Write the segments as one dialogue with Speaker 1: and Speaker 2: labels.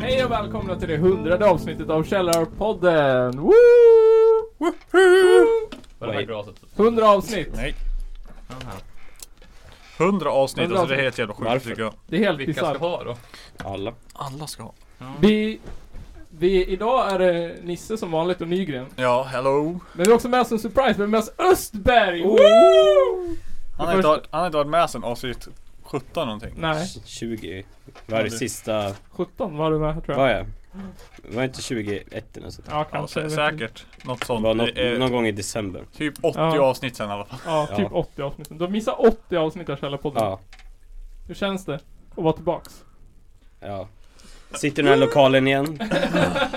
Speaker 1: Hej och välkomna till det hundrade avsnittet av Källarpodden! Woo! Woohoo!
Speaker 2: Var det här glaset?
Speaker 1: 100 avsnitt!
Speaker 3: Nej.
Speaker 2: Aha.
Speaker 3: 100 avsnitt,
Speaker 1: 100
Speaker 3: alltså det är helt jävla sjukt
Speaker 4: Varför?
Speaker 3: tycker jag.
Speaker 1: Det är helt
Speaker 2: Vilka ska
Speaker 1: bisarrt.
Speaker 2: ha då?
Speaker 4: Alla.
Speaker 3: Alla ska ha.
Speaker 1: Vi, vi... Idag är det Nisse som vanligt och Nygren.
Speaker 3: Ja, hello.
Speaker 1: Men vi har också med oss en surprise, vi har med oss Östberg! Woo!
Speaker 3: Han
Speaker 1: Det
Speaker 3: har, inte,
Speaker 1: första-
Speaker 3: varit- han har inte varit med sen avsnitt 17 någonting.
Speaker 1: Nej,
Speaker 4: 20 var
Speaker 3: Ja,
Speaker 4: det
Speaker 3: du-
Speaker 4: sista,
Speaker 1: 17 var du med tror jag.
Speaker 4: var jag? Var inte 21 eller så?
Speaker 1: Ja,
Speaker 3: Ja,
Speaker 1: kanske.
Speaker 3: sä-
Speaker 1: jag vet inte.
Speaker 3: säkert. Något
Speaker 4: Det
Speaker 3: sånt.
Speaker 4: var
Speaker 3: Det är
Speaker 4: något, någon gång i december.
Speaker 3: Typ 80
Speaker 1: Ja.
Speaker 3: avsnitt sen i alla fall.
Speaker 1: Ja, typ
Speaker 4: Ja.
Speaker 1: 80 avsnitt. Du har missat 80 avsnitt av Källarpodden.
Speaker 4: Ja,
Speaker 1: Hur känns det? Att vara tillbaks?
Speaker 4: ja. Sitter i den här lokalen igen.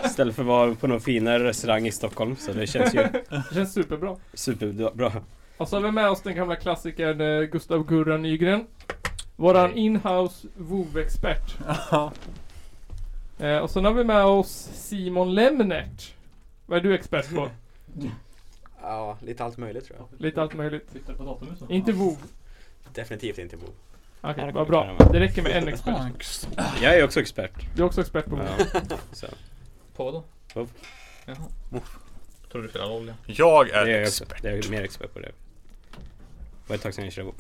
Speaker 4: Istället för att vara på någon finare restaurang i Stockholm. Så det känns ju
Speaker 1: Det känns superbra.
Speaker 4: superbra.
Speaker 1: Och så har vi med oss den gamla klassikern eh, Gustav Gurra Nygren. Våran
Speaker 4: Hej.
Speaker 1: inhouse WoW-expert. Eh, och sen har vi med oss Simon Lemnert. Vad är du expert på?
Speaker 5: Ja, lite allt möjligt tror jag.
Speaker 1: Lite allt möjligt.
Speaker 2: Sitter på datorn
Speaker 1: Inte WoW.
Speaker 5: Definitivt inte bo.
Speaker 1: Okej, vad bra. Det räcker med en expert.
Speaker 4: Jag är också expert.
Speaker 1: Du är också expert på WoW.
Speaker 4: Ja, så.
Speaker 2: På då?
Speaker 4: På.
Speaker 2: Jaha. Tror du spelar olja?
Speaker 3: Jag
Speaker 4: Det
Speaker 3: är
Speaker 4: är jag också.
Speaker 3: expert.
Speaker 4: Det är jag mer expert på det. Det var ett tag sedan jag körde WoW.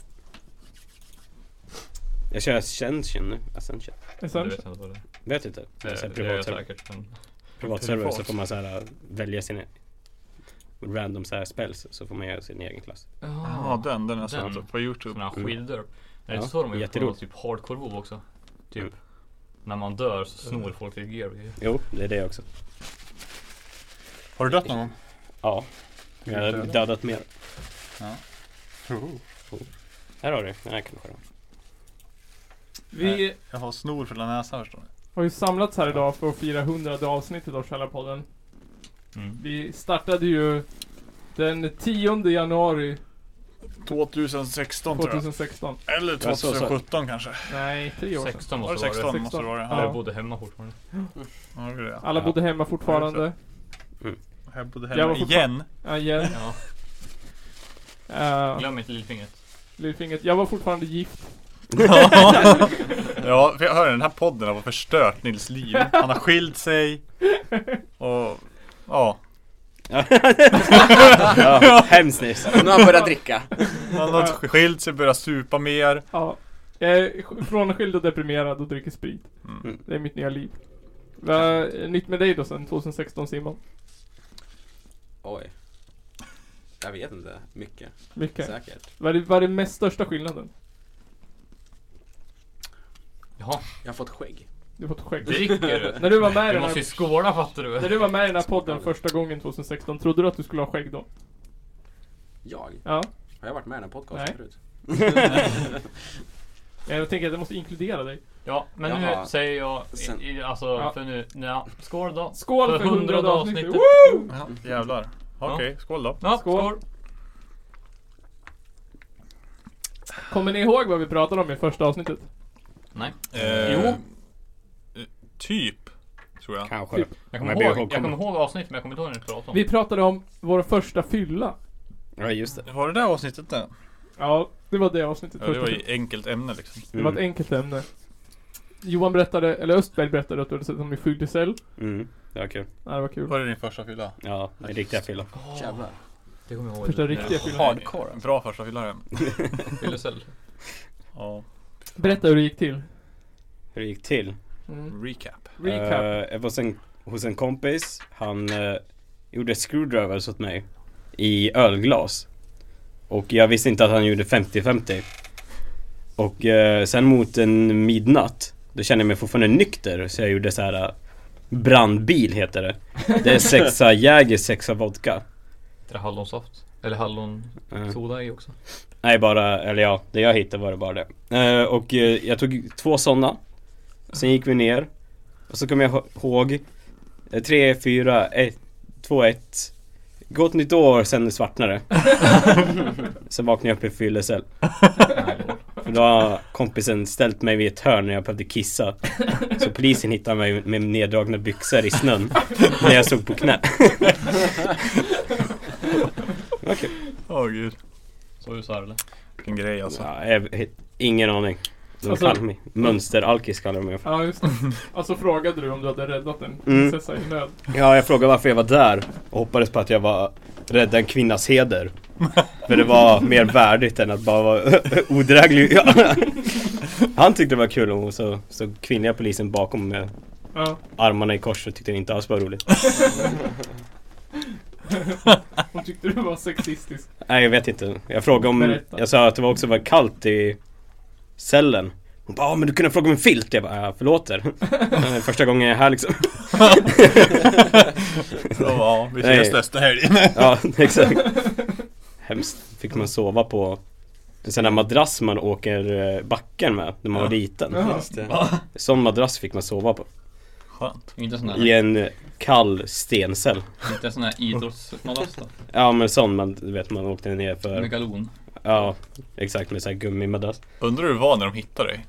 Speaker 4: Jag kör Ascension nu. Ascension.
Speaker 1: Sen,
Speaker 2: Du vet inte vad det är.
Speaker 4: Vet inte. Det är så här
Speaker 2: Nej, Det gör jag
Speaker 4: privatserver.
Speaker 2: säkert. Men
Speaker 4: privatserver så
Speaker 3: Privat.
Speaker 4: får man så här, äh, välja sina random så här spells så får man göra sin egen klass.
Speaker 3: Ja, den, den har jag
Speaker 2: Den.
Speaker 3: sett på youtube.
Speaker 2: Sådana här skidor. Är det
Speaker 4: Mm. Ja,
Speaker 2: så de har gjort på
Speaker 4: jätteroligt.
Speaker 2: typ hardcore WoW också? Typ.
Speaker 4: Mm.
Speaker 2: När man dör så snor folk ditt gear. Mm. och grejer.
Speaker 4: Jo, det är det också.
Speaker 3: Har du dött någon gång?
Speaker 4: Ja. Jag har
Speaker 3: Dödat.
Speaker 4: dödat mer.
Speaker 3: Ja.
Speaker 4: Här har du, den här kan du skära.
Speaker 1: vi
Speaker 3: Jag har snor för hela näsan förstår ni.
Speaker 1: har ju samlats här idag för att fira 100 avsnittet av Källarpodden.
Speaker 2: Mm.
Speaker 1: Vi startade ju den 10 januari
Speaker 3: 2016 tror jag.
Speaker 1: 2016.
Speaker 3: Eller
Speaker 4: Ja, så- så.
Speaker 3: 2017 kanske.
Speaker 1: Nej, tre år sedan.
Speaker 2: 16
Speaker 3: Var
Speaker 2: måste
Speaker 3: det
Speaker 2: det vara
Speaker 3: 16
Speaker 2: det.
Speaker 3: måste det vara.
Speaker 2: Ja.
Speaker 3: Ja.
Speaker 2: Jag bodde hemma fortfarande.
Speaker 3: Ja, det var det.
Speaker 1: Alla
Speaker 4: Ja.
Speaker 1: bodde hemma fortfarande.
Speaker 3: Jag bodde
Speaker 1: Jag
Speaker 3: hemma
Speaker 1: var fortfarande-
Speaker 3: igen.
Speaker 1: Ja, igen.
Speaker 2: Ja.
Speaker 1: Uh,
Speaker 2: Glöm inte lillfingret.
Speaker 1: Lillfingret. Jag var fortfarande gift.
Speaker 3: Ja, för jag hör den här podden har förstört Nils liv. Han har skilt sig. Och ja,
Speaker 4: ja, hemskt nyss.
Speaker 5: Nu har han börjat dricka.
Speaker 3: han har skilt sig, börjat supa mer.
Speaker 1: Ja. Jag är sk- frånskild och deprimerad och dricker sprit.
Speaker 4: Mm.
Speaker 1: Det är mitt nya liv. Vad är nytt med dig då sen 2016 Simon?
Speaker 5: Oj. Jag vet inte. Mycket.
Speaker 1: Mycket.
Speaker 5: Säkert.
Speaker 1: Vad är, vad är den mest största skillnaden?
Speaker 2: Jaha,
Speaker 5: Jag har fått skägg.
Speaker 1: Du har fått skägg.
Speaker 2: dricker du?
Speaker 1: När du var med i
Speaker 2: Du
Speaker 1: den
Speaker 2: måste ju
Speaker 1: här,
Speaker 2: skåla fattar du.
Speaker 1: när du var med i den här podden första gången 2016, trodde du att du skulle ha skägg då?
Speaker 5: Jag?
Speaker 1: Ja.
Speaker 5: Har jag varit med i den här podcasten
Speaker 1: Nej.
Speaker 5: förut?
Speaker 1: Jag tänker att jag måste inkludera dig.
Speaker 2: Ja, men
Speaker 5: Jaha.
Speaker 2: nu säger jag,
Speaker 5: Sen-
Speaker 2: i, i, alltså
Speaker 1: Ja.
Speaker 2: för nu, ja, skål då.
Speaker 1: Skål för 100
Speaker 2: hundrade
Speaker 1: avsnittet!
Speaker 2: avsnittet.
Speaker 1: Woo!
Speaker 3: Ja, jävlar. Okej, skål då.
Speaker 2: Ja,
Speaker 1: Skål.
Speaker 2: skål.
Speaker 1: Kommer ni ihåg vad vi pratade om i första avsnittet?
Speaker 2: Nej,
Speaker 3: Eh,
Speaker 2: Jo.
Speaker 3: eh, Typ, tror jag.
Speaker 4: Kanske.
Speaker 1: Typ.
Speaker 2: jag kommer,
Speaker 4: Men
Speaker 2: ihåg,
Speaker 4: vi
Speaker 2: jag
Speaker 4: ihåg-
Speaker 2: kommer ihåg avsnittet men jag kommer inte ihåg när du pratade om
Speaker 1: Vi
Speaker 2: det.
Speaker 1: pratade om vår första fylla.
Speaker 4: Ja, just det.
Speaker 3: Var det där avsnittet där?
Speaker 1: Ja, det var det avsnittet.
Speaker 3: Ja, det
Speaker 1: första
Speaker 3: var ju enkelt ämne liksom.
Speaker 1: Det var ett
Speaker 4: Mm.
Speaker 1: enkelt ämne. Johan berättade, eller Östberg berättade att du hade sett honom i Fylldicell.
Speaker 4: Mm, det var kul.
Speaker 1: Ja, det var kul.
Speaker 3: Var det din första fylla?
Speaker 4: Ja, det är riktiga fylla.
Speaker 5: Jävlar.
Speaker 2: Det kommer jag ihåg.
Speaker 1: Första riktiga fyllan.
Speaker 3: Hardcore. Bra första fylla den.
Speaker 2: Fyllecell.
Speaker 3: Ja.
Speaker 1: Berätta hur det gick till.
Speaker 4: Hur det gick till.
Speaker 1: Mm.
Speaker 3: Recap.
Speaker 1: Recap.
Speaker 4: Eh, jag var sen, hos en kompis, han eh, gjorde screwdrivers åt mig i ölglas. Och jag visste inte att han gjorde 50-50. Och eh, sen mot en midnatt, då kände jag mig fortfarande nykter så jag gjorde så här eh, brandbil heter det. Det är sexa Jäger, sexa vodka.
Speaker 2: Det är hallonsaft. Eller hallonsoda
Speaker 4: Eh,
Speaker 2: i också.
Speaker 4: Nej bara, eller ja, det jag hittade var det bara det. Eh, och eh, jag tog två sådana. Sen gick vi ner. Och så kommer jag ho- ihåg eh, 3, 4, 1, 2, 1. Gott nytt år, sen svartnade det. Sen vaknade jag upp i fyllecell. För då har kompisen ställt mig vid ett hörn när jag behövde kissa. Så polisen hittade mig med neddragna byxor i snön. När jag stod på knä. Okej.
Speaker 3: Åh gud,
Speaker 2: Så du så här eller?
Speaker 3: vilken grej alltså.
Speaker 4: Ja, jag vet- ingen aning. De
Speaker 1: Alltså-
Speaker 4: kallar mig mönsteralkis kallar de mig.
Speaker 1: Ja, just det. Alltså frågade du om du hade räddat
Speaker 4: Mm.
Speaker 1: en prinsessa i nöd.
Speaker 4: Ja, jag frågade varför jag var där och hoppades på att jag var rädda en kvinnas heder. För det var mer värdigt än att bara vara odräglig. Ja. Han tyckte det var kul och så stod kvinnliga polisen bakom med
Speaker 1: Ja.
Speaker 4: armarna i kors och tyckte det inte alls var roligt.
Speaker 1: Hon tyckte du var sexistisk.
Speaker 4: Nej, jag vet inte. Jag frågade om...
Speaker 1: Berätta.
Speaker 4: Jag sa att det var också var kallt i cellen. Hon bara, "Ja, men du kunde fråga om en filt. Jag bara, "Ja, förlåt er. Det är Första gången jag är här liksom.
Speaker 3: Ja, vi
Speaker 4: Nej.
Speaker 3: ses nästa helg.
Speaker 4: Ja, exakt. Hemskt. Fick man sova på en sån där madrass man åker eh, backen med när man var liten.
Speaker 1: Ja.
Speaker 5: Just det.
Speaker 4: Sån madrass fick man sova på.
Speaker 3: Skönt.
Speaker 2: Inte en sån här,
Speaker 4: I en eh, kall stencell.
Speaker 2: inte en sån här idrottsmadrass då?
Speaker 4: Ja men sån man, du vet man åkte ner för.
Speaker 2: Megalon.
Speaker 4: Ja, exakt med sån här gummimadrass.
Speaker 3: Undrar hur du var när de hittade dig?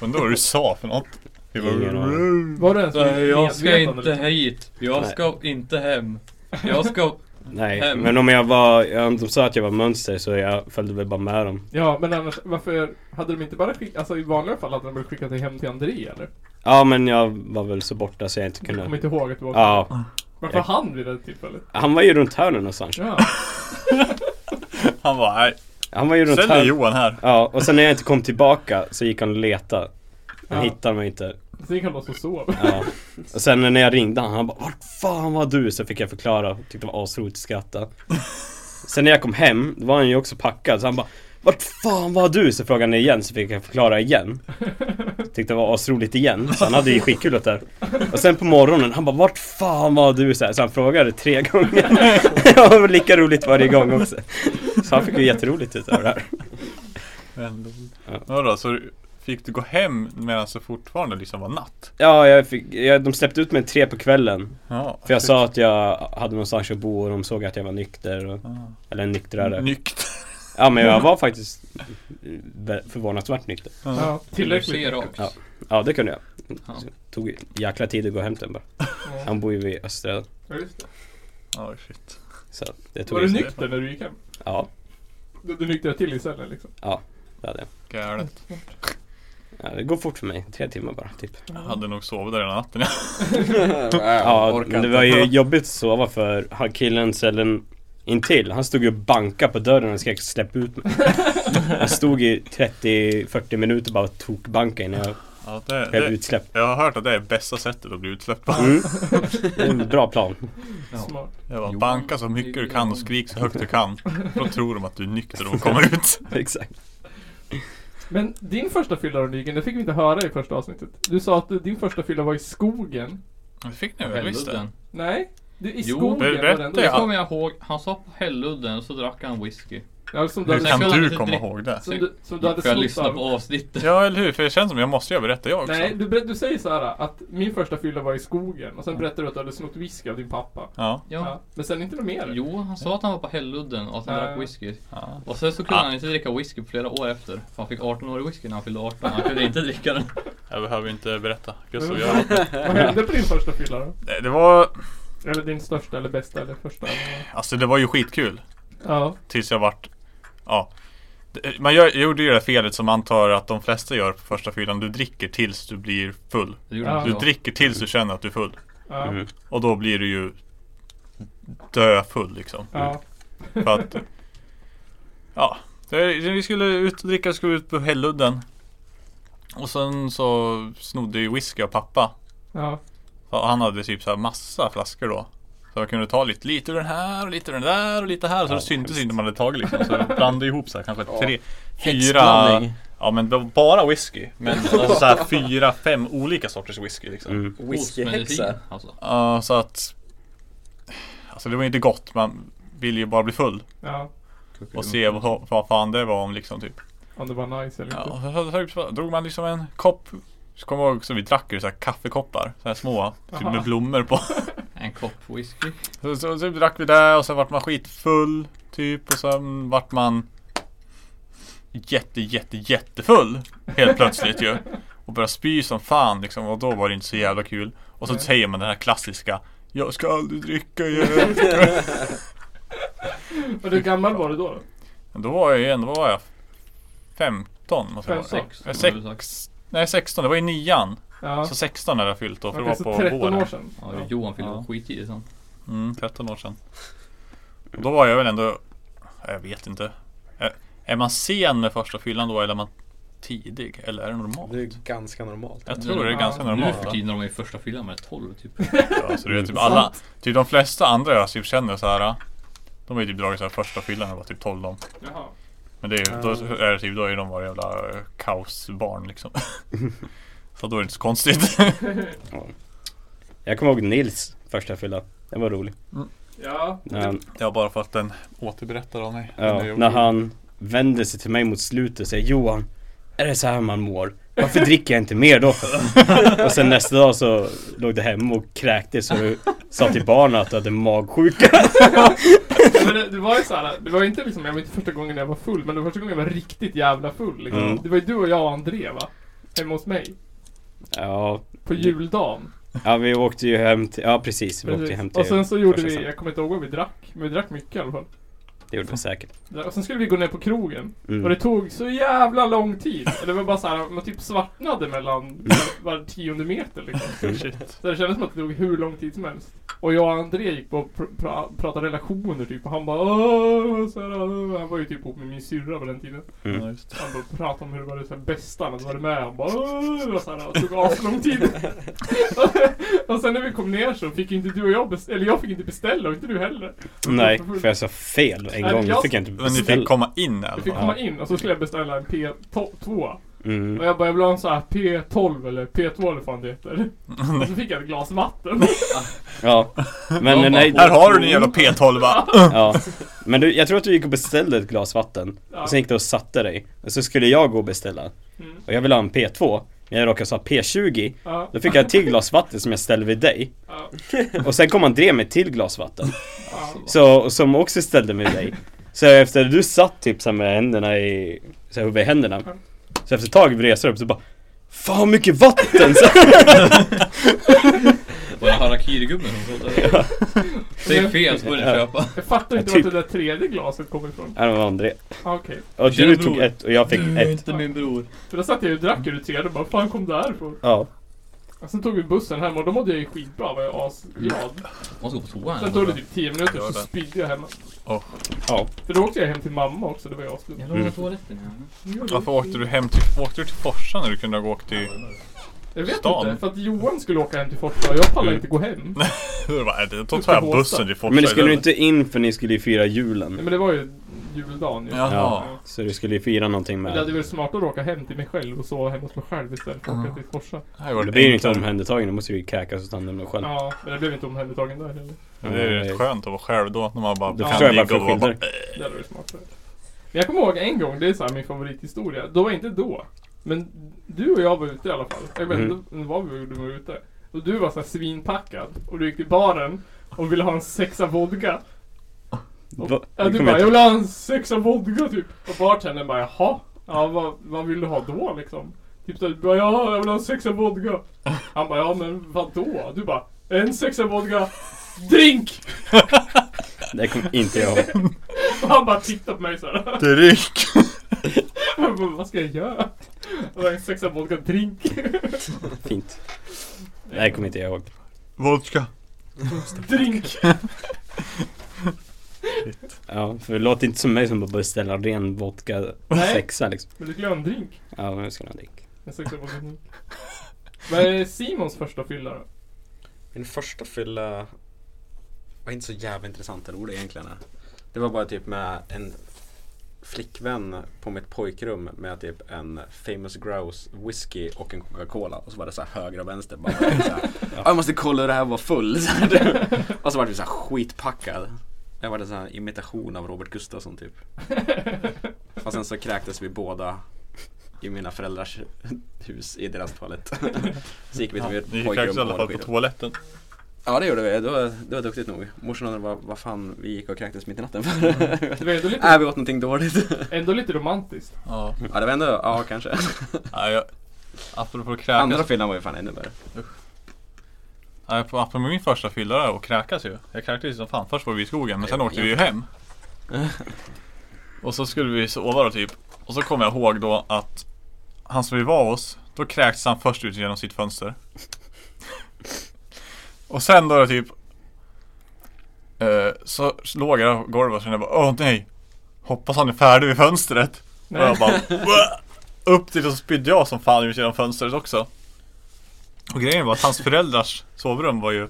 Speaker 3: Undrar vad du sa för något? Det var-
Speaker 4: Ingen
Speaker 1: Var du ens
Speaker 6: Eh,
Speaker 1: liksom?
Speaker 2: Jag ska
Speaker 1: medveten
Speaker 2: inte hit. Jag
Speaker 4: Nej.
Speaker 2: ska inte hem. Jag ska...
Speaker 4: Nej,
Speaker 2: Hem.
Speaker 4: men om jag var, ja, om de sa att jag var mönster så jag följde väl bara med dem.
Speaker 1: Ja, men annars varför hade de inte bara skickat, alltså i vanliga fall hade de bara skickat dig hem till André eller?
Speaker 4: Ja men jag var väl så borta så jag inte
Speaker 1: Jag kommer
Speaker 4: kunde.
Speaker 1: inte ihåg att du var
Speaker 4: Ja,
Speaker 1: Varför han vid det tillfället?
Speaker 4: han var ju runt hörnet någonstans.
Speaker 1: Ja.
Speaker 3: Han bara, nej.
Speaker 4: Han var ju runt
Speaker 3: Sen är
Speaker 4: hörnet.
Speaker 3: Johan här.
Speaker 4: Ja, och sen när jag inte kom tillbaka så gick han och letade. Han
Speaker 1: Ja.
Speaker 4: hittade mig inte.
Speaker 1: Sen gick han loss och sov.
Speaker 4: Ja. Och sen när jag ringde han, han bara Vart fan var du? Så fick jag förklara, tyckte det var asroligt att skratta. Sen när jag kom hem, då var han ju också packad så han bara Vart fan var du? Så frågade han igen så fick jag förklara igen. Tyckte det var asroligt igen, så han hade ju skitkul åt det här. Och sen på morgonen, han bara Vart fan var du? Så, här, så han frågade tre gånger. Ja, det var lika roligt varje gång också. Så han fick ju jätteroligt utav det här. Ja.
Speaker 3: Vadå, så du- fick du gå hem medan det fortfarande liksom var natt?
Speaker 4: Ja, jag fick, jag, de släppte ut mig tre på kvällen.
Speaker 3: Ja.
Speaker 4: För jag sa att jag hade någonstans att bo och de såg att jag var nykter. Och, eller nyktrare.
Speaker 3: Ah,
Speaker 1: Mm.
Speaker 3: Nykt.
Speaker 4: ja, men jag var faktiskt eh, förvånansvärt nykter.
Speaker 1: Ja,
Speaker 2: Du ser
Speaker 1: tillräckligt.
Speaker 2: rakt.
Speaker 4: Ja. Ja, det kunde jag.
Speaker 2: Ja.
Speaker 4: Tog jäkla tid att gå hem till honom bara.
Speaker 1: Ja.
Speaker 4: Han bor ju vid Östra.
Speaker 1: Ja, just det.
Speaker 3: Ja, shit.
Speaker 4: Så det tog
Speaker 1: Var du
Speaker 4: ju-
Speaker 1: nykter när du gick hem?
Speaker 4: Ja,
Speaker 1: Du, du nyktrade till i cellen liksom?
Speaker 4: det hade jag.
Speaker 3: Galet.
Speaker 4: Ja, det går fort för mig. Tre timmar bara, typ.
Speaker 3: Jag hade nog sovit där hela natten.
Speaker 4: Ja,
Speaker 5: orkar
Speaker 4: men det
Speaker 5: inte.
Speaker 4: var ju jobbigt att sova för han killen cellen intill, han stod ju och bankade på dörren och skrek släpp ut mig. Han stod i 30-40 minuter och bara tokbankade innan jag
Speaker 3: Ja, det,
Speaker 4: blev
Speaker 3: det,
Speaker 4: utsläppt.
Speaker 3: jag har hört att det är bästa sättet att bli utsläppt på.
Speaker 4: Mm. Det är en bra plan.
Speaker 2: Ja.
Speaker 1: Smart.
Speaker 3: Det var
Speaker 2: Johan,
Speaker 3: banka så mycket du kan och skrik så högt du kan. Då tror de att du är nykter och kommer ut.
Speaker 4: Exakt.
Speaker 1: Men din första fylla då Nygren, det fick vi inte höra i första avsnittet. Du sa att din första fylla var i skogen.
Speaker 3: Det fick ni
Speaker 2: På
Speaker 3: väl? Visst det?
Speaker 2: Hälludden.
Speaker 1: Nej? Du, I
Speaker 2: Jo,
Speaker 1: skogen
Speaker 3: berätta
Speaker 1: var
Speaker 3: jag.
Speaker 2: Det
Speaker 1: den.
Speaker 2: kommer jag ihåg. Han sa på Hälludden och så drack han whisky.
Speaker 1: Ja, som du
Speaker 3: Hur
Speaker 1: hade,
Speaker 3: kan
Speaker 2: Jag skulle
Speaker 3: du
Speaker 2: inte
Speaker 3: komma
Speaker 2: dricka-
Speaker 3: ihåg det?
Speaker 1: som du, som du hade
Speaker 2: För jag
Speaker 1: snott
Speaker 2: lyssnade
Speaker 1: av.
Speaker 2: på avsnittet.
Speaker 3: Ja, eller hur? För det känns som jag måste ju berätta jag också.
Speaker 1: Nej, du, ber- du säger så här att min första fylla var i skogen och sen berättar du att du hade snott whisky av din pappa.
Speaker 3: Ja.
Speaker 2: Ja.
Speaker 1: Men sen inte något mer?
Speaker 2: Jo, han sa att han var på Hälludden och att han
Speaker 1: Ja.
Speaker 2: drack whisky.
Speaker 3: ja.
Speaker 2: Och sen så kunde
Speaker 3: Ah.
Speaker 2: han inte dricka whisky på flera år efter. För han fick 18 år i whisky när han fyllde 18. Han kunde inte dricka den.
Speaker 3: Jag behöver inte berätta.
Speaker 1: Men
Speaker 3: Gustav,
Speaker 1: vad
Speaker 3: jag...
Speaker 1: fan- Mm. Vad hände på din första fylla då?
Speaker 3: Nej, Det var...
Speaker 1: Eller din största eller bästa eller första? eller
Speaker 3: Alltså det var ju skitkul.
Speaker 1: vad? Ja.
Speaker 3: Tills jag vart... Ja. Det- Man gör, jag gjorde ju det där felet som antar att de flesta gör på första fyllan. Du dricker tills du blir full.
Speaker 2: Det gjorde
Speaker 1: Ja.
Speaker 2: han
Speaker 3: Du
Speaker 2: inte jag.
Speaker 3: dricker tills du känner att du är full.
Speaker 1: Ja.
Speaker 4: Mm.
Speaker 3: Och då blir du ju döfull liksom.
Speaker 1: ja.
Speaker 3: För att... Ja. Det, vi skulle ut och dricka, skulle ut på Hälludden. Och sen så snodde ju whisky av pappa.
Speaker 1: Ja.
Speaker 3: Ja, han hade typ så här massa flaskor då. Så jag kunde ta lite, lite ur den här och lite ur den där och lite här. Så
Speaker 4: Ja,
Speaker 3: det syntes
Speaker 4: hemskt.
Speaker 3: inte man hade tagit liksom. Så jag blandade ihop så här kanske
Speaker 5: Ja.
Speaker 3: tre, fyra. Ja men det var bara whisky. Men alltså så här fyra, fem olika sorters whisky liksom.
Speaker 4: Mm.
Speaker 2: Ostmedicin,
Speaker 5: Whiskyhäxa.
Speaker 2: Alltså.
Speaker 3: Ja, så att. Alltså det var inte gott. Man ville ju bara bli full
Speaker 1: Ja.
Speaker 3: och se vad, vad fan det var om liksom typ.
Speaker 1: Om det var nice eller
Speaker 3: Ja,
Speaker 1: inte.
Speaker 3: och så, så, så drog man liksom en kopp. Så kommer jag ihåg så vi drack ju så här kaffekoppar. Så här små. Typ
Speaker 1: Aha.
Speaker 3: med blommor på.
Speaker 2: En kopp whisky.
Speaker 3: Så, så, så drack vi det och sen vart man skitfull typ och sen vart man jätte, jätte, jättefull helt plötsligt ju. Och börjar spy som fan liksom och då var det inte så jävla kul. Och så
Speaker 1: Nej.
Speaker 3: säger man den här klassiska Jag ska aldrig dricka igen.
Speaker 1: Och hur gammal var du då? då?
Speaker 3: Men då var jag ju ändå, vad var jag? 15 måste jag
Speaker 1: Fem,
Speaker 3: vara.
Speaker 1: sex.
Speaker 3: Ja, sex. Nej 16, det var i nian.
Speaker 1: Ja.
Speaker 3: Så 16 hade jag fyllt då för det
Speaker 1: Okej,
Speaker 3: var
Speaker 1: så
Speaker 3: på
Speaker 1: 13
Speaker 3: våren.
Speaker 1: år sedan.
Speaker 2: Ja, Johan fyllde
Speaker 3: Ja.
Speaker 2: skit i det sen.
Speaker 3: Mm, 13 år sedan. Och då var jag väl ändå, jag vet inte. Är, är man sen med första fyllan då eller är man tidig? Eller är det normalt?
Speaker 5: Det är ganska normalt.
Speaker 3: Jag tror det är ganska
Speaker 1: Ja,
Speaker 2: Nu
Speaker 3: normalt.
Speaker 2: för
Speaker 3: va?
Speaker 2: tiden när de är i första fyllan med 12 typ.
Speaker 3: Ja, så det är typ alla, typ de flesta andra jag typ känner så här. De har ju typ dragit så här första fyllan när jag var typ 12 de.
Speaker 1: Jaha.
Speaker 3: Men det är ju, då är det typ, då är de bara jävla eh, kaosbarn liksom. så då är det inte så konstigt.
Speaker 4: Jag kommer ihåg Nils första fylla. Den var rolig.
Speaker 1: Ja.
Speaker 4: När han,
Speaker 3: Det var bara för att den återberättar av mig.
Speaker 4: ja,
Speaker 3: Den är
Speaker 4: när
Speaker 3: gjord.
Speaker 4: han vände sig till mig mot slutet och säger Johan, är det så här man mår? Varför dricker jag inte mer då? och sen nästa dag så låg du hemma och kräktes och du sa till barnen att du hade magsjuka.
Speaker 1: Men det, det var ju såhär, det var ju inte liksom, jag var inte första gången jag var full, men det var första gången jag var riktigt jävla full. Liksom.
Speaker 4: Mm.
Speaker 1: Det var ju du och jag och André va? Hemma hos mig.
Speaker 4: Ja,
Speaker 1: På juldagen.
Speaker 4: ja, vi åkte ju hem till, ja precis, vi åkte
Speaker 1: Precis.
Speaker 4: hem till
Speaker 1: och sen så gjorde
Speaker 4: första
Speaker 1: vi,
Speaker 4: sen.
Speaker 1: jag kommer inte ihåg vad vi drack, men vi drack mycket i alla fall.
Speaker 4: Det gjorde vi säkert.
Speaker 1: Och sen skulle vi gå ner på krogen.
Speaker 4: Mm.
Speaker 1: Och det tog så jävla lång tid. Det var bara såhär, man typ svartnade
Speaker 4: Mm.
Speaker 1: mellan var tionde meter liksom. Så det kändes som att det tog hur lång tid som helst. Och jag och André gick på och pr- pra- pratade relationer typ och han bara Åh, så här, åh." Han var ju typ ihop med min syrra på den tiden.
Speaker 3: Ja, just det.
Speaker 1: Han bara pratade om hur det var det så här bästa han hade varit med om. Bara, "Åh", det var så här, det tog aslång tid. och sen när vi kom ner så fick ju inte du och jag beställa, eller jag fick inte beställa och inte du heller.
Speaker 4: Nej, för jag sa fel en
Speaker 1: Nej,
Speaker 4: gång.
Speaker 1: jag-
Speaker 4: Då fick jag inte
Speaker 3: Men ni
Speaker 4: beställa.
Speaker 3: fick komma in i alla
Speaker 1: Vi fick
Speaker 3: fall.
Speaker 1: komma in och så skulle jag beställa en P2.
Speaker 4: Mm.
Speaker 1: Och jag bara, jag vill ha en sån här P12 eller P2 eller vad fan det heter. Och så fick jag ett glas vatten.
Speaker 4: Ja, men
Speaker 2: Ja,
Speaker 4: nej.
Speaker 3: Här har du din jävla P12 va?
Speaker 4: Ja. Men du, jag tror att du gick och beställde ett glas vatten.
Speaker 1: Ja.
Speaker 4: Och sen gick du och satte dig. Och så skulle jag gå och beställa.
Speaker 1: Mm.
Speaker 4: Och jag ville ha en P2. Men jag råkade säga P20.
Speaker 1: Ja,
Speaker 4: Då fick jag ett till glas vatten som jag ställde vid dig.
Speaker 1: ja,
Speaker 4: Och sen kom André med ett till glas vatten.
Speaker 1: ja.
Speaker 4: Så, som också ställde med dig. Så efter du satt typ så här med händerna i... Så här, vid händerna. Så efter ett tag reser upp så bara Fan vad mycket vatten! Så,
Speaker 2: Var det harakirigubben som sa det? Säg fel så börjar ni
Speaker 4: Ja.
Speaker 2: köpa.
Speaker 1: Jag fattar inte
Speaker 4: Ja, typ.
Speaker 1: vart det där tredje glaset kommer ifrån.
Speaker 4: ja, det var André.
Speaker 1: Ah, Okej.
Speaker 4: Och
Speaker 2: Tjena,
Speaker 4: du tog
Speaker 2: bror.
Speaker 4: ett och jag fick ett.
Speaker 2: inte min bror.
Speaker 1: För då satt jag ju och drack ur det tredje och bara, fan kom det här ifrån?
Speaker 4: Ja.
Speaker 1: Och sen tog vi bussen hem och då mådde jag ju skitbra, var jag asglad.
Speaker 2: Måste gå på toa
Speaker 1: Sen
Speaker 2: här.
Speaker 1: tog det typ 10 minuter
Speaker 3: Jag
Speaker 1: så
Speaker 3: gör Mm. det.
Speaker 1: spydde jag hemma.
Speaker 4: Ja.
Speaker 1: För då åkte jag hem till mamma också, det var jag som...
Speaker 2: Jag
Speaker 3: Mm.
Speaker 2: lånade toaletten. ja.
Speaker 3: Varför åkte du hem till, åkte du till Forsa när du kunde ha åkt till...
Speaker 1: Jag vet
Speaker 3: Stan. Mm.
Speaker 1: inte, för att Johan skulle åka hem till Forsa och jag pallade inte gå hem. Nej
Speaker 3: Hur var det? Då
Speaker 1: Upp
Speaker 3: tar jag
Speaker 1: till Båstad.
Speaker 3: bussen till Forsa
Speaker 4: Men det skulle du
Speaker 3: istället.
Speaker 4: inte in för ni skulle ju fira julen.
Speaker 1: men det var ju juldagen ju.
Speaker 3: Jaha.
Speaker 4: Ja. Så du skulle ju fira någonting
Speaker 1: Men
Speaker 4: med...
Speaker 1: det hade varit smart att åka hem till mig själv och sova hemma hos mig själv istället för att åka till Forsa.
Speaker 3: Det här var
Speaker 4: Det blir ju inte
Speaker 3: enklare.
Speaker 4: omhändertagen, då måste du ju kräkas och ta hand om dig själv.
Speaker 1: Ja, men det blev inte omhändertagen där heller.
Speaker 3: Men Det är ju rätt skönt att vara själv då. När man bara
Speaker 4: Då
Speaker 3: kan
Speaker 4: förstår jag
Speaker 3: ligga
Speaker 4: varför
Speaker 3: och
Speaker 4: du
Speaker 3: vara bara...
Speaker 4: skiljer
Speaker 1: Det hade varit smartare. Men jag kommer ihåg en gång, det är så här min favorithistoria. Då var inte då. Men du och jag var ute i alla fall. Jag vet inte vad vi gjorde, vi var ute. Och du var så här svinpackad. Och du gick till baren och ville ha en sexa vodka. Och,
Speaker 4: Eh, Va?
Speaker 1: ja,
Speaker 4: Det
Speaker 1: du
Speaker 4: kommer
Speaker 1: bara, jag
Speaker 4: jag
Speaker 1: vill ha en sexa vodka typ. Och bartendern bara, jaha? Ja, vad, vad vill du ha då liksom? Typ så här, du bara, ja, jag vill ha en sexa vodka. Han bara, ja men vad då? Du bara, en sexa vodka, drink!
Speaker 4: Det kommer inte jag ihåg.
Speaker 1: Och han bara tittar på mig så här.
Speaker 3: Dryck!
Speaker 1: Jag bara, Vad ska jag göra? Och en sexa vodka drink.
Speaker 4: Fint. Det här kommer inte jag ihåg.
Speaker 3: Vodka!
Speaker 1: Drink!
Speaker 4: Ja, för låt inte som mig som bara beställer ren vodka
Speaker 1: Nej.
Speaker 4: sexa liksom.
Speaker 1: Men du glömde drink.
Speaker 4: Ja, men jag ska ha en drink.
Speaker 1: En sexa vodka drink. Vad är Simons första fylla då?
Speaker 5: Min första fylla var inte så jävla intressant eller rolig egentligen. Det var bara typ med en flickvän på mitt pojkrum med typ en famous grouse whisky och en Coca-Cola och så var det så här höger och vänster bara så här, "Ja, Jag måste kolla hur det här var full så här. typ. Och så var det så här skitpackad Jag var en sån här imitation av Robert Gustafsson typ Och sen så kräktes vi båda i mina föräldrars hus i deras toalett Så gick vi till mitt
Speaker 3: Ni
Speaker 5: pojkrum
Speaker 3: kräks i alla
Speaker 5: och
Speaker 3: fall på
Speaker 5: skidor.
Speaker 3: toaletten.
Speaker 5: Ja det gjorde vi, det var, det var duktigt nog. Morsan undrade vad, vad fan vi gick och kräktes mitt i natten för.
Speaker 7: Mm.
Speaker 1: Det var ändå lite,
Speaker 5: Är vi åt någonting dåligt?
Speaker 1: ändå lite romantiskt.
Speaker 3: Ja.
Speaker 5: Ja det var ändå, ja kanske.
Speaker 3: ja jag, apropå kräkas.
Speaker 5: Andra fyllan var ju fan ännu värre.
Speaker 3: Ja, på, apropå min första fylla där och kräkas ju. Jag kräktes ju som fan. Först var vi i skogen men sen
Speaker 5: Ja,
Speaker 3: åkte vi ju hem. Och så skulle vi sova då typ. Och så kommer jag ihåg då att han som vi var hos, då kräktes han först ut genom sitt fönster. Och sen då typ eh, så låg jag på golvet och kände bara åh nej. Hoppas han är färdig vid fönstret.
Speaker 1: Nej.
Speaker 3: Och jag bara "Wah!" Upp till och så spydde jag som fan ut genom fönstret också. Och grejen var att hans föräldrars sovrum var ju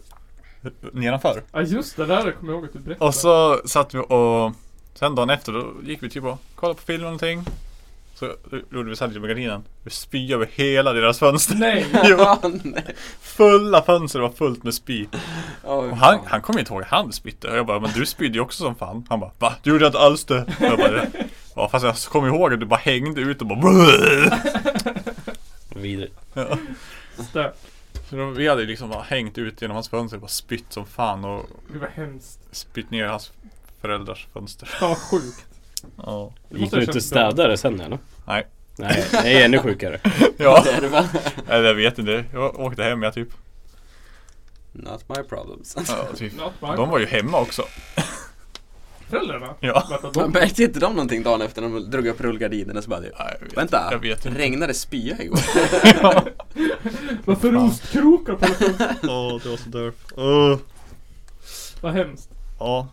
Speaker 3: nedanför.
Speaker 1: Ja just det, där kommer jag ihåg att du berättade.
Speaker 3: Och så satt vi och sen dagen efter då gick vi typ och kollade på film eller någonting. Så gjorde vi sandwich med gardinen. Vi spyade över hela deras fönster.
Speaker 1: Nej!
Speaker 3: Jo,
Speaker 5: nej.
Speaker 3: fulla fönster var fullt med spy.
Speaker 5: Oh,
Speaker 3: Och han, han kom inte ihåg att han spydde. Och jag bara, men du spydde ju också som fan. Han bara, va? Du gjorde inte alls det. Och jag bara, ja fast jag kommer ihåg att du bara hängde ut och bara "Bruh."
Speaker 4: Vidrigt.
Speaker 1: Stört.
Speaker 3: Så då, vi hade ju liksom bara hängt ut genom hans fönster och bara spytt som fan och
Speaker 1: Det var hemskt.
Speaker 3: spytt ner hans föräldrars fönster.
Speaker 1: Fan vad sjukt.
Speaker 3: Ja.
Speaker 1: Det
Speaker 4: Gick
Speaker 1: måste
Speaker 4: du
Speaker 1: ha
Speaker 4: inte och
Speaker 1: känts bra.
Speaker 4: städade sen eller?
Speaker 3: Nej.
Speaker 4: Nej, det är ännu sjukare.
Speaker 3: Ja.
Speaker 5: Det är det väl.
Speaker 3: Eller jag vet inte. Jag åkte hem jag typ.
Speaker 5: Not my problems.
Speaker 3: Ja, typ.
Speaker 1: Något bara-
Speaker 3: De var ju hemma också.
Speaker 1: Föräldrarna?
Speaker 3: Ja.
Speaker 1: Vänta, de-
Speaker 5: Men märkte inte de någonting dagen efter när de drog upp rullgardinerna så bara det,
Speaker 3: Nej, jag vet,
Speaker 5: Vänta,
Speaker 3: Jag vet inte.
Speaker 5: regnade spya igår?
Speaker 1: Varför ostkrokar på alla punkter?
Speaker 3: Åh, det var så Uh. dörf. Åh.
Speaker 1: Vad hemskt.
Speaker 3: Ja.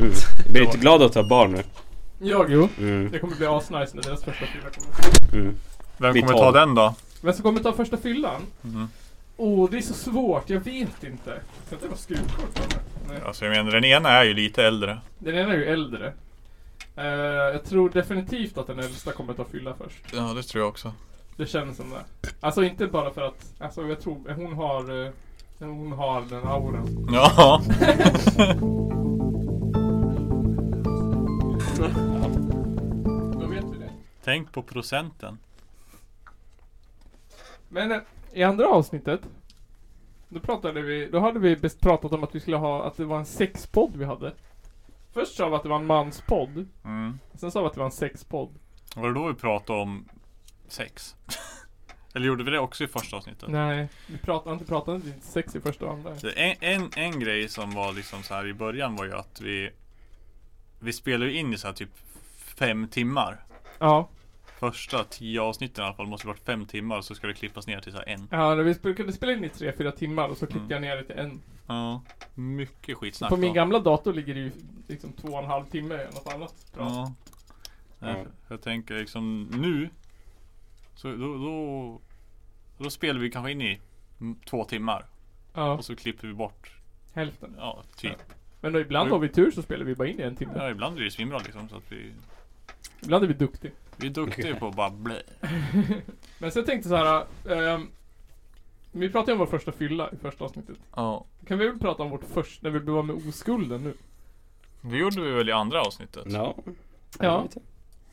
Speaker 4: Mm. Blir inte glad att ha barn nu.
Speaker 1: Jag jo.
Speaker 4: Mm.
Speaker 1: Det kommer bli asnice när deras första fylla kommer.
Speaker 4: Mm.
Speaker 3: Vem
Speaker 4: Vi
Speaker 3: kommer
Speaker 4: tar-
Speaker 3: ta den då?
Speaker 1: Vem som kommer ta första fyllan?
Speaker 3: Mhm.
Speaker 1: Åh, det är så svårt. Jag vet inte. Kan inte det vara skruvkort? på den? Nej.
Speaker 3: Alltså jag menar den ena är ju lite äldre.
Speaker 1: Den ena är ju äldre. Eh, jag tror definitivt att den äldsta kommer ta fylla först.
Speaker 3: Ja det tror jag också.
Speaker 1: Det känns som det. Alltså inte bara för att, alltså jag tror hon har, eh, hon har den auran.
Speaker 3: Ja.
Speaker 1: Då vet vi det.
Speaker 3: Tänk på procenten.
Speaker 1: Men eh, i andra avsnittet Då pratade vi, då hade vi bes- pratat om att vi skulle ha, att det var en sexpodd vi hade Först sa vi att det var en manspodd
Speaker 3: Mm.
Speaker 1: Sen sa vi att det var en sexpodd
Speaker 3: Var det då vi pratade om sex? Eller gjorde vi det också i första avsnittet?
Speaker 1: Nej, vi pratade inte, pratade inte sex i första hand där
Speaker 3: Så En, en, en grej som var liksom så här i början var ju att vi Vi spelade ju in i så här typ fem timmar
Speaker 1: Ja,
Speaker 3: Första tio avsnitten i alla fall måste varit fem timmar så ska det klippas ner till så här en
Speaker 1: ja vi sp- kunde spela in i tre, fyra timmar och så klippte
Speaker 3: Mm.
Speaker 1: jag ner det till en
Speaker 3: Ja Mycket skitsnack
Speaker 1: På min
Speaker 3: då.
Speaker 1: gamla dator ligger det ju liksom två och en halv timme eller något annat prat.
Speaker 3: Ja
Speaker 4: Ja.
Speaker 3: Nej, Jag tänker liksom nu Så då, då Då spelar vi kanske in i mm, två timmar
Speaker 1: ja,
Speaker 3: och så klipper vi bort
Speaker 1: hälften
Speaker 3: Ja typ
Speaker 1: Men då ibland har vi tur så spelar vi bara in i en timme
Speaker 3: Ja ibland är det svinbra liksom så att vi
Speaker 1: Ibland är vi duktiga
Speaker 3: Vi är duktiga på att bara blä
Speaker 1: Men så jag tänkte så här. ehm, vi pratade ju om vår första fylla i första avsnittet.
Speaker 3: Ja
Speaker 1: Kan vi väl prata om vårt första, när vi blev av med oskulden nu?
Speaker 3: Det gjorde vi väl i andra avsnittet?
Speaker 4: Ja.
Speaker 1: Ja.
Speaker 4: Ja.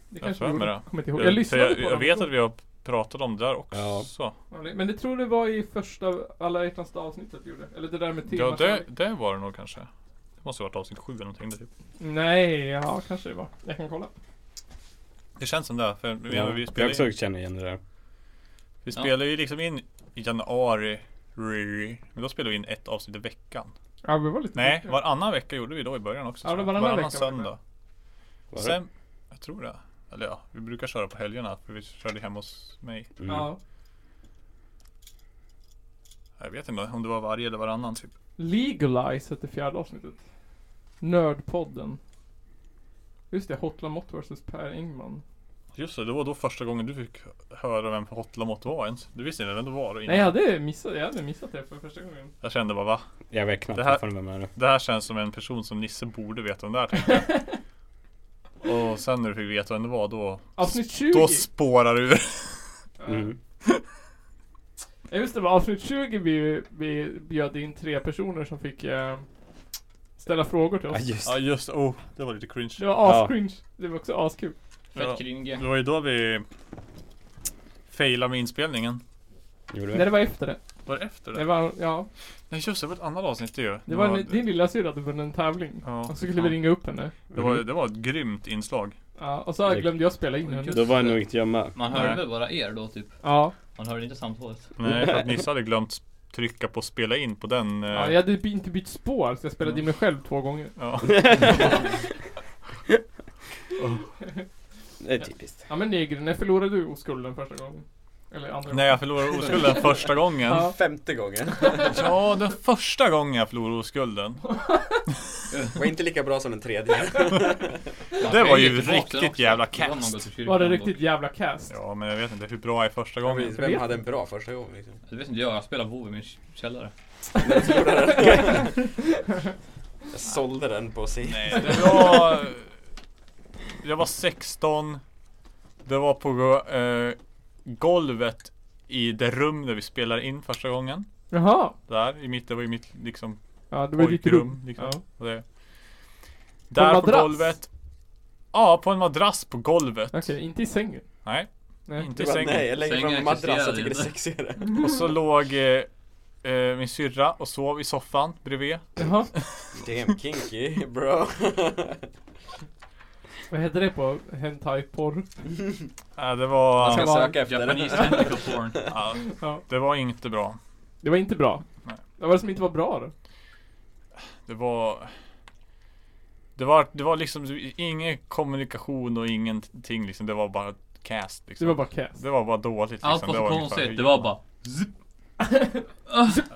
Speaker 1: Det
Speaker 3: Jag
Speaker 1: kanske
Speaker 3: för
Speaker 1: vi
Speaker 3: mig
Speaker 1: gjorde.
Speaker 3: det.
Speaker 1: Kommer inte ihåg.
Speaker 3: Jag,
Speaker 1: Jag
Speaker 3: för
Speaker 1: lyssnade
Speaker 3: jag,
Speaker 1: på
Speaker 3: jag
Speaker 1: dem.
Speaker 3: vet att vi har pratat om det där också.
Speaker 1: Ja, det- Men det tror det var i första, alla hjärtans dag avsnittet vi gjorde. Eller det där med temat.
Speaker 3: Ja, det, det var det nog kanske. Det måste ha varit avsnitt 7 eller någonting. Där, typ.
Speaker 1: Nej, ja kanske det var. Jag kan kolla.
Speaker 3: Det känns som det. här, För vi,
Speaker 4: Ja.
Speaker 3: vi
Speaker 4: Jag
Speaker 3: spelar,
Speaker 4: också
Speaker 3: ju,
Speaker 4: känner igen det där.
Speaker 2: Ja.
Speaker 3: vi spelar ju liksom in i januari. riri. Men då spelade vi in ett avsnitt i veckan.
Speaker 1: Ja, vi var lite
Speaker 3: Nej,
Speaker 1: duktiga.
Speaker 3: varannan vecka gjorde vi då i början också.
Speaker 1: Ja,
Speaker 3: tror
Speaker 1: det
Speaker 3: jag.
Speaker 1: var varannan vecka var det
Speaker 3: söndag.
Speaker 4: Var det?
Speaker 3: Sen, jag tror det. Eller ja, vi brukar köra på helgerna. För vi körde hem hos mig.
Speaker 4: Mm.
Speaker 1: Ja.
Speaker 3: Jag vet inte om det var varje eller varannan typ.
Speaker 1: Legalize hette fjärde avsnittet. Nördpodden. Just det, Hotla Mott vs Per Engman.
Speaker 3: Just det, det var då första gången du fick höra vem Hotlamott var ens. Du visste inte vem det var innan.
Speaker 1: Nej, jag hade missat, jag hade missat det för första gången.
Speaker 3: Jag kände bara va?
Speaker 4: Jag vet knappt
Speaker 3: Det här-
Speaker 4: fortfarande vem det är.
Speaker 3: Det här känns som en person som Nisse borde veta vem det är tänkte jag. Och sen när du fick veta vem det var då
Speaker 1: Avsnitt 20!
Speaker 3: Då spårar du ur.
Speaker 4: Mm.
Speaker 1: Ja just det, var avsnitt 20 vi, vi bjöd in tre personer som fick eh, ställa frågor till
Speaker 4: Ja,
Speaker 1: oss.
Speaker 4: just
Speaker 3: Ja just oh, det var lite cringe.
Speaker 1: Det var ascringe. Det var också askul.
Speaker 3: Ja. Mm.
Speaker 2: Fett kringe.
Speaker 3: Det var ju då vi Failade med inspelningen.
Speaker 4: Gjorde
Speaker 1: Nej
Speaker 4: vi?
Speaker 1: det var efter det.
Speaker 3: Var det efter
Speaker 1: Det
Speaker 3: det?
Speaker 1: var, ja.
Speaker 3: Nej just det, det var ett annat avsnitt ju.
Speaker 1: Det var
Speaker 3: Ja,
Speaker 1: en, din lilla syrra hade vunnit en tävling.
Speaker 3: Ja,
Speaker 1: och så skulle
Speaker 3: fan.
Speaker 1: vi ringa upp henne.
Speaker 3: det, var, det var ett grymt inslag.
Speaker 1: Ja, och så
Speaker 4: Det-
Speaker 1: glömde jag spela in henne.
Speaker 6: Just
Speaker 4: Då var jag
Speaker 6: det.
Speaker 4: nog inte hemma.
Speaker 6: Man hörde
Speaker 3: Nej.
Speaker 6: väl bara er då typ.
Speaker 1: Ja.
Speaker 6: Man hörde inte samtalet.
Speaker 3: Nej, för att Nisse hade glömt trycka på spela in på den. eh,
Speaker 1: ja. Jag hade by- inte bytt spår, så jag
Speaker 3: Mm.
Speaker 1: spelade in mig själv två gånger.
Speaker 3: ja.
Speaker 4: Det är typiskt.
Speaker 1: Ja men Negri, när förlorade du oskulden första gången? Eller andra
Speaker 3: Nej, jag förlorade oskulden första gången.
Speaker 1: Ja.
Speaker 7: Femte gången.
Speaker 3: Ja, den första gången jag förlorade oskulden.
Speaker 7: Var inte lika bra som den tredje.
Speaker 3: Det var ju
Speaker 6: Tillbaka den
Speaker 3: riktigt
Speaker 6: också.
Speaker 3: jävla
Speaker 6: Då har man
Speaker 3: cast.
Speaker 6: gått till kyrkan
Speaker 1: Var det
Speaker 6: och-
Speaker 1: riktigt jävla cast?
Speaker 3: Ja, men jag vet inte hur bra jag är första gången.
Speaker 7: Vem hade en bra första gång liksom?
Speaker 6: Det vet inte jag, jag spelar WoW i min källare.
Speaker 3: Liksom,
Speaker 7: Jag sålde den på sig.
Speaker 3: Nej, det var... Jag var 16. Det var på go- eh, golvet i det rum där vi spelade in första gången.
Speaker 1: Jaha!
Speaker 3: Där i mitt, det var ju mitt liksom
Speaker 1: Ja, det var ditt rum.
Speaker 3: pojkrum. Liksom.
Speaker 1: Ja.
Speaker 3: Och det, där på
Speaker 1: madrass?
Speaker 3: golvet. Ja, på en madrass på golvet.
Speaker 1: Okej, inte i sängen.
Speaker 3: Nej,
Speaker 1: Nej.
Speaker 3: inte
Speaker 7: Du
Speaker 3: i
Speaker 7: bara, nej,
Speaker 3: sängen.
Speaker 7: jag lägger
Speaker 6: Sängen
Speaker 7: fram en madrass, jag
Speaker 6: existerar
Speaker 7: tycker det är
Speaker 6: inte.
Speaker 7: sexigare.
Speaker 3: Och så låg eh, eh, min syrra och sov i soffan bredvid.
Speaker 1: Jaha.
Speaker 7: Damn kinky bro.
Speaker 1: Vad heter det på hentai-porr?
Speaker 3: Eh, det var...
Speaker 7: Jag ska
Speaker 1: var-
Speaker 7: söka efter den.
Speaker 6: Japanese tentacle porn.
Speaker 3: Ja,
Speaker 1: Ja.
Speaker 3: det var inte bra.
Speaker 1: Det var inte bra.
Speaker 3: Nej.
Speaker 1: Vad var det som inte var bra då?
Speaker 3: Det var... Det var, det var liksom ingen kommunikation och ingenting liksom. Det var bara cast
Speaker 1: Det
Speaker 3: liksom.
Speaker 1: var bara cast.
Speaker 3: det var bara dåligt liksom.
Speaker 6: Allt var så
Speaker 3: ungefär hur-
Speaker 6: konstigt, det var bara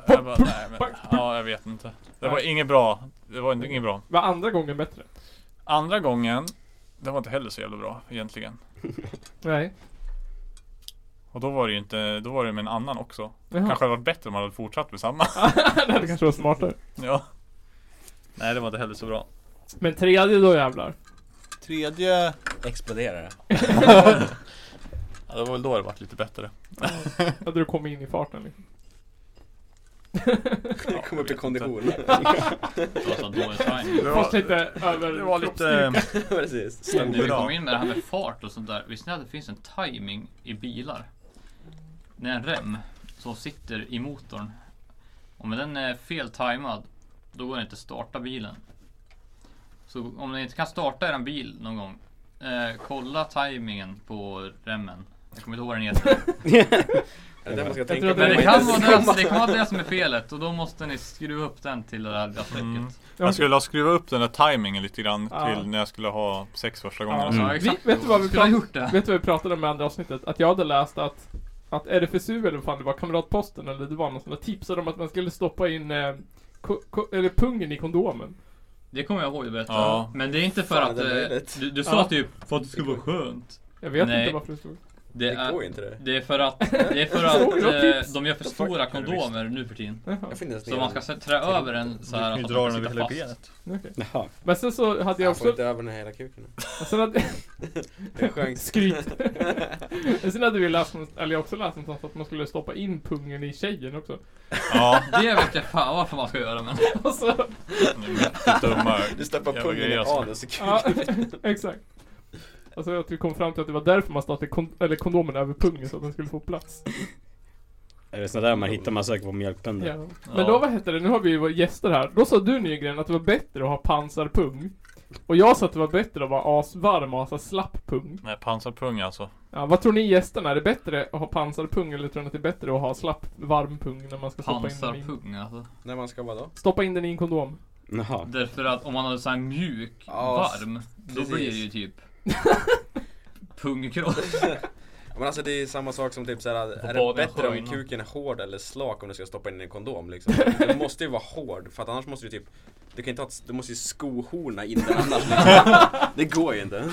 Speaker 3: Jag bara, nej, men, ja, jag vet inte. Det var inget bra. Det var inte- inget bra.
Speaker 1: Var andra gången bättre?
Speaker 3: Andra gången, det var inte heller så jävla bra egentligen.
Speaker 1: Nej.
Speaker 3: Och då var det ju inte, då var det med en annan också.
Speaker 1: Jaha.
Speaker 3: Kanske hade varit bättre om man hade fortsatt med samma.
Speaker 1: det hade kanske varit smartare.
Speaker 3: Ja. Nej, det var inte heller så bra.
Speaker 1: Men tredje då jävlar.
Speaker 3: Tredje...
Speaker 7: Exploderar det?
Speaker 3: Ja, det var väl då det vart lite bättre.
Speaker 1: Hade du kommit in i farten liksom.
Speaker 7: Jag kom upp i kondition.
Speaker 6: Trots att dålig sign.
Speaker 3: Det
Speaker 1: Fast lite över...
Speaker 3: det var lite...
Speaker 7: Precis.
Speaker 6: När vi
Speaker 3: Bra.
Speaker 6: kom in med det här med fart och sånt där. Visste ni att det finns en timing i bilar? Det är en rem som sitter i motorn. Om den är fel timad, då går det inte att starta bilen. Så om ni inte kan starta er bil någon gång, eh, kolla timingen på remmen. Jag kommer inte ihåg vad den heter.
Speaker 7: Det är det man
Speaker 1: tror
Speaker 7: ska tänka
Speaker 1: att
Speaker 7: på.
Speaker 6: Men det kan vara det, det
Speaker 7: det.
Speaker 6: kan vara det som är felet och då måste ni skruva upp den till det där däcksräcket.
Speaker 3: Mm.
Speaker 1: Ja.
Speaker 3: Jag skulle ha skruvat upp den där timingen lite grann
Speaker 1: Ja.
Speaker 3: till när jag skulle ha sex första gången.
Speaker 1: Ja.
Speaker 3: Mm. och så.
Speaker 6: Ja, exakt.
Speaker 1: Vi- vet du vad vi
Speaker 6: Skulle ha
Speaker 1: pratar-
Speaker 6: gjort det.
Speaker 1: Vet du vad vi pratade om i andra avsnittet? Att jag hade läst att Att RFSU eller vad fan det var, Kamratposten eller det var någon sån där tipsade om att man skulle stoppa in eh, ko- ko- eller pungen i kondomen.
Speaker 6: Det kommer jag ihåg att berätta.
Speaker 3: Ja.
Speaker 6: Men det är inte för
Speaker 7: Fan,
Speaker 6: att...
Speaker 7: det är
Speaker 6: eh,
Speaker 7: möjligt.
Speaker 6: du, du sa
Speaker 1: Ja.
Speaker 6: typ för att det skulle vara skönt.
Speaker 1: Jag vet
Speaker 6: Nej.
Speaker 1: inte varför det stod.
Speaker 6: Det
Speaker 7: går ju
Speaker 6: är,
Speaker 7: inte det.
Speaker 6: det är för att, det är för
Speaker 1: Såg du
Speaker 6: att
Speaker 1: något
Speaker 6: eh,
Speaker 1: tips?
Speaker 6: de gör för
Speaker 7: Vad fan
Speaker 6: stora
Speaker 7: kan du
Speaker 6: kondomer nu för tiden.
Speaker 1: Jaha,
Speaker 7: Jag får inte ens
Speaker 6: Så
Speaker 7: ner
Speaker 6: man ska
Speaker 7: den.
Speaker 6: så- trä över den så här
Speaker 3: Du kan ju
Speaker 6: att
Speaker 3: dra
Speaker 6: den
Speaker 3: den
Speaker 6: ska
Speaker 3: över hela
Speaker 6: sitta fast.
Speaker 3: benet.
Speaker 1: okej.
Speaker 4: Jaha.
Speaker 1: Men sen så hade jag
Speaker 7: Jag får
Speaker 1: också...
Speaker 7: inte över den här hela kuken.
Speaker 1: Sen hade,
Speaker 7: Det är en chans.
Speaker 1: skryt. Men sen hade vi läst, någonstans- eller jag också läst någonstans att man skulle stoppa in pungen i tjejen också.
Speaker 3: Ja,
Speaker 6: Det vet jag fan varför man ska göra men...
Speaker 1: Och så,
Speaker 3: det är mycket dumma
Speaker 7: Du stoppar
Speaker 3: jävla
Speaker 7: pungen i
Speaker 3: grejer alltså.
Speaker 7: anus och
Speaker 1: ja,
Speaker 7: kuken.
Speaker 1: exakt. Alltså att vi kom fram till att det var därför man startade kon- eller kondomen över pungen så att den skulle få plats.
Speaker 4: Är det sådär där man hittar man söker på mjölkbönder?
Speaker 1: Ja. Men då, vad heter det, nu har vi ju våra gäster här. Då sa du Nygren att det var bättre att ha pansarpung. Och jag sa att det var bättre att vara asvarm och ha så här slapp pung.
Speaker 3: Nej, pansarpung alltså.
Speaker 1: Ja, vad tror ni gästerna? Är det bättre att ha pansarpung eller tror ni att det är bättre att ha slapp varm pung när man ska stoppa in, den i,
Speaker 6: Pansarpung alltså.
Speaker 7: När man ska vara då?
Speaker 1: stoppa in den i en kondom?
Speaker 4: Jaha.
Speaker 6: Därför att om man har så här mjuk,
Speaker 7: Ja,
Speaker 6: varm, då
Speaker 7: precis.
Speaker 6: blir det ju typ... Pungkropp.
Speaker 7: Ja, Men alltså det är samma sak som typ såhär, är det
Speaker 6: baden
Speaker 7: bättre om
Speaker 6: sjöarna.
Speaker 7: kuken är hård eller slak om du ska stoppa in i en kondom liksom? Den måste ju vara hård för att annars måste du typ du kan inte ha ett, du måste ju skohorna in den annars liksom. Det går ju inte.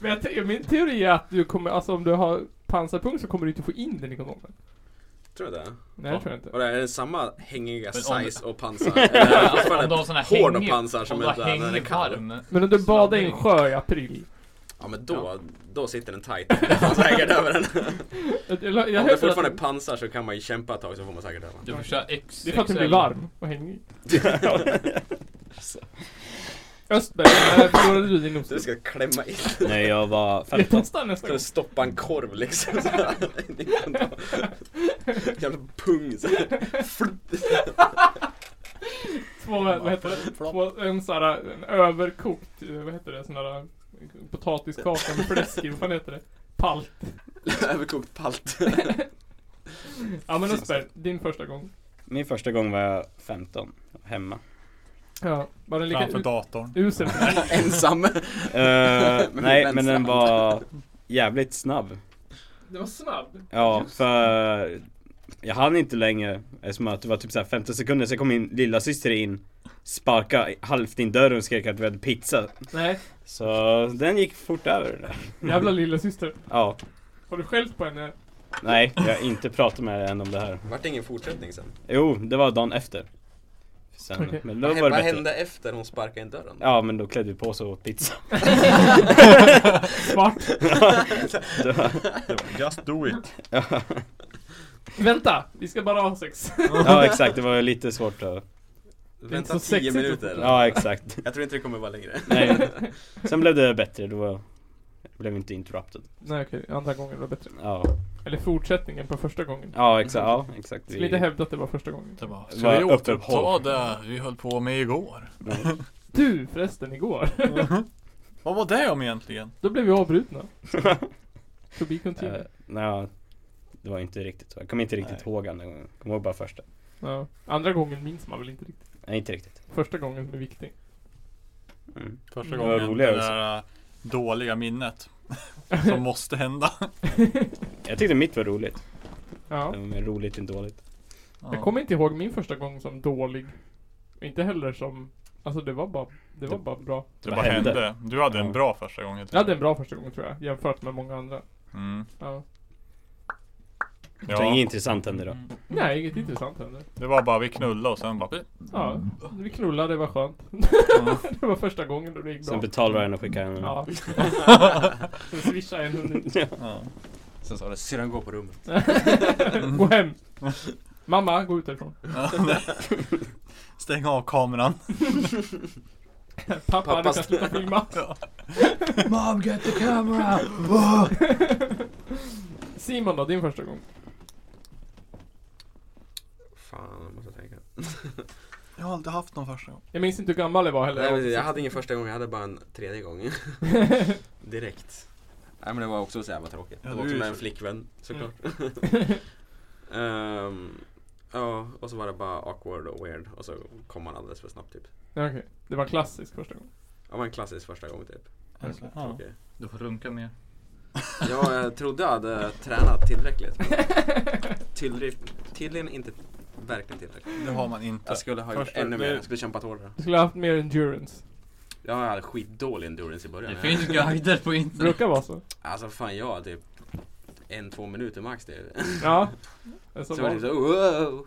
Speaker 1: Men jag te- min teori är att du kommer, alltså om du har pansarpung så kommer du inte få in den i kondomen.
Speaker 7: Tror du det?
Speaker 1: Nej, det tror jag
Speaker 7: Och
Speaker 1: inte.
Speaker 7: det är det samma hängiga
Speaker 6: Men om-
Speaker 7: size och pansar? Eller
Speaker 6: Om
Speaker 7: fortfarande
Speaker 6: du har sån här
Speaker 7: hård och
Speaker 6: hängig-
Speaker 7: pansar som
Speaker 6: om
Speaker 7: är
Speaker 6: du har
Speaker 7: där när den är
Speaker 6: hängig
Speaker 7: kall.
Speaker 6: varm.
Speaker 1: Men om du badar i en
Speaker 6: Sladdring.
Speaker 1: sjö i april.
Speaker 7: Ja men då, då sitter den tight. Det är säkert över den.
Speaker 1: Jag, jag, jag
Speaker 7: Om det
Speaker 1: hör
Speaker 7: fortfarande
Speaker 1: att,
Speaker 7: är pansar så kan man ju kämpa ett tag så får man säkert över den.
Speaker 6: Du får köra X,
Speaker 1: det är för att den blir varm och hängig. Östberg, när förlorade du din ost?
Speaker 7: Du ska klämma in
Speaker 4: Nej jag var
Speaker 1: Jag
Speaker 4: 15.
Speaker 1: testar nästa
Speaker 7: Ska du
Speaker 1: gång.
Speaker 7: stoppa en korv liksom så här. Det kan ta- Jävla pung så här. Flupp.
Speaker 1: Två, vad heter det? Två, en sån här, en överkokt, eh, vad heter det, sån här eh, potatiskaka med fläsk i, vad fan heter det? Palt.
Speaker 7: Överkokt palt
Speaker 1: Ja men Östberg, din första gång.
Speaker 4: Min första gång var jag 15. Hemma.
Speaker 1: Ja, var den lika
Speaker 3: Framför
Speaker 1: u-
Speaker 3: datorn.
Speaker 1: usel?
Speaker 7: Ensam
Speaker 4: Eh,
Speaker 7: Men
Speaker 4: nej
Speaker 7: vem
Speaker 4: men den
Speaker 7: snabb?
Speaker 4: var jävligt snabb.
Speaker 1: Den var snabb.
Speaker 4: Ja, för jag hann inte längre eftersom att det var typ såhär 15 sekunder, sen kom min lilla syster in Sparka halvt in dörren och skrek att vi hade pizza
Speaker 1: Nej,
Speaker 4: Så den gick fort över det där.
Speaker 1: jävla lillasyster.
Speaker 4: Ja,
Speaker 1: Har du skällt på henne?
Speaker 4: nej jag har inte pratat med henne om det här
Speaker 7: Vart det ingen fortsättning sen?
Speaker 4: Jo, det var dagen efter sen,
Speaker 1: Okej.
Speaker 4: Men då
Speaker 7: Vad,
Speaker 4: var
Speaker 7: vad
Speaker 4: det bättre
Speaker 7: hände efter hon sparkade in dörren?
Speaker 4: Ja men då klädde vi på oss och åt pizza
Speaker 1: Svart.
Speaker 4: det var,
Speaker 3: Just do it.
Speaker 4: ja.
Speaker 1: Vänta, vi ska bara ha sex.
Speaker 4: ja exakt, det var lite svårt att
Speaker 1: inte
Speaker 7: Vänta
Speaker 1: så
Speaker 7: 10
Speaker 1: sexigt.
Speaker 7: minuter
Speaker 4: Ja exakt
Speaker 7: Jag tror inte det kommer vara längre
Speaker 4: Nej. Sen blev det bättre, då blev vi inte interrupted
Speaker 1: Nej okej, andra gången var bättre.
Speaker 4: Ja,
Speaker 1: Eller fortsättningen på första gången.
Speaker 4: ja exakt, ja exakt
Speaker 1: Skulle inte hävda att det var första gången.
Speaker 3: Det bara,
Speaker 4: Var
Speaker 3: ska vi
Speaker 4: öppet
Speaker 3: återuppta
Speaker 4: håll.
Speaker 3: det vi höll på med igår?
Speaker 1: Du förresten, igår.
Speaker 3: Vad var det om egentligen?
Speaker 1: Då blev vi avbrutna. To be continued.
Speaker 4: Uh, nej, det var inte riktigt så. Jag kommer inte riktigt
Speaker 3: Nej.
Speaker 4: ihåg andra gången. Jag kommer ihåg bara första.
Speaker 1: Ja. Andra gången minns man väl inte riktigt.
Speaker 4: Nej, inte riktigt.
Speaker 1: Första gången är viktig.
Speaker 4: Mm.
Speaker 3: Första
Speaker 1: Det
Speaker 4: var
Speaker 3: gången det
Speaker 4: roligare
Speaker 3: där äh, dåliga minnet som måste hända.
Speaker 4: Jag tyckte mitt var roligt.
Speaker 1: Ja.
Speaker 4: Det var mer roligt än dåligt.
Speaker 1: Jag kommer inte ihåg min första gång som dålig. Inte heller som... Alltså det var bara, det var
Speaker 4: Det-
Speaker 1: bara bra.
Speaker 3: Det
Speaker 4: Vad
Speaker 3: bara
Speaker 4: hände?
Speaker 3: hände. Du hade en
Speaker 4: Ja.
Speaker 3: bra första gången.
Speaker 1: Jag hade en bra första gång tror jag, jämfört med många andra.
Speaker 3: Mm.
Speaker 1: Ja.
Speaker 4: Det var inget
Speaker 3: Ja,
Speaker 4: intressant hände
Speaker 1: Mm.
Speaker 4: då.
Speaker 1: Nej, inget intressant hände.
Speaker 3: det var bara vi knullade och sen bara...
Speaker 1: Ja,
Speaker 4: Mm.
Speaker 1: vi knullade, det var skönt. det var första gången då det gick
Speaker 4: Sen
Speaker 1: bra.
Speaker 4: betalade jag henne och skickade henne.
Speaker 1: Ja. Sen swishade jag en hundring.
Speaker 3: Ja.
Speaker 7: Sen sa det syrran gå på rummet
Speaker 4: Mm.
Speaker 1: gå hem! Mamma, gå ut härifrån.
Speaker 3: Stäng av kameran.
Speaker 1: Pappa, du
Speaker 7: Pappas-
Speaker 1: kan sluta filma.
Speaker 3: Mom get the camera!
Speaker 1: Simon då, din första gång?
Speaker 7: Fan, jag måste tänka
Speaker 3: Jag har aldrig haft någon första gång.
Speaker 1: Jag minns inte hur gammal jag var typ heller.
Speaker 7: Nej, men Jag hade ingen första gång, jag hade bara en tredje gång Direkt Nej men det var också så jävla tråkigt
Speaker 3: Ja,
Speaker 7: Det
Speaker 3: du
Speaker 7: var också
Speaker 3: är
Speaker 7: med
Speaker 3: så-
Speaker 7: en flickvän såklart Ehm, Ja, och så var det bara awkward och weird och så kom man alldeles för snabbt typ
Speaker 1: Nej, Okej, det var klassisk första gången.
Speaker 7: Ja men klassisk första gång typ
Speaker 3: Ja.
Speaker 7: Okej.
Speaker 6: Du får runka mer.
Speaker 7: Ja, jag trodde jag hade tränat tillräckligt men tillri- Tydligen inte verkligen tillräckligt
Speaker 3: Det har man inte.
Speaker 7: Jag skulle ha gjort
Speaker 3: Första-
Speaker 7: ännu mer,
Speaker 3: det-
Speaker 7: jag skulle kämpat hårdare
Speaker 1: Du skulle ha haft mer endurance.
Speaker 7: Jag hade skitdålig endurance i början
Speaker 6: Det finns guider på
Speaker 1: Det
Speaker 6: internet.
Speaker 1: brukar vara så.
Speaker 7: Alltså fan jag har typ en, två minuter max det är
Speaker 1: Ja. Det är så
Speaker 7: Så var
Speaker 1: var
Speaker 7: det
Speaker 1: det.
Speaker 7: så, wow.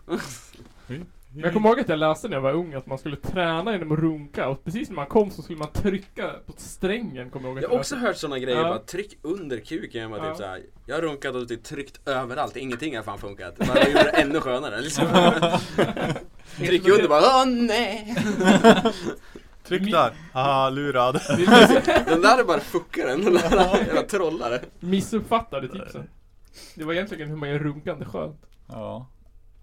Speaker 1: Men jag kommer ihåg att jag läste när jag var ung att man skulle träna genom att runka och precis när man kom så skulle man trycka på strängen kommer jag ihåg
Speaker 7: Jag
Speaker 1: att
Speaker 7: har också hört såna grejer,
Speaker 1: Ja.
Speaker 7: bara tryck under kuken. Bara,
Speaker 1: Ja.
Speaker 7: typ, såhär, jag har runkat och typ tryckt överallt, ingenting har fan funkat. Bara jag gjorde det ännu skönare liksom. Tryck under bara, åh nej!
Speaker 3: Tryck där! Haha, lurad.
Speaker 7: Den där är bara fuckaren, den där jävla trollare.
Speaker 1: Missuppfattade tipsen. Det var egentligen hur man gör runkande skönt.
Speaker 3: Ja.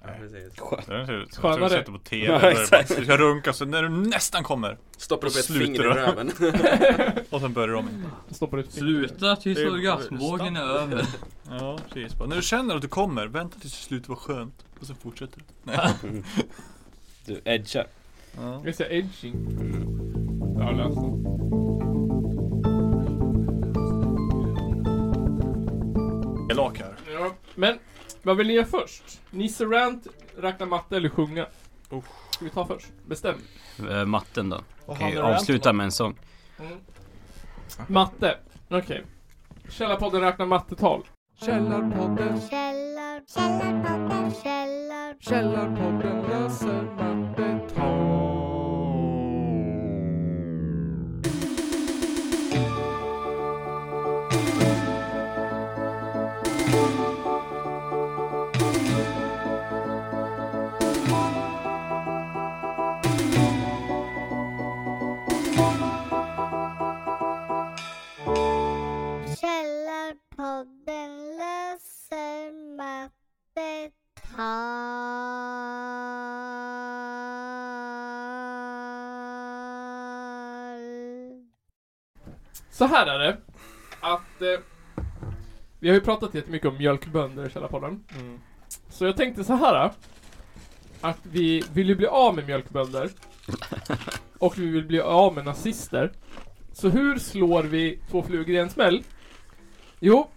Speaker 7: Ja, precis.
Speaker 3: Det är naturligt. Jag tror
Speaker 1: Skönare.
Speaker 3: du sätter på TV.
Speaker 4: Ja,
Speaker 3: där det bara,
Speaker 4: exakt.
Speaker 3: du ska runka så när du nästan kommer.
Speaker 7: Stoppar upp ett
Speaker 3: Slutar
Speaker 7: finger i
Speaker 3: du?
Speaker 7: röven.
Speaker 3: Och sen börjar du om igen.
Speaker 1: Stoppar ut fingret.
Speaker 6: Sluta tills
Speaker 3: Det är-
Speaker 6: orgasmvågen är över.
Speaker 3: Ja, precis. Bara, när du känner att du kommer, vänta tills det slutar vara skönt. Och sen fortsätter du.
Speaker 4: Du edgar.
Speaker 3: Ja.
Speaker 1: Jag säger edging. Jag har läst det.
Speaker 3: Elak här.
Speaker 1: Ja. Men, vad vill ni göra först? Nisse Rant, räkna matte eller sjunga? Ska vi ta först? Bestäm.
Speaker 4: eh, matten då.
Speaker 3: Kan ju avsluta
Speaker 4: med en sång.
Speaker 1: Mm. Matte. Okej. Källarpodden räknar mattetal.
Speaker 8: Källarpodden,
Speaker 9: Källar, källarpodden, källar,
Speaker 8: Källarpodden läser mattetal.
Speaker 1: Så här är det. Att eh, vi har ju pratat jättemycket om mjölkbönder i Källarpodden.
Speaker 3: Mm.
Speaker 1: Så jag tänkte så här. eh, Att vi vill ju bli av med mjölkbönder. Och vi vill bli av med nazister. Så hur slår vi två flugor i en smäll? Jo,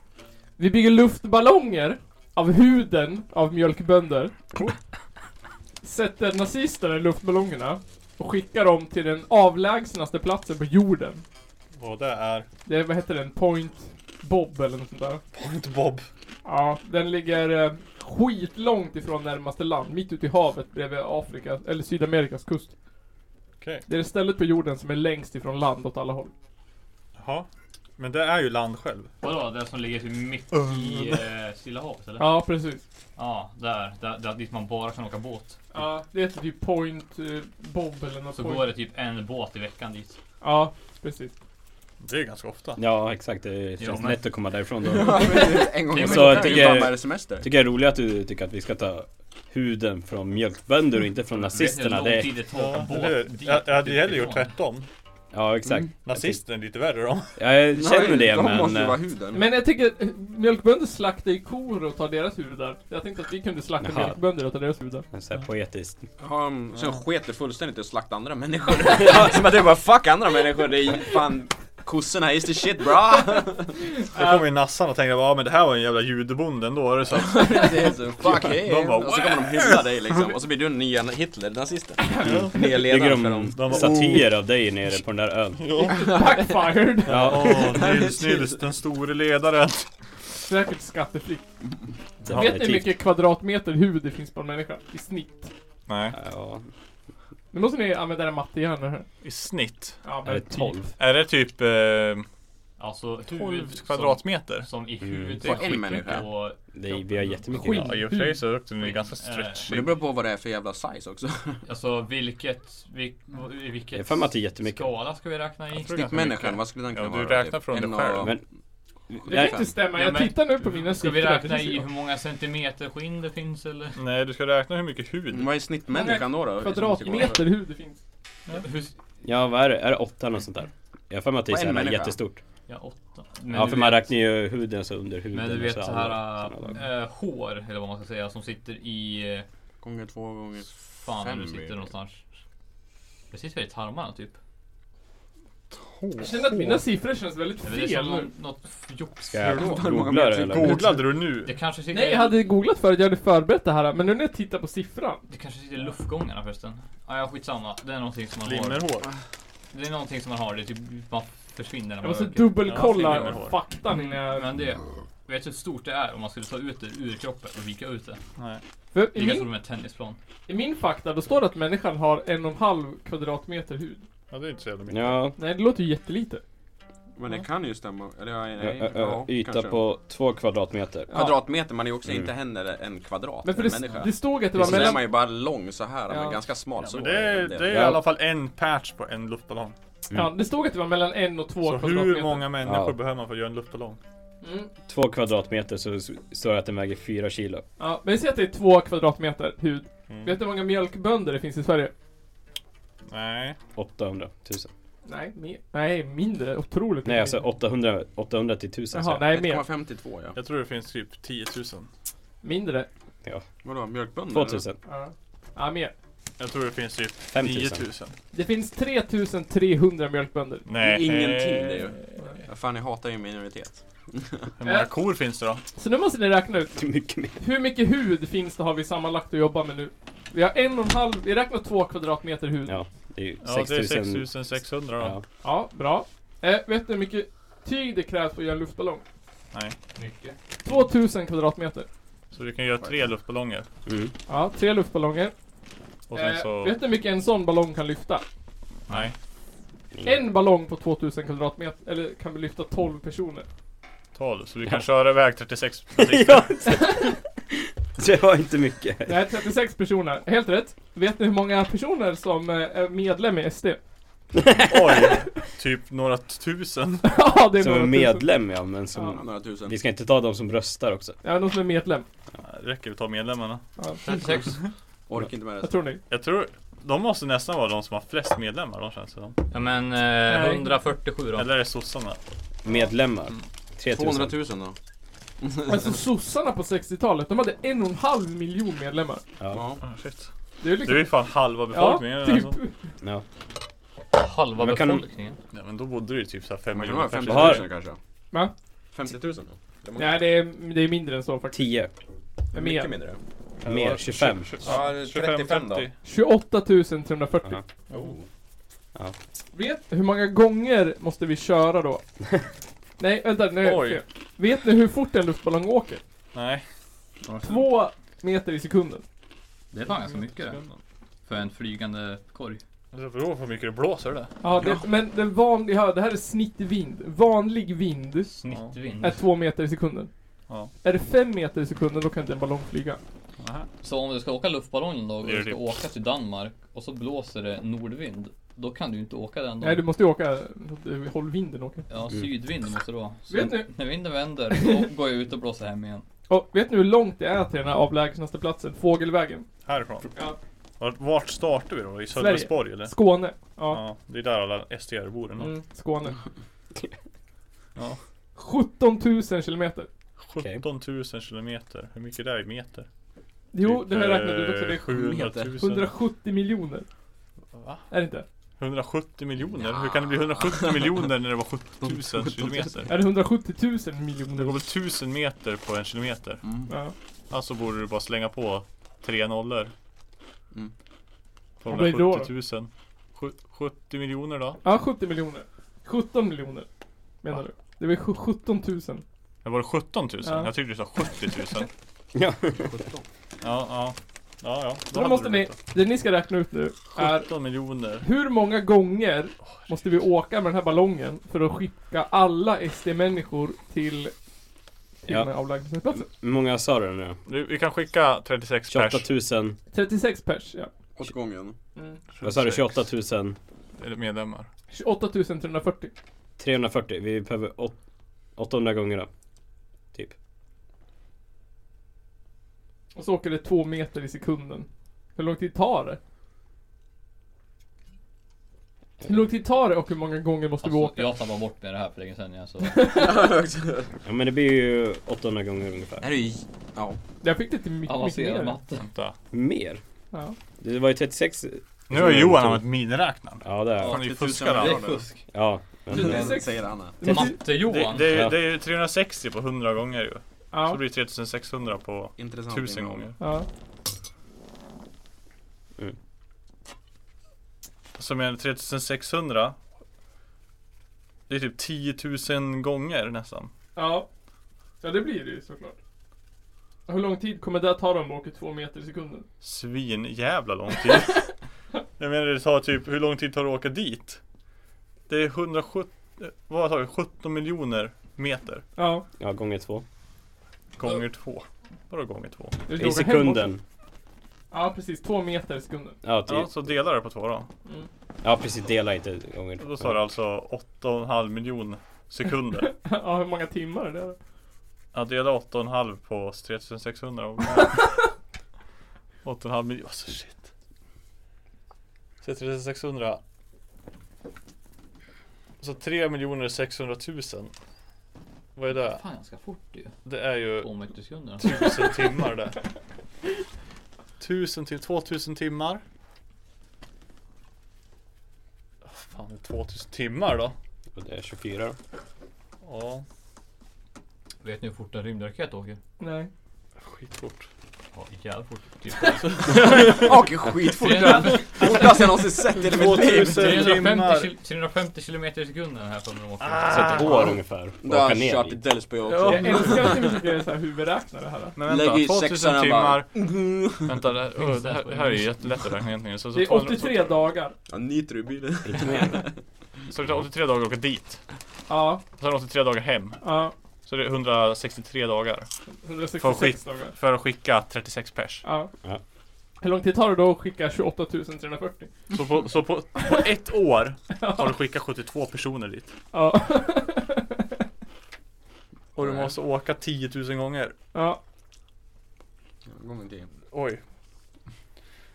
Speaker 1: vi bygger luftballonger av huden av mjölkbönder. Sätter nazisterna i luftballongerna och skickar dem till den avlägsnaste platsen på jorden.
Speaker 3: Och det är...
Speaker 1: Det är, vad heter den? Point Bob eller något sånt där.
Speaker 3: Point Bob.
Speaker 1: Ja, den ligger eh, skitlångt ifrån närmaste land. Mitt ute i havet bredvid Afrika, eller Sydamerikas kust.
Speaker 3: Okej.
Speaker 1: Det är det stället på jorden som är längst ifrån land åt alla håll.
Speaker 3: Jaha. Men det är ju land själv.
Speaker 6: Vadå, den som ligger typ mitt i eh, Stilla havet eller? Ja,
Speaker 1: Ja, precis.
Speaker 6: där, där, där. Dit man bara kan åka båt.
Speaker 1: Ja, det heter typ Point eh, Bob eller något
Speaker 6: Så
Speaker 1: point.
Speaker 6: går det Mm. typ en båt i veckan dit.
Speaker 1: Ja, precis.
Speaker 3: Det är ganska ofta.
Speaker 4: Ja exakt, det känns
Speaker 6: men-
Speaker 4: lätt att komma därifrån då.
Speaker 7: en gång
Speaker 6: Det
Speaker 7: i
Speaker 6: är
Speaker 4: så jag
Speaker 7: veckan. Hur
Speaker 4: tycker-
Speaker 7: fan är det semester?
Speaker 4: Tycker jag är roligt att du tycker att vi ska ta huden från mjölkbönder och inte från nazisterna.
Speaker 6: Vet ni hur lång
Speaker 4: Det,
Speaker 6: tid det tar att åka båt
Speaker 3: eller hur?
Speaker 6: dit?
Speaker 3: jag, jag hade
Speaker 6: typ
Speaker 3: hellre gjort
Speaker 6: ifrån?
Speaker 3: tvärtom.
Speaker 4: ja exakt.
Speaker 6: Mm.
Speaker 3: Nazisten är lite värre då.
Speaker 4: Jag känner det
Speaker 7: De
Speaker 4: men...
Speaker 7: måste ju vara
Speaker 4: eh,
Speaker 7: huden.
Speaker 1: Men jag tänker, eh, mjölkbönder slaktar ju kor och tar deras hudar. Jag tänkte att vi kunde slakta
Speaker 4: Jaha.
Speaker 1: mjölkbönder och ta deras hudar.
Speaker 4: eh, Så här poetiskt.
Speaker 7: Har de, sen sket det fullständigt i att slakta andra människor. Som att det är bara fuck andra människor, det är fan kossorna is the shit bra.
Speaker 3: Då kommer ju nassan och tänker ja men det här var en jävla judebonde ändå. Är det så?
Speaker 7: Alltså, det är så, fuck him.
Speaker 3: De bara,
Speaker 7: Och så kommer de hylla dig liksom, och så blir du den nya Hitler, nazisten. Nya
Speaker 4: Tycker
Speaker 7: ledaren för dem.
Speaker 3: de
Speaker 4: de
Speaker 3: bara,
Speaker 4: satir av dig nere på den där ön?
Speaker 1: Backfired!
Speaker 3: Ja, åh, Nils, Nils, den store ledaren.
Speaker 1: Säkert skattefritt. Vet ni hur
Speaker 6: typ-
Speaker 4: Definitivt.
Speaker 1: mycket kvadratmeter hud det finns på en människa? I snitt.
Speaker 3: Nej.
Speaker 4: Ja,
Speaker 1: Nu måste ni använda era mattehjärnor här.
Speaker 3: I snitt.
Speaker 1: Ja,
Speaker 4: är det
Speaker 1: typ.
Speaker 4: 12?
Speaker 3: Är det typ eh,
Speaker 6: Alltså huvud
Speaker 3: 12
Speaker 6: som-
Speaker 3: kvadratmeter?
Speaker 6: Som i
Speaker 4: Mm.
Speaker 6: huvudet.
Speaker 7: På en människa.
Speaker 6: På,
Speaker 4: Det är, vi har jättemycket
Speaker 1: Skit.
Speaker 4: lag.
Speaker 3: Ja i och för sig så är den ju ganska
Speaker 6: Mm.
Speaker 7: Men det
Speaker 3: stretchig.
Speaker 7: beror på vad det är för jävla size också.
Speaker 6: alltså vilket... Vil, i vilket
Speaker 4: Jag har för mig att det är jättemycket.
Speaker 6: skala ska vi räkna i?
Speaker 3: tror det är ganska
Speaker 7: Snittmänniskan,
Speaker 3: mycket.
Speaker 7: vad skulle den
Speaker 3: Ja,
Speaker 7: kunna
Speaker 3: du
Speaker 7: vara?
Speaker 3: räknar från dig
Speaker 7: En
Speaker 3: själv.
Speaker 7: och-
Speaker 4: Men-
Speaker 1: Det kan inte stämma.
Speaker 6: Ja,
Speaker 1: Jag
Speaker 6: men-
Speaker 1: tittar nu på mina
Speaker 6: Ska vi
Speaker 1: siffror.
Speaker 6: räkna
Speaker 1: Det
Speaker 6: i hur
Speaker 1: finns ju-
Speaker 6: många centimeter skinn det finns eller?
Speaker 3: Nej du ska räkna hur mycket hud.
Speaker 7: Vad är snittmänniskan då? då?
Speaker 1: Kvadratmeter hud det finns.
Speaker 6: Hur,
Speaker 4: Ja vad är det? Är det 8 eller något sånt där? Jag har för mig att det är
Speaker 7: På en
Speaker 4: så här
Speaker 7: människa?
Speaker 4: jättestort.
Speaker 6: ja, åtta. Men
Speaker 4: Ja
Speaker 6: du
Speaker 4: för man
Speaker 6: vet-
Speaker 4: räknar ju huden så under huden.
Speaker 6: Men du
Speaker 4: och
Speaker 6: vet så här
Speaker 4: alla såna lag.
Speaker 6: äh, hår, eller vad man ska säga, som sitter i... eh,
Speaker 7: Gånger två gånger
Speaker 6: Fan,
Speaker 7: fem
Speaker 6: du sitter
Speaker 7: meter.
Speaker 6: någonstans. Det sitter väl i tarmarna typ?
Speaker 1: Jag känner att mina siffror känns väldigt
Speaker 6: Det är väl det
Speaker 1: fel
Speaker 6: som
Speaker 1: nu.
Speaker 6: något, något jox.
Speaker 4: Ska jag
Speaker 7: Hur många
Speaker 4: googla det
Speaker 7: meter?
Speaker 4: eller?
Speaker 3: Googlade du nu?
Speaker 6: Det kanske sitter...
Speaker 1: Nej, jag hade googlat förut. Jag hade förberett det här. Men nu när jag tittar på siffran.
Speaker 6: Det kanske sitter i luftgångarna förresten. Ah, ja, skitsamma. Det är någonting som man har.
Speaker 3: Limmerhår?
Speaker 6: Det är någonting som man har. Det är typ man försvinner när
Speaker 1: Jag
Speaker 6: man
Speaker 1: måste
Speaker 6: röker.
Speaker 3: Ja,
Speaker 1: dubbelkolla
Speaker 3: siffror.
Speaker 1: faktan innan jag...
Speaker 6: Men det... Vet du hur stort det är om man skulle ta ut det ur kroppen och vika ut det?
Speaker 3: Nej.
Speaker 1: För i,
Speaker 6: Lika
Speaker 1: min,
Speaker 6: stort som en tennisplan.
Speaker 1: I min fakta, då står det att människan har en och en halv kvadratmeter hud.
Speaker 3: Ja det är inte så jävla mycket.
Speaker 4: Ja,
Speaker 1: Nej, det låter ju jättelite.
Speaker 7: Men det kan ju stämma. Eller ja,
Speaker 4: ö,
Speaker 7: nej,
Speaker 4: ö, ö,
Speaker 7: ja,
Speaker 4: yta
Speaker 7: kanske.
Speaker 4: på 2 kvadratmeter.
Speaker 7: Kvadratmeter, man är ju också
Speaker 4: Mm.
Speaker 7: inte heller en kvadrat.
Speaker 1: Men för
Speaker 7: en
Speaker 1: det,
Speaker 7: människa.
Speaker 1: det stod att det
Speaker 7: Det
Speaker 1: var
Speaker 7: så är man
Speaker 1: mellan...
Speaker 7: ju bara lång så här,
Speaker 1: Ja.
Speaker 7: men ganska smal så.
Speaker 3: Men det är, det är i
Speaker 4: Ja.
Speaker 3: alla fall en patch på en luftballong.
Speaker 1: Ja, det stod att det var mellan en och två
Speaker 3: Så hur
Speaker 1: kvadratmeter. Mm.
Speaker 3: många människor
Speaker 4: Ja.
Speaker 3: behöver man för att göra en luftballong?
Speaker 4: 2 kvadratmeter så s- står det att den väger 4 kilo.
Speaker 1: Ja, men vi säger att det är två kvadratmeter hud.
Speaker 3: Mm.
Speaker 1: Vet du hur många mjölkbönder det finns i Sverige?
Speaker 3: Nej.
Speaker 4: 800 000.
Speaker 1: Nej, mer. Nej, mindre. Otroligt
Speaker 4: Nej alltså 800, 800 till 1000
Speaker 1: Jaha,
Speaker 4: sa jag.
Speaker 1: nej mer.
Speaker 7: 1,52 ja.
Speaker 3: Jag tror det finns typ 10 000.
Speaker 1: Mindre.
Speaker 7: Vadå, mjölkbönder?
Speaker 4: 2000,
Speaker 1: Ja. ja, mer.
Speaker 3: Jag tror det finns typ 9
Speaker 4: 5000.
Speaker 3: 000.
Speaker 1: Det finns 3300 mjölkbönder.
Speaker 3: Nej.
Speaker 7: Det är ingenting det ju. eller? Fan, jag hatar ju minoritet.
Speaker 3: Hur många
Speaker 1: Äh.
Speaker 3: kor finns det då?
Speaker 1: Så nu måste ni räkna ut.
Speaker 4: Det är mycket mer.
Speaker 1: Hur mycket hud finns det har vi sammanlagt att jobba med nu? Vi har en och en halv, vi räknar två kvadratmeter hud. Ja,
Speaker 4: Ja, det är ju
Speaker 3: Ja det är
Speaker 4: 6000.
Speaker 3: 6 600 då.
Speaker 4: Ja.
Speaker 1: bra. Eh, vet du hur mycket tyg det krävs för att göra en luftballong?
Speaker 6: Mycket.
Speaker 1: 2000 kvadratmeter.
Speaker 3: Så du kan göra tre luftballonger.
Speaker 4: Mm.
Speaker 1: Ja, tre luftballonger.
Speaker 3: Och sen
Speaker 1: Eh,
Speaker 3: så...
Speaker 1: vet du hur mycket en sån ballong kan lyfta?
Speaker 3: Nej.
Speaker 4: Mm.
Speaker 1: En ballong på 2000 kvadratmeter, eller kan vi lyfta 12 personer?
Speaker 3: 12. Så du
Speaker 4: Ja.
Speaker 3: kan köra iväg 36 butiker.
Speaker 4: Ja, det var inte mycket.
Speaker 1: Nej, 36 personer. Helt rätt. Vet ni hur många personer som eh, är medlem i SD?
Speaker 3: Oj! Typ några tusen.
Speaker 1: Ja, det är
Speaker 4: Som
Speaker 1: några
Speaker 4: är
Speaker 1: tusen.
Speaker 4: medlem ja, men
Speaker 7: Ja,
Speaker 4: som...
Speaker 7: Några tusen.
Speaker 4: Vi ska inte ta de som röstar också.
Speaker 1: Ja, någon som är medlem.
Speaker 3: Räcker vi ta medlemmarna?
Speaker 1: Ja,
Speaker 6: 36.
Speaker 7: Orkar inte med
Speaker 1: Jag
Speaker 7: det.
Speaker 1: tror ni?
Speaker 3: Jag tror de måste nästan vara de som har flest medlemmar. De känns det som.
Speaker 6: Ja men eh, 147 då.
Speaker 3: Eller är det sossarna?
Speaker 4: Medlemmar.
Speaker 7: 200
Speaker 4: 3000.
Speaker 7: 000 då?
Speaker 1: Alltså sossarna på 60-talet, de hade en och en halv miljon medlemmar.
Speaker 7: Ja.
Speaker 3: Ah, shit.
Speaker 1: Det är ju
Speaker 3: Det är
Speaker 1: liksom...
Speaker 3: ju fan halva befolkningen. alltså.
Speaker 1: ja,
Speaker 3: eller
Speaker 1: typ.
Speaker 3: så.
Speaker 4: Ja.
Speaker 6: Halva
Speaker 4: Men kan de-
Speaker 6: befolkningen.
Speaker 3: Ja, men då bodde det ju typ så här 5
Speaker 7: Man kan ha
Speaker 3: miljoner
Speaker 7: 50
Speaker 3: personer.
Speaker 4: Vad
Speaker 7: 000
Speaker 4: har-
Speaker 7: kanske?
Speaker 1: Va?
Speaker 7: 50 000 då? Det är många.
Speaker 1: Nej, det är, det är mindre än så faktiskt.
Speaker 4: 10.
Speaker 1: Men
Speaker 7: mycket
Speaker 1: mer.
Speaker 7: mindre.
Speaker 4: Mer. 25.
Speaker 7: Ja, det är 35 då.
Speaker 1: 28 340.
Speaker 4: Ja.
Speaker 1: Vet hur många gånger måste vi köra då? Nej, vänta nu.
Speaker 3: Oj.
Speaker 1: fel. Vet ni hur fort en luftballong åker?
Speaker 3: Nej.
Speaker 1: Två meter i sekunden.
Speaker 6: Det är fan
Speaker 3: Alltså,
Speaker 6: ganska mycket det. För en flygande korg.
Speaker 3: Det beror på hur mycket det blåser det.
Speaker 1: Ja, det, men den vanliga, det här är snittvind. Vanlig vind
Speaker 6: Snittvind.
Speaker 1: är två meter i sekunden.
Speaker 3: Ja.
Speaker 1: Är det fem meter i sekunden då kan inte en ballong flyga.
Speaker 3: Aha.
Speaker 6: Så om du ska åka luftballongen då och
Speaker 3: Det är
Speaker 6: du ska
Speaker 3: det.
Speaker 6: åka till Danmark och så blåser det nordvind. Då kan du ju inte åka den då.
Speaker 1: Nej, du måste ju åka, håll vinden åker.
Speaker 6: Ja, sydvind måste det vara. Så
Speaker 1: Vet ni-
Speaker 6: när vinden vänder då går jag ut och blåser hem igen.
Speaker 1: Och vet ni hur långt det är till den här avlägsnaste platsen? Fågelvägen.
Speaker 3: Härifrån.
Speaker 1: Ja.
Speaker 3: Vart, vart startar vi då? I Sölvesborg eller?
Speaker 1: Skåne. Ja.
Speaker 3: Ja, det är där alla SDR bor eller nåt.
Speaker 1: Mm, Skåne.
Speaker 3: Ja.
Speaker 1: 17 000 kilometer.
Speaker 3: 17 000 kilometer. Hur mycket det är i meter?
Speaker 1: Jo,
Speaker 3: Typ,
Speaker 1: det har jag räknat
Speaker 3: eh,
Speaker 1: ut också. Det är
Speaker 3: 700 000.
Speaker 1: 170 miljoner.
Speaker 3: Va?
Speaker 1: Är det inte?
Speaker 3: 170 miljoner? Hur kan det bli 170 miljoner när det var 17 000 kilometer?
Speaker 1: Är det 170 000
Speaker 3: Det går
Speaker 1: miljoner?
Speaker 3: väl 1000 meter på en kilometer?
Speaker 1: Ja.
Speaker 3: Alltså borde du bara slänga på tre nollor.
Speaker 7: Mm.
Speaker 1: Vad blir det då?
Speaker 3: 270 000. Sju- 70 miljoner då?
Speaker 1: ja, 70 miljoner. 17 miljoner. Menar du? Det var sj- 17 000.
Speaker 3: Det var det 17 000?
Speaker 1: Ja.
Speaker 3: Jag tyckte du sa 70 000.
Speaker 4: Ja.
Speaker 3: Ja, ja. Ja, ja.
Speaker 1: Så då måste ni, det ni ska räkna ut nu är
Speaker 3: 17 miljoner.
Speaker 1: hur många gånger måste vi åka med den här ballongen för att skicka alla SD-människor till, till
Speaker 4: Ja.
Speaker 1: den här avlägsningsplatsen?
Speaker 4: Hur många sa du nu?
Speaker 3: Du, vi kan skicka 36
Speaker 4: 28
Speaker 3: pers.
Speaker 4: 000.
Speaker 1: 36 pers, ja.
Speaker 7: Åt gången.
Speaker 4: Vad sa du? 28 000.
Speaker 3: Eller medlemmar.
Speaker 1: 28 340.
Speaker 4: 340. Vi behöver åt- 800 gånger då. Typ.
Speaker 1: Och så åker det två meter i sekunden. Hur lång tid tar det? Hur lång tid tar det och hur många gånger måste vi
Speaker 6: Alltså,
Speaker 1: åka?
Speaker 6: jag tappade bort mig det här för länge sedan. Alltså.
Speaker 4: Ja men det blir ju 800 gånger ungefär.
Speaker 7: Är det ju... Ja.
Speaker 1: Jag fick det till mycket, mycket
Speaker 6: Avancerad
Speaker 1: mer.
Speaker 6: matte.
Speaker 3: Vänta.
Speaker 4: Mer?
Speaker 1: Ja.
Speaker 4: Det var ju 36.
Speaker 3: Nu har Johan använt miniräknaren.
Speaker 4: Ja det är
Speaker 3: Han är ju
Speaker 7: 80
Speaker 6: Det
Speaker 7: 000
Speaker 3: fuskare.
Speaker 6: är fusk.
Speaker 4: Ja.
Speaker 1: Det är
Speaker 7: Men,
Speaker 1: sex.
Speaker 7: säger Anna.
Speaker 1: Det måste,
Speaker 3: Det,
Speaker 6: Matte-Johan.
Speaker 3: det, är,
Speaker 4: Ja.
Speaker 3: det är ju 360 på 100 gånger ju. Så
Speaker 1: ja,
Speaker 3: blir det 3600 på
Speaker 7: Intressant.
Speaker 3: 1000
Speaker 7: innehåll.
Speaker 3: gånger.
Speaker 1: ja.
Speaker 3: Som är 3600 Det är typ 10 000 gånger nästan
Speaker 1: Ja. Ja, det blir det ju såklart. Hur lång tid kommer det att ta om att åka två meter i sekunden?
Speaker 3: Svin jävla lång tid Jag menar det tar typ, hur lång tid tar det att åka dit? Det är 170, vad tar det? 17 miljoner meter
Speaker 1: Ja.
Speaker 4: Ja gånger två.
Speaker 3: Gånger två Vadå gånger två?
Speaker 1: Det är
Speaker 4: I sekunden.
Speaker 1: Ja, precis. Två meter i sekunden.
Speaker 4: Ja
Speaker 3: Ja,
Speaker 4: typ.
Speaker 3: så delar det på två då
Speaker 1: Mm.
Speaker 4: Ja precis. Dela inte gånger
Speaker 3: Då tar det alltså 8,5 miljon sekunder
Speaker 1: ja, hur många timmar är det? då?
Speaker 3: Ja, dela 8,5 på 3600 och 8,5 miljoner, alltså shit Så 3600 Så 3 miljoner 600 000 Vad är det?
Speaker 6: Fan ganska fort ju.
Speaker 3: Det är ju
Speaker 6: Två meter i sekunden.
Speaker 3: 1000 timmar det 1000 till 2000 timmar Åh, Fan, det är 2000 timmar då?
Speaker 4: Och Det är 24 då.
Speaker 3: Ja,
Speaker 6: Vet ni hur fort en rymdraket åker?
Speaker 1: Nej.
Speaker 3: skitfort
Speaker 6: Ja, jävligt fort. Typ.
Speaker 7: Åker skitfort. Fortast jag någonsin sett i mitt liv.
Speaker 3: 2000 timmar
Speaker 6: 350, 350 kilometer i sekunden här för de åker.
Speaker 4: Så ett år ungefär. och
Speaker 7: Där
Speaker 4: Åka
Speaker 7: Ah. har
Speaker 4: ner
Speaker 7: kört i
Speaker 4: dit.
Speaker 7: Delsbo jag
Speaker 3: Ja.
Speaker 7: också.
Speaker 1: Jag älskar att ni försöker så här huvudräkna det
Speaker 4: Alltså
Speaker 1: här.
Speaker 3: Men vänta,
Speaker 7: Lägg i
Speaker 3: 2000
Speaker 7: sexan,
Speaker 3: timmar.
Speaker 7: bara.
Speaker 3: Vänta, det här, oh, det, här, det här är ju jättelätt att räkna egentligen. Så, så,
Speaker 1: Det är 83
Speaker 3: 200
Speaker 1: dagar.
Speaker 7: Ja, nitro i bilen.
Speaker 4: Inte mer.
Speaker 3: så, så det tar 83 dagar att åka dit.
Speaker 1: Ja,
Speaker 3: Och sen 83 dagar hem.
Speaker 1: ja.
Speaker 3: Så det är 163 dagar. Får
Speaker 1: 166
Speaker 3: skit.
Speaker 1: dagar.
Speaker 3: För att skicka 36 pers.
Speaker 1: Ja.
Speaker 4: Ja.
Speaker 1: Hur lång tid tar det då att skicka 28 340?
Speaker 3: Så på, så på, på ett år har du skickat 72 personer dit.
Speaker 1: Ja.
Speaker 3: Och du måste åka 10 000 gånger.
Speaker 1: ja.
Speaker 7: Gånger tio.
Speaker 3: Oj.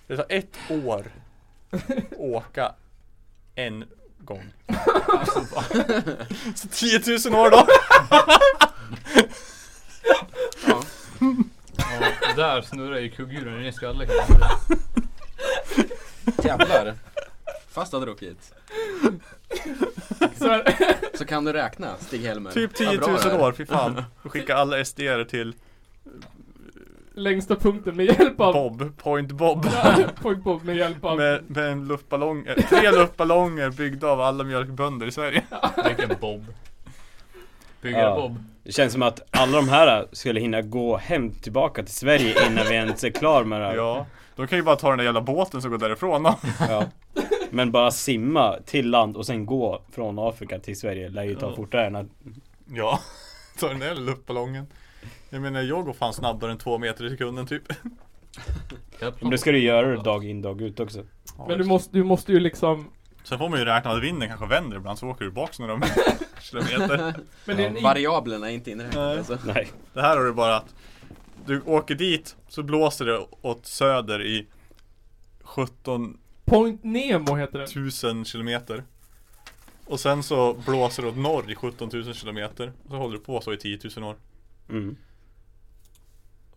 Speaker 3: Det tar ett år att åka en gång. Så 10 000 år då.
Speaker 2: Ja, där snurrar ju kugghjulen i din skalle.
Speaker 7: Jävlar. Fast du hade du åkt hit.
Speaker 1: Så här,
Speaker 7: Så kan du räkna, Stig-Helmer.
Speaker 3: Typ 10 000 år, fy fan. Och skicka alla SDR till
Speaker 1: längsta punkten med hjälp av...
Speaker 3: Bob, Point Bob.
Speaker 1: Ja, Point Bob med hjälp av...
Speaker 3: Med, med en luftballong, eh, tre luftballonger byggda av alla mjölkbönder i Sverige.
Speaker 2: Vilken Bob. Byggare
Speaker 4: Ja.
Speaker 2: Bob.
Speaker 4: Det känns som att alla de här skulle hinna gå hem tillbaka till Sverige innan vi ens är klar med det här.
Speaker 3: Ja. De kan ju bara ta den där jävla båten som går därifrån då.
Speaker 4: Ja. Men bara simma till land och sen gå från Afrika till Sverige lär ju ta
Speaker 3: Ja.
Speaker 4: fortare än att...
Speaker 3: Ja. Ta den där jävla luftballongen. Jag menar jag går fan snabbare än två meter i sekunden typ.
Speaker 4: Men då ska du göra det dag in dag ut också.
Speaker 1: Men du måste, du måste ju liksom...
Speaker 3: Sen får man ju räkna att vinden kanske vänder ibland så åker du bak några kilometer.
Speaker 1: Men det är en i-
Speaker 7: Variablerna är inte inräknade
Speaker 3: Nej.
Speaker 7: alltså.
Speaker 4: Nej.
Speaker 3: Det här har du bara att du åker dit så blåser det åt söder i 17
Speaker 1: Point Nemo heter den.
Speaker 3: 000 kilometer. Och sen så blåser det åt norr i 17 000 kilometer. Och så håller du på så i 10 000 år.
Speaker 4: Mm.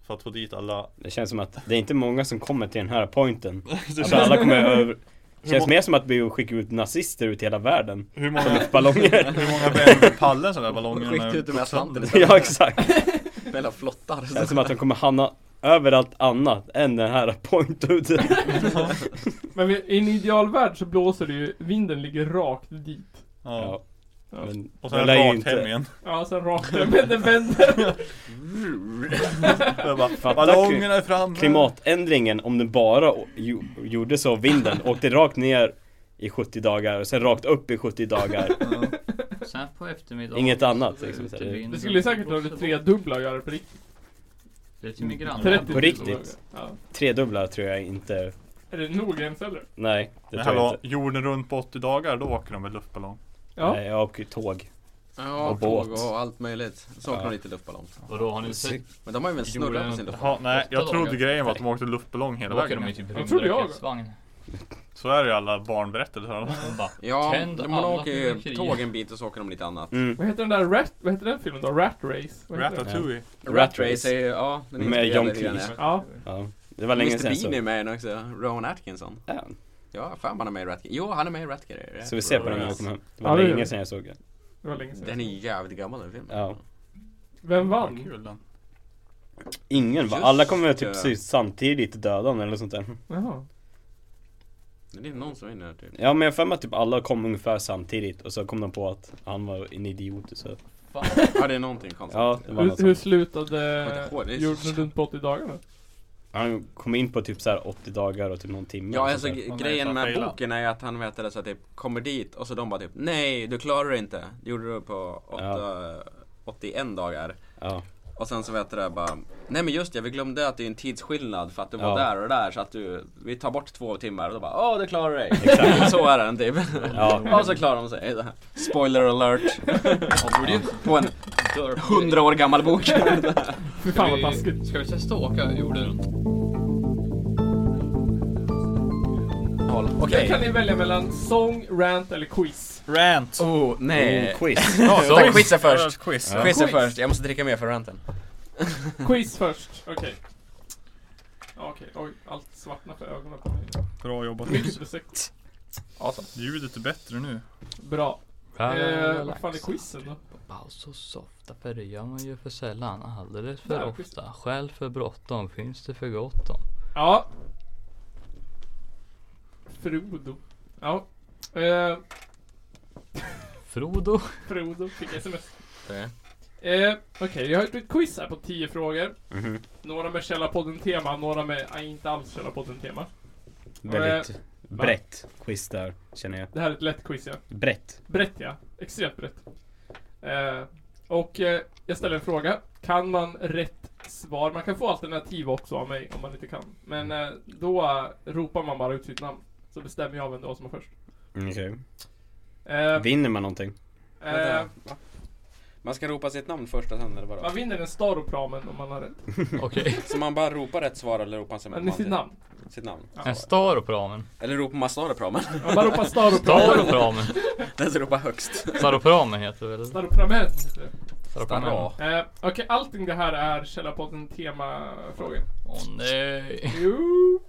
Speaker 3: För att få dit alla.
Speaker 4: Det känns som att det är inte många som kommer till den här pointen. Så alla kommer över... Det känns mer som att vi skickar ut nazister ut i hela världen.
Speaker 3: Hur många,
Speaker 4: Ballonger.
Speaker 3: hur många vänder pallen sådana där ballonger?
Speaker 7: Skicka ut dem i Atlanten
Speaker 4: Ja
Speaker 7: istället.
Speaker 4: exakt.
Speaker 7: Med hela flottar.
Speaker 4: Det känns som att de kommer hamna överallt annat än den här pointuten.
Speaker 1: Men vi- i en idealvärld så blåser det ju... Vinden ligger rakt dit.
Speaker 3: Ja.
Speaker 1: Ja.
Speaker 4: Men
Speaker 3: Och
Speaker 4: den
Speaker 3: sen
Speaker 4: lär ju
Speaker 3: rakt
Speaker 4: inte-
Speaker 3: hem igen.
Speaker 1: Ja, sen rakt där. Men den vänder.
Speaker 3: Jag bara,
Speaker 4: Fatta
Speaker 3: Ballongerna är framme.
Speaker 4: klimatändringen om den bara å- jo- gjordes av vinden. Åkte rakt ner i 70 dagar och sen rakt upp i 70 dagar.
Speaker 2: Sen på eftermiddagen.
Speaker 4: Inget annat,
Speaker 2: så
Speaker 4: liksom,
Speaker 2: ut i
Speaker 4: så det-
Speaker 2: vinden.
Speaker 1: Det skulle säkert vara det tredubbla att göra på riktigt.
Speaker 2: Det är till min granne.
Speaker 1: 30
Speaker 4: På riktigt?
Speaker 1: Ja.
Speaker 4: Tredubbla tror jag inte.
Speaker 1: Är det nog ens eller?
Speaker 4: Nej, det
Speaker 3: Men
Speaker 4: tror jag
Speaker 3: hallå,
Speaker 4: inte.
Speaker 3: jorden runt på 80 dagar, då åker de med luftballong.
Speaker 1: Ja.
Speaker 4: Nej, jag åker Eh, tåg.
Speaker 7: Ja,
Speaker 4: Och båt.
Speaker 7: tåg och allt möjligt. Så åker
Speaker 4: Ja.
Speaker 7: de lite luftballong.
Speaker 2: Och då har ni sett?
Speaker 7: Men de har ju väl snurrat på sin luftballong?
Speaker 3: Jaha, nej, jag
Speaker 2: Åtta
Speaker 3: trodde
Speaker 2: dagar.
Speaker 3: grejen var att de åkte luftballong hela
Speaker 2: Då åker
Speaker 3: vägen.
Speaker 2: de ju
Speaker 3: hem.
Speaker 2: typ
Speaker 1: Jag trodde jag.
Speaker 2: rymdraketvagn.
Speaker 3: Så är det ju alla barnberättelser.
Speaker 2: De bara,
Speaker 7: Ja,
Speaker 2: Tänd
Speaker 7: de
Speaker 2: alla
Speaker 7: åker ju
Speaker 2: fyrverkerier.
Speaker 7: tåg en bit och så åker de lite annat.
Speaker 4: Mm.
Speaker 1: Vad heter den där Rat... Vad heter den filmen då? Rat Race? Vad heter den?
Speaker 3: Ratatouille.
Speaker 7: Rat Race är ju, ja, den är
Speaker 4: Med
Speaker 7: inspirerad
Speaker 4: John
Speaker 7: i den,
Speaker 4: Cleese.
Speaker 7: ja.
Speaker 1: Ja.
Speaker 4: Ja, det var länge
Speaker 7: Mr
Speaker 4: sedan
Speaker 7: Bean är
Speaker 4: så.
Speaker 7: med i den också, Rowan Atkinson.
Speaker 4: Ja,
Speaker 7: Ja, fan han är med i Ratger. Jo, han är med i Ratger.
Speaker 4: så vi ser på den när jag kommer hem. Det var
Speaker 1: Ja, det gör vi.
Speaker 4: länge sedan jag såg den.
Speaker 1: Det var länge sedan.
Speaker 7: Den är jävligt gammal den filmen.
Speaker 4: Ja.
Speaker 1: Vem
Speaker 3: Vad
Speaker 1: vann?
Speaker 3: kul den.
Speaker 4: Ingen va?
Speaker 7: Just
Speaker 4: Alla kommer typ
Speaker 7: det.
Speaker 4: precis samtidigt döda honom eller sånt där.
Speaker 1: Jaha.
Speaker 7: Det är någon som är inne typ.
Speaker 4: Ja men jag har för mig att typ alla kom ungefär samtidigt och så kom de på att han var en idiot och så.
Speaker 2: fan.
Speaker 7: Ja, det är någonting konstigt.
Speaker 4: Ja, det var något
Speaker 1: Hur, hur
Speaker 4: sånt.
Speaker 1: slutade
Speaker 7: Vad hårt, det är så-
Speaker 1: jorden runt på 80 dagarna?
Speaker 4: Han kom in på typ så här 80 dagar och typ någon timme. och
Speaker 7: Ja,
Speaker 4: sånt
Speaker 7: alltså
Speaker 4: där.
Speaker 7: gre-
Speaker 3: Han är
Speaker 7: grejen
Speaker 3: fan
Speaker 7: med
Speaker 3: failad.
Speaker 7: boken är ju att han vet det så att typ kommer dit och så de bara typ Nej, du klarar det inte. Det gjorde du på åtta, 81 dagar.
Speaker 4: Ja.
Speaker 7: Och sen så vet du det bara Nej men just det, vi glömde att det är en tidsskillnad för att du var
Speaker 4: Ja.
Speaker 7: där och där så att du Vi tar bort två timmar och då bara Åh, du klarar dig!
Speaker 4: Exakt.
Speaker 7: så är den typ.
Speaker 4: Ja.
Speaker 7: Och så klarar de sig. Spoiler alert!
Speaker 2: Ja, borde ju
Speaker 7: På en
Speaker 2: dörr.
Speaker 7: 100 år gammal bok.
Speaker 1: Fy fan vad taskigt.
Speaker 2: Ska vi testa att åka jorden runt?
Speaker 1: Sen kan
Speaker 7: Okej.
Speaker 1: ni välja mellan sång, rant eller quiz.
Speaker 3: Rant.
Speaker 7: Oh,
Speaker 4: Eh.
Speaker 7: nej.
Speaker 4: Quiz.
Speaker 7: Ja, vänta, quiz är först.
Speaker 3: Quiz.
Speaker 4: Ja.
Speaker 7: Quiz är
Speaker 1: Quiz.
Speaker 7: först. Jag måste dricka mer för ranten.
Speaker 1: Quiz först. Okej. Ja, Okej, oj. Allt svartnar för ögonen på mig.
Speaker 3: Bra jobbat.
Speaker 1: Mycket besökt.
Speaker 3: Ljudet är bättre nu.
Speaker 1: Bra. Eh, vad fan är quizen då?
Speaker 2: Paus och softa, för det gör man ju för sällan, alldeles
Speaker 1: Där,
Speaker 2: för ofta. Skäl för bråttom, finns det för gott om.
Speaker 1: Ja. Frodo. Ja. Eh,
Speaker 2: Frodo.
Speaker 1: Frodo fick sms.
Speaker 7: Okej.
Speaker 1: Eh, Okej, jag har gjort ett quiz här på 10 frågor.
Speaker 4: Mhm.
Speaker 1: Några med Källarpodden-tema, några med nej, inte alls Källarpodden-tema.
Speaker 4: Väldigt brett quiz där, känner jag.
Speaker 1: Det här är ett lätt quiz ja.
Speaker 4: Brett.
Speaker 1: Brett ja. Extremt brett. Eh, och eh, jag ställer en fråga. Kan man rätt svar? Man kan få alternativ också av mig om man inte kan. Men eh, då eh, ropar man bara ut sitt namn. Så bestämmer jag vem det var som
Speaker 4: Mm.
Speaker 1: var först.
Speaker 4: Okej.
Speaker 1: Eh,
Speaker 4: Vinner man någonting?
Speaker 1: eh,
Speaker 5: Man ska ropa sitt namn först och sen eller vadå?
Speaker 1: Man vinner en star och pramen om man har rätt.
Speaker 6: Okej.
Speaker 5: Så man bara ropar rätt svar eller ropar sig
Speaker 1: Men i sitt namn.
Speaker 5: Sitt namn.
Speaker 6: En star och pramen.
Speaker 5: Eller ropar man staropramen?
Speaker 1: Man bara ropar star och pramen.
Speaker 6: Star och pramen.
Speaker 5: Den som ropar högst.
Speaker 6: Staropramen heter det väl?
Speaker 1: Star och pramen. heter det.
Speaker 6: Staropramen.
Speaker 1: Eh, Okej, allting det här är Källarpodden temafrågor.
Speaker 6: Åh nej.
Speaker 1: Jo.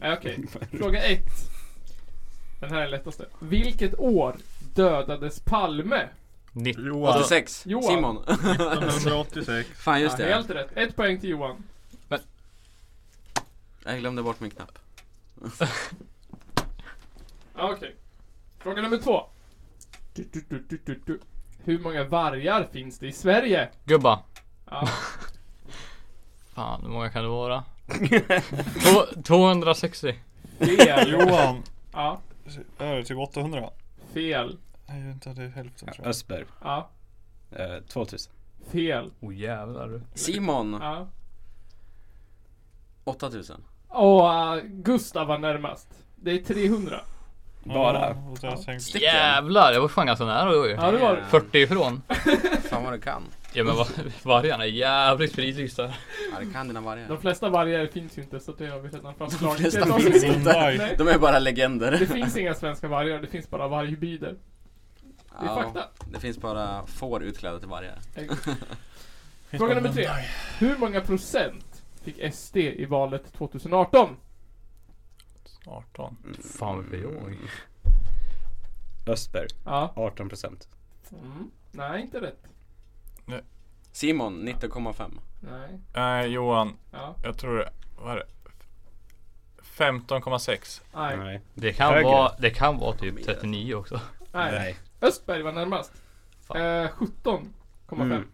Speaker 1: Eh, Okej, fråga ett. Den här är lättaste. Vilket år dödades Palme?
Speaker 5: 86.
Speaker 1: Johan.
Speaker 5: Simon.
Speaker 10: 1986.
Speaker 5: Fan just
Speaker 1: Ja,
Speaker 5: det.
Speaker 1: Helt rätt. Ett poäng till Johan.
Speaker 5: Jag glömde bort min knapp.
Speaker 1: Ja, Okej. Fråga nummer två. Du, du, du, du, du, du. Hur många vargar finns det i Sverige?
Speaker 6: Gubba.
Speaker 1: Ja.
Speaker 6: Fan, hur många kan det vara? Två- 260.
Speaker 1: Fel.
Speaker 10: Johan.
Speaker 1: Ja,
Speaker 10: Är det typ 800?
Speaker 1: fel.
Speaker 10: Nej, jag inte det är hälften tror jag.
Speaker 4: Östberg.
Speaker 1: Ja,
Speaker 4: Eh, 2000.
Speaker 1: fel.
Speaker 6: Åh oh, jävlar du.
Speaker 5: Simon.
Speaker 1: Ja.
Speaker 5: 8000.
Speaker 1: Och äh, Gustav var närmast. Det är 300.
Speaker 4: Bara.
Speaker 10: Ja, och sen tänkte jag-
Speaker 6: Jävlar, jag var fan ganska nära då ju.
Speaker 1: Ja, det var det.
Speaker 6: 40 ifrån.
Speaker 5: Fan vad du kan.
Speaker 6: Ja men var- vargarna är jävligt fridlysta.
Speaker 5: Ja, du kan dina vargar.
Speaker 1: De flesta vargar finns ju inte, så det har vi redan fastslagit.
Speaker 5: flesta
Speaker 1: Det är de
Speaker 5: finns
Speaker 1: som-
Speaker 10: inte.
Speaker 1: Nej,
Speaker 5: De är bara legender.
Speaker 1: Det finns inga svenska vargar, det finns bara varghybrider. Det är
Speaker 5: Ja,
Speaker 1: fakta.
Speaker 5: Det finns bara får utklädda till vargar.
Speaker 1: Fråga nummer tre. Hur många procent fick SD i valet 2018?
Speaker 3: 18.
Speaker 6: Fan vad jag.
Speaker 4: Östberg.
Speaker 1: Ja.
Speaker 4: 18 procent.
Speaker 1: Mm. Nej, inte rätt.
Speaker 5: Simon 19,5.
Speaker 1: Nej.
Speaker 3: Nej Johan,
Speaker 1: Ja.
Speaker 3: jag tror det var det? 15,6.
Speaker 1: Nej. Nej.
Speaker 4: Nej.
Speaker 6: Det kan,
Speaker 4: Högre.
Speaker 6: vara, det kan vara typ 39 också.
Speaker 4: Nej.
Speaker 1: Östberg var närmast. Eh,
Speaker 6: Fan.
Speaker 1: 17,5.
Speaker 4: Mm.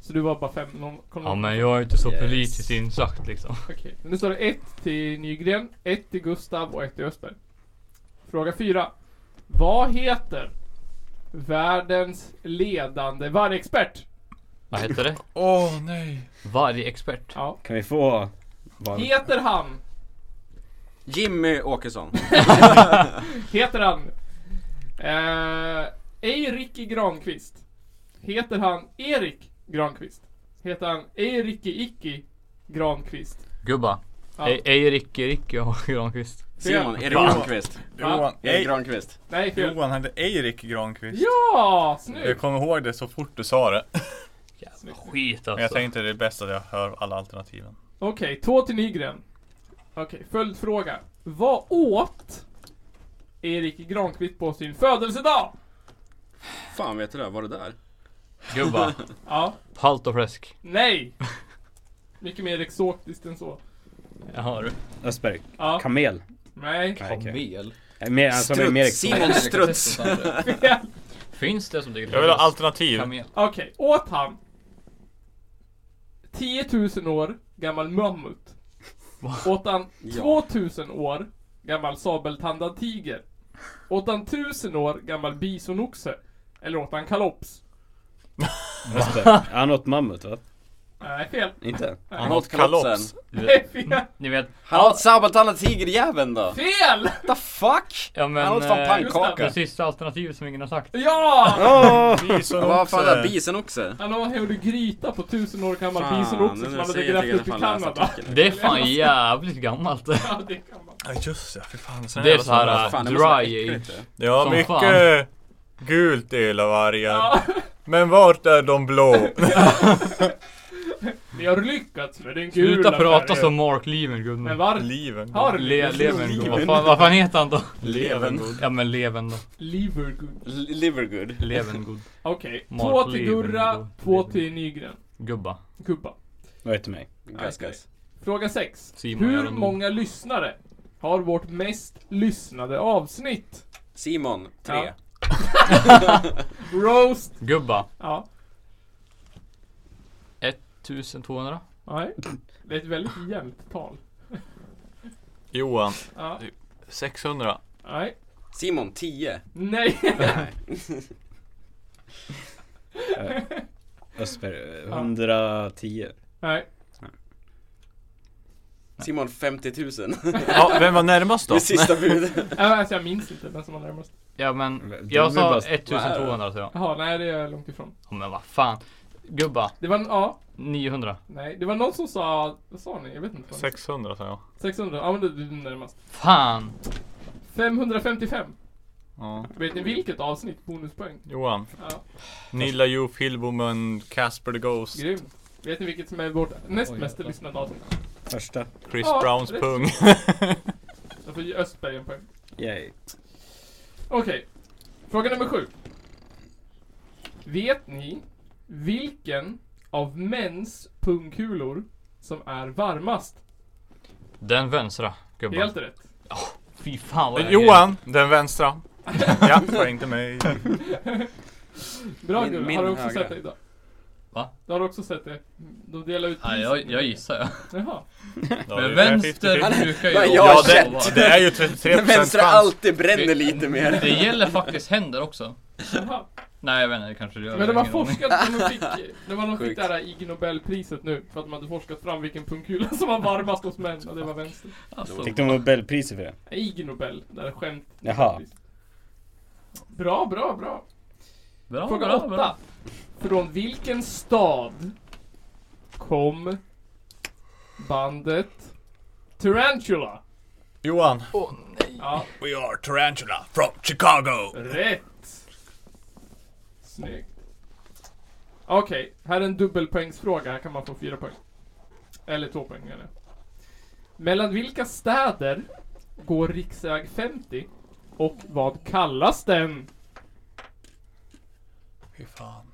Speaker 1: Så du var bara 5,0.
Speaker 6: Ja men jag är inte så
Speaker 4: Yes.
Speaker 6: politiskt insatt liksom.
Speaker 1: Okej, men nu står det 1 till Nygren, 1 till Gustav och 1 till Östberg. Fråga 4. Vad heter världens ledande vargexpert?
Speaker 6: Vad hette det?
Speaker 3: Åh nej.
Speaker 6: Vargexpert.
Speaker 1: Ja.
Speaker 4: Kan vi få... Vad...
Speaker 1: Heter han?
Speaker 5: Jimmy Åkesson.
Speaker 1: Heter han? Eh, Eiriki Granqvist. Heter han Erik Granqvist? Heter han Eiriki Icki Granqvist?
Speaker 6: Gubba.
Speaker 1: Ja.
Speaker 6: Ej, ej Ricke Ricke och Granqvist.
Speaker 5: Simon Erik
Speaker 6: Va?
Speaker 5: Granqvist.
Speaker 3: Johan,
Speaker 5: Erik
Speaker 3: Ej,
Speaker 5: Granqvist.
Speaker 1: Nej, fel.
Speaker 3: Johan hette Erik Granqvist.
Speaker 1: Ja,
Speaker 3: Jag
Speaker 1: snyggt!
Speaker 3: kommer ihåg det så fort du sa det.
Speaker 6: Jävla skit
Speaker 3: Men jag
Speaker 6: alltså.
Speaker 3: tänkte det är bäst att jag hör alla alternativen.
Speaker 1: Okej, två till Nygren. Okej, följdfråga. Vad åt Erik Granqvist på sin födelsedag?
Speaker 5: Fan vet du det? Var du där?
Speaker 6: Gubba.
Speaker 1: Ja,
Speaker 6: Palt och fläsk.
Speaker 1: nej! Mycket mer exotiskt än så.
Speaker 6: Jaha du.
Speaker 4: Östberg.
Speaker 1: Ja,
Speaker 4: Kamel.
Speaker 1: nej.
Speaker 4: Nej, okej.
Speaker 2: Kamel?
Speaker 4: Eh, Mer, alltså,
Speaker 5: Struts.
Speaker 4: mer
Speaker 5: Simon Struts.
Speaker 6: Finns det som det
Speaker 3: Jag vill ha alternativ.
Speaker 6: Kamel.
Speaker 1: Okej, åt han 10 000 år gammal mammut? Åt han 2000 år gammal sabeltandad tiger? Åt han 1000 år gammal bisonoxe? Eller åt han kalops?
Speaker 4: Östberg. Han åt mammut va?
Speaker 1: Nej, fel.
Speaker 4: Inte?
Speaker 5: Han åt
Speaker 3: kalops.
Speaker 5: kalopsen.
Speaker 6: Du vet-
Speaker 1: Nej, fel.
Speaker 6: Ni vet.
Speaker 5: Han åt sabeltandad tigerjäveln då.
Speaker 1: Fel!
Speaker 5: The fuck?
Speaker 6: Ja men.
Speaker 5: Han åt fan
Speaker 6: eh,
Speaker 5: pannkaka.
Speaker 6: Det sista alternativet som ingen har sagt.
Speaker 1: Ja!
Speaker 4: Åh!
Speaker 3: Bison
Speaker 5: Ja, Vad fan,
Speaker 3: också.
Speaker 5: där bison också?
Speaker 1: Han har- gjorde gryta på 1000 år gammal
Speaker 5: Fan,
Speaker 1: bisonoxe
Speaker 5: nu
Speaker 1: som han hade
Speaker 5: säger jag
Speaker 1: grävt
Speaker 5: till
Speaker 1: upp i
Speaker 5: att fan läsa
Speaker 1: Kanada.
Speaker 5: artikeln.
Speaker 6: Det är fan jävligt gammalt.
Speaker 1: Ja, det kan man.
Speaker 3: Ja just ja, för fan. Sen
Speaker 6: Det är
Speaker 3: alla
Speaker 6: så här
Speaker 3: såna-
Speaker 6: äh,
Speaker 5: Fan, det måste vara
Speaker 6: dry
Speaker 5: äckligt,
Speaker 6: age.
Speaker 5: det.
Speaker 3: Ja
Speaker 6: som
Speaker 3: mycket
Speaker 6: fan.
Speaker 3: gult i hela vargar.
Speaker 1: Ja,
Speaker 3: Men vart är de blå?
Speaker 1: ni har lyckats med den gula
Speaker 6: Sluta prata
Speaker 1: färgen.
Speaker 6: som Mark Levengood
Speaker 1: Men
Speaker 6: nu.
Speaker 1: varför
Speaker 3: Liven.
Speaker 1: har ni
Speaker 6: Le,
Speaker 1: lyckats?
Speaker 6: Levengood. Vad fan, vad fan heter han då?
Speaker 5: Leven.
Speaker 6: Ja men Leven då.
Speaker 1: Levergood.
Speaker 5: L- Livergood.
Speaker 6: Levengood.
Speaker 1: Okej,
Speaker 6: Mark
Speaker 1: två till Gurra,
Speaker 6: Levengood.
Speaker 1: två till Nygren.
Speaker 6: Gubba.
Speaker 1: Kubba.
Speaker 4: Vad heter mig?
Speaker 5: Guys, guys.
Speaker 1: Fråga 6.
Speaker 6: Simon
Speaker 1: Hur
Speaker 6: Järnemo.
Speaker 1: många lyssnare har vårt mest lyssnade avsnitt?
Speaker 5: Simon,
Speaker 1: Ja.
Speaker 5: tre.
Speaker 1: Roast.
Speaker 6: Gubba.
Speaker 1: Ja,
Speaker 6: 1200?
Speaker 1: nej. Det är ett väldigt jämnt tal.
Speaker 3: Johan.
Speaker 1: Ja,
Speaker 3: 600.
Speaker 1: nej.
Speaker 5: Simon, tio.
Speaker 1: Nej.
Speaker 4: Östberg. eh, 110.
Speaker 1: Nej.
Speaker 5: Simon 50 000.
Speaker 3: Ja, vem var närmast då?
Speaker 5: Det är sista budet.
Speaker 1: Ja, alltså jag minns inte vem som var närmast.
Speaker 6: Ja men,
Speaker 4: Men du
Speaker 6: jag
Speaker 4: är
Speaker 6: sa
Speaker 4: bäst.
Speaker 6: 1200 tror jag.
Speaker 1: Jaha, nej det är jag långt ifrån.
Speaker 6: Ja, men vad fan. Gubba,
Speaker 1: Det var en, ja,
Speaker 6: 900.
Speaker 1: nej. Det var någon som sa, vad sa ni? Jag vet inte. vad ni-
Speaker 3: 600 sa jag.
Speaker 1: 600, ja men du, du är närmast.
Speaker 6: Fan.
Speaker 1: 555.
Speaker 3: Ja.
Speaker 1: Vet ni vilket avsnitt? Bonuspoäng.
Speaker 3: Johan.
Speaker 1: Ja.
Speaker 3: Nilla Youth, Hillboomen, Casper the Ghost,
Speaker 1: Grymt. Vet ni vilket som är vårt näst mest lyssnade avsnitt?
Speaker 4: Första.
Speaker 3: Chris
Speaker 1: Ja,
Speaker 3: Browns
Speaker 1: rätt.
Speaker 3: pung.
Speaker 1: Jag får ge Östberg en poäng.
Speaker 4: Yay.
Speaker 1: Okej. Fråga nummer sju. Vet ni vilken av mäns pungkulor som är varmast?
Speaker 6: Den vänstra gubben.
Speaker 1: Helt rätt.
Speaker 6: Fy fan vad jag
Speaker 3: Johan, den vänstra. ja, poäng till mig.
Speaker 1: Bra
Speaker 5: Min-
Speaker 1: Gull,
Speaker 5: min
Speaker 1: har du också
Speaker 5: högra.
Speaker 1: sett det idag?
Speaker 2: Va?
Speaker 1: Du har också sett det? De delar ut
Speaker 2: Nej,
Speaker 1: pris.
Speaker 2: jag, jag gissar jag.
Speaker 1: Jaha.
Speaker 3: Då har
Speaker 2: Men
Speaker 3: vi det
Speaker 2: vänster
Speaker 3: 50-50.
Speaker 2: brukar ju...
Speaker 5: Vad jag
Speaker 3: Ja,
Speaker 5: har
Speaker 3: det, det är ju 33
Speaker 5: Den vänstra
Speaker 3: chans.
Speaker 5: alltid bränner lite mer.
Speaker 2: Det gäller faktiskt händer också.
Speaker 1: Jaha.
Speaker 2: Nej, jag vet inte, det kanske det gör.
Speaker 1: Men de
Speaker 2: Jag
Speaker 1: har
Speaker 2: har ingen aning.
Speaker 1: forskat, de fick, de har de fick
Speaker 5: Sjukt.
Speaker 1: det här Ig Nobelpriset nu för att de hade forskat fram vilken pungkula som var varmast hos män och det var vänster.
Speaker 2: Alltså,
Speaker 4: Fick de Nobelpriset för det?
Speaker 1: Nej, Ig Nobel, det här är skämt.
Speaker 4: Jaha.
Speaker 1: Bra, bra, bra.
Speaker 2: bra,
Speaker 1: Fråga
Speaker 2: bra,
Speaker 1: åtta.
Speaker 2: bra.
Speaker 1: Från vilken stad kom bandet Tarantula?
Speaker 3: Johan.
Speaker 1: Ja,
Speaker 3: We are Tarantula from Chicago.
Speaker 1: rätt. Snyggt. Okej, här är en dubbelpoängsfråga. Här kan man få fyra poäng. Eller två poäng eller. Mellan vilka städer går riksväg 50 och vad kallas den?
Speaker 3: Fy fan.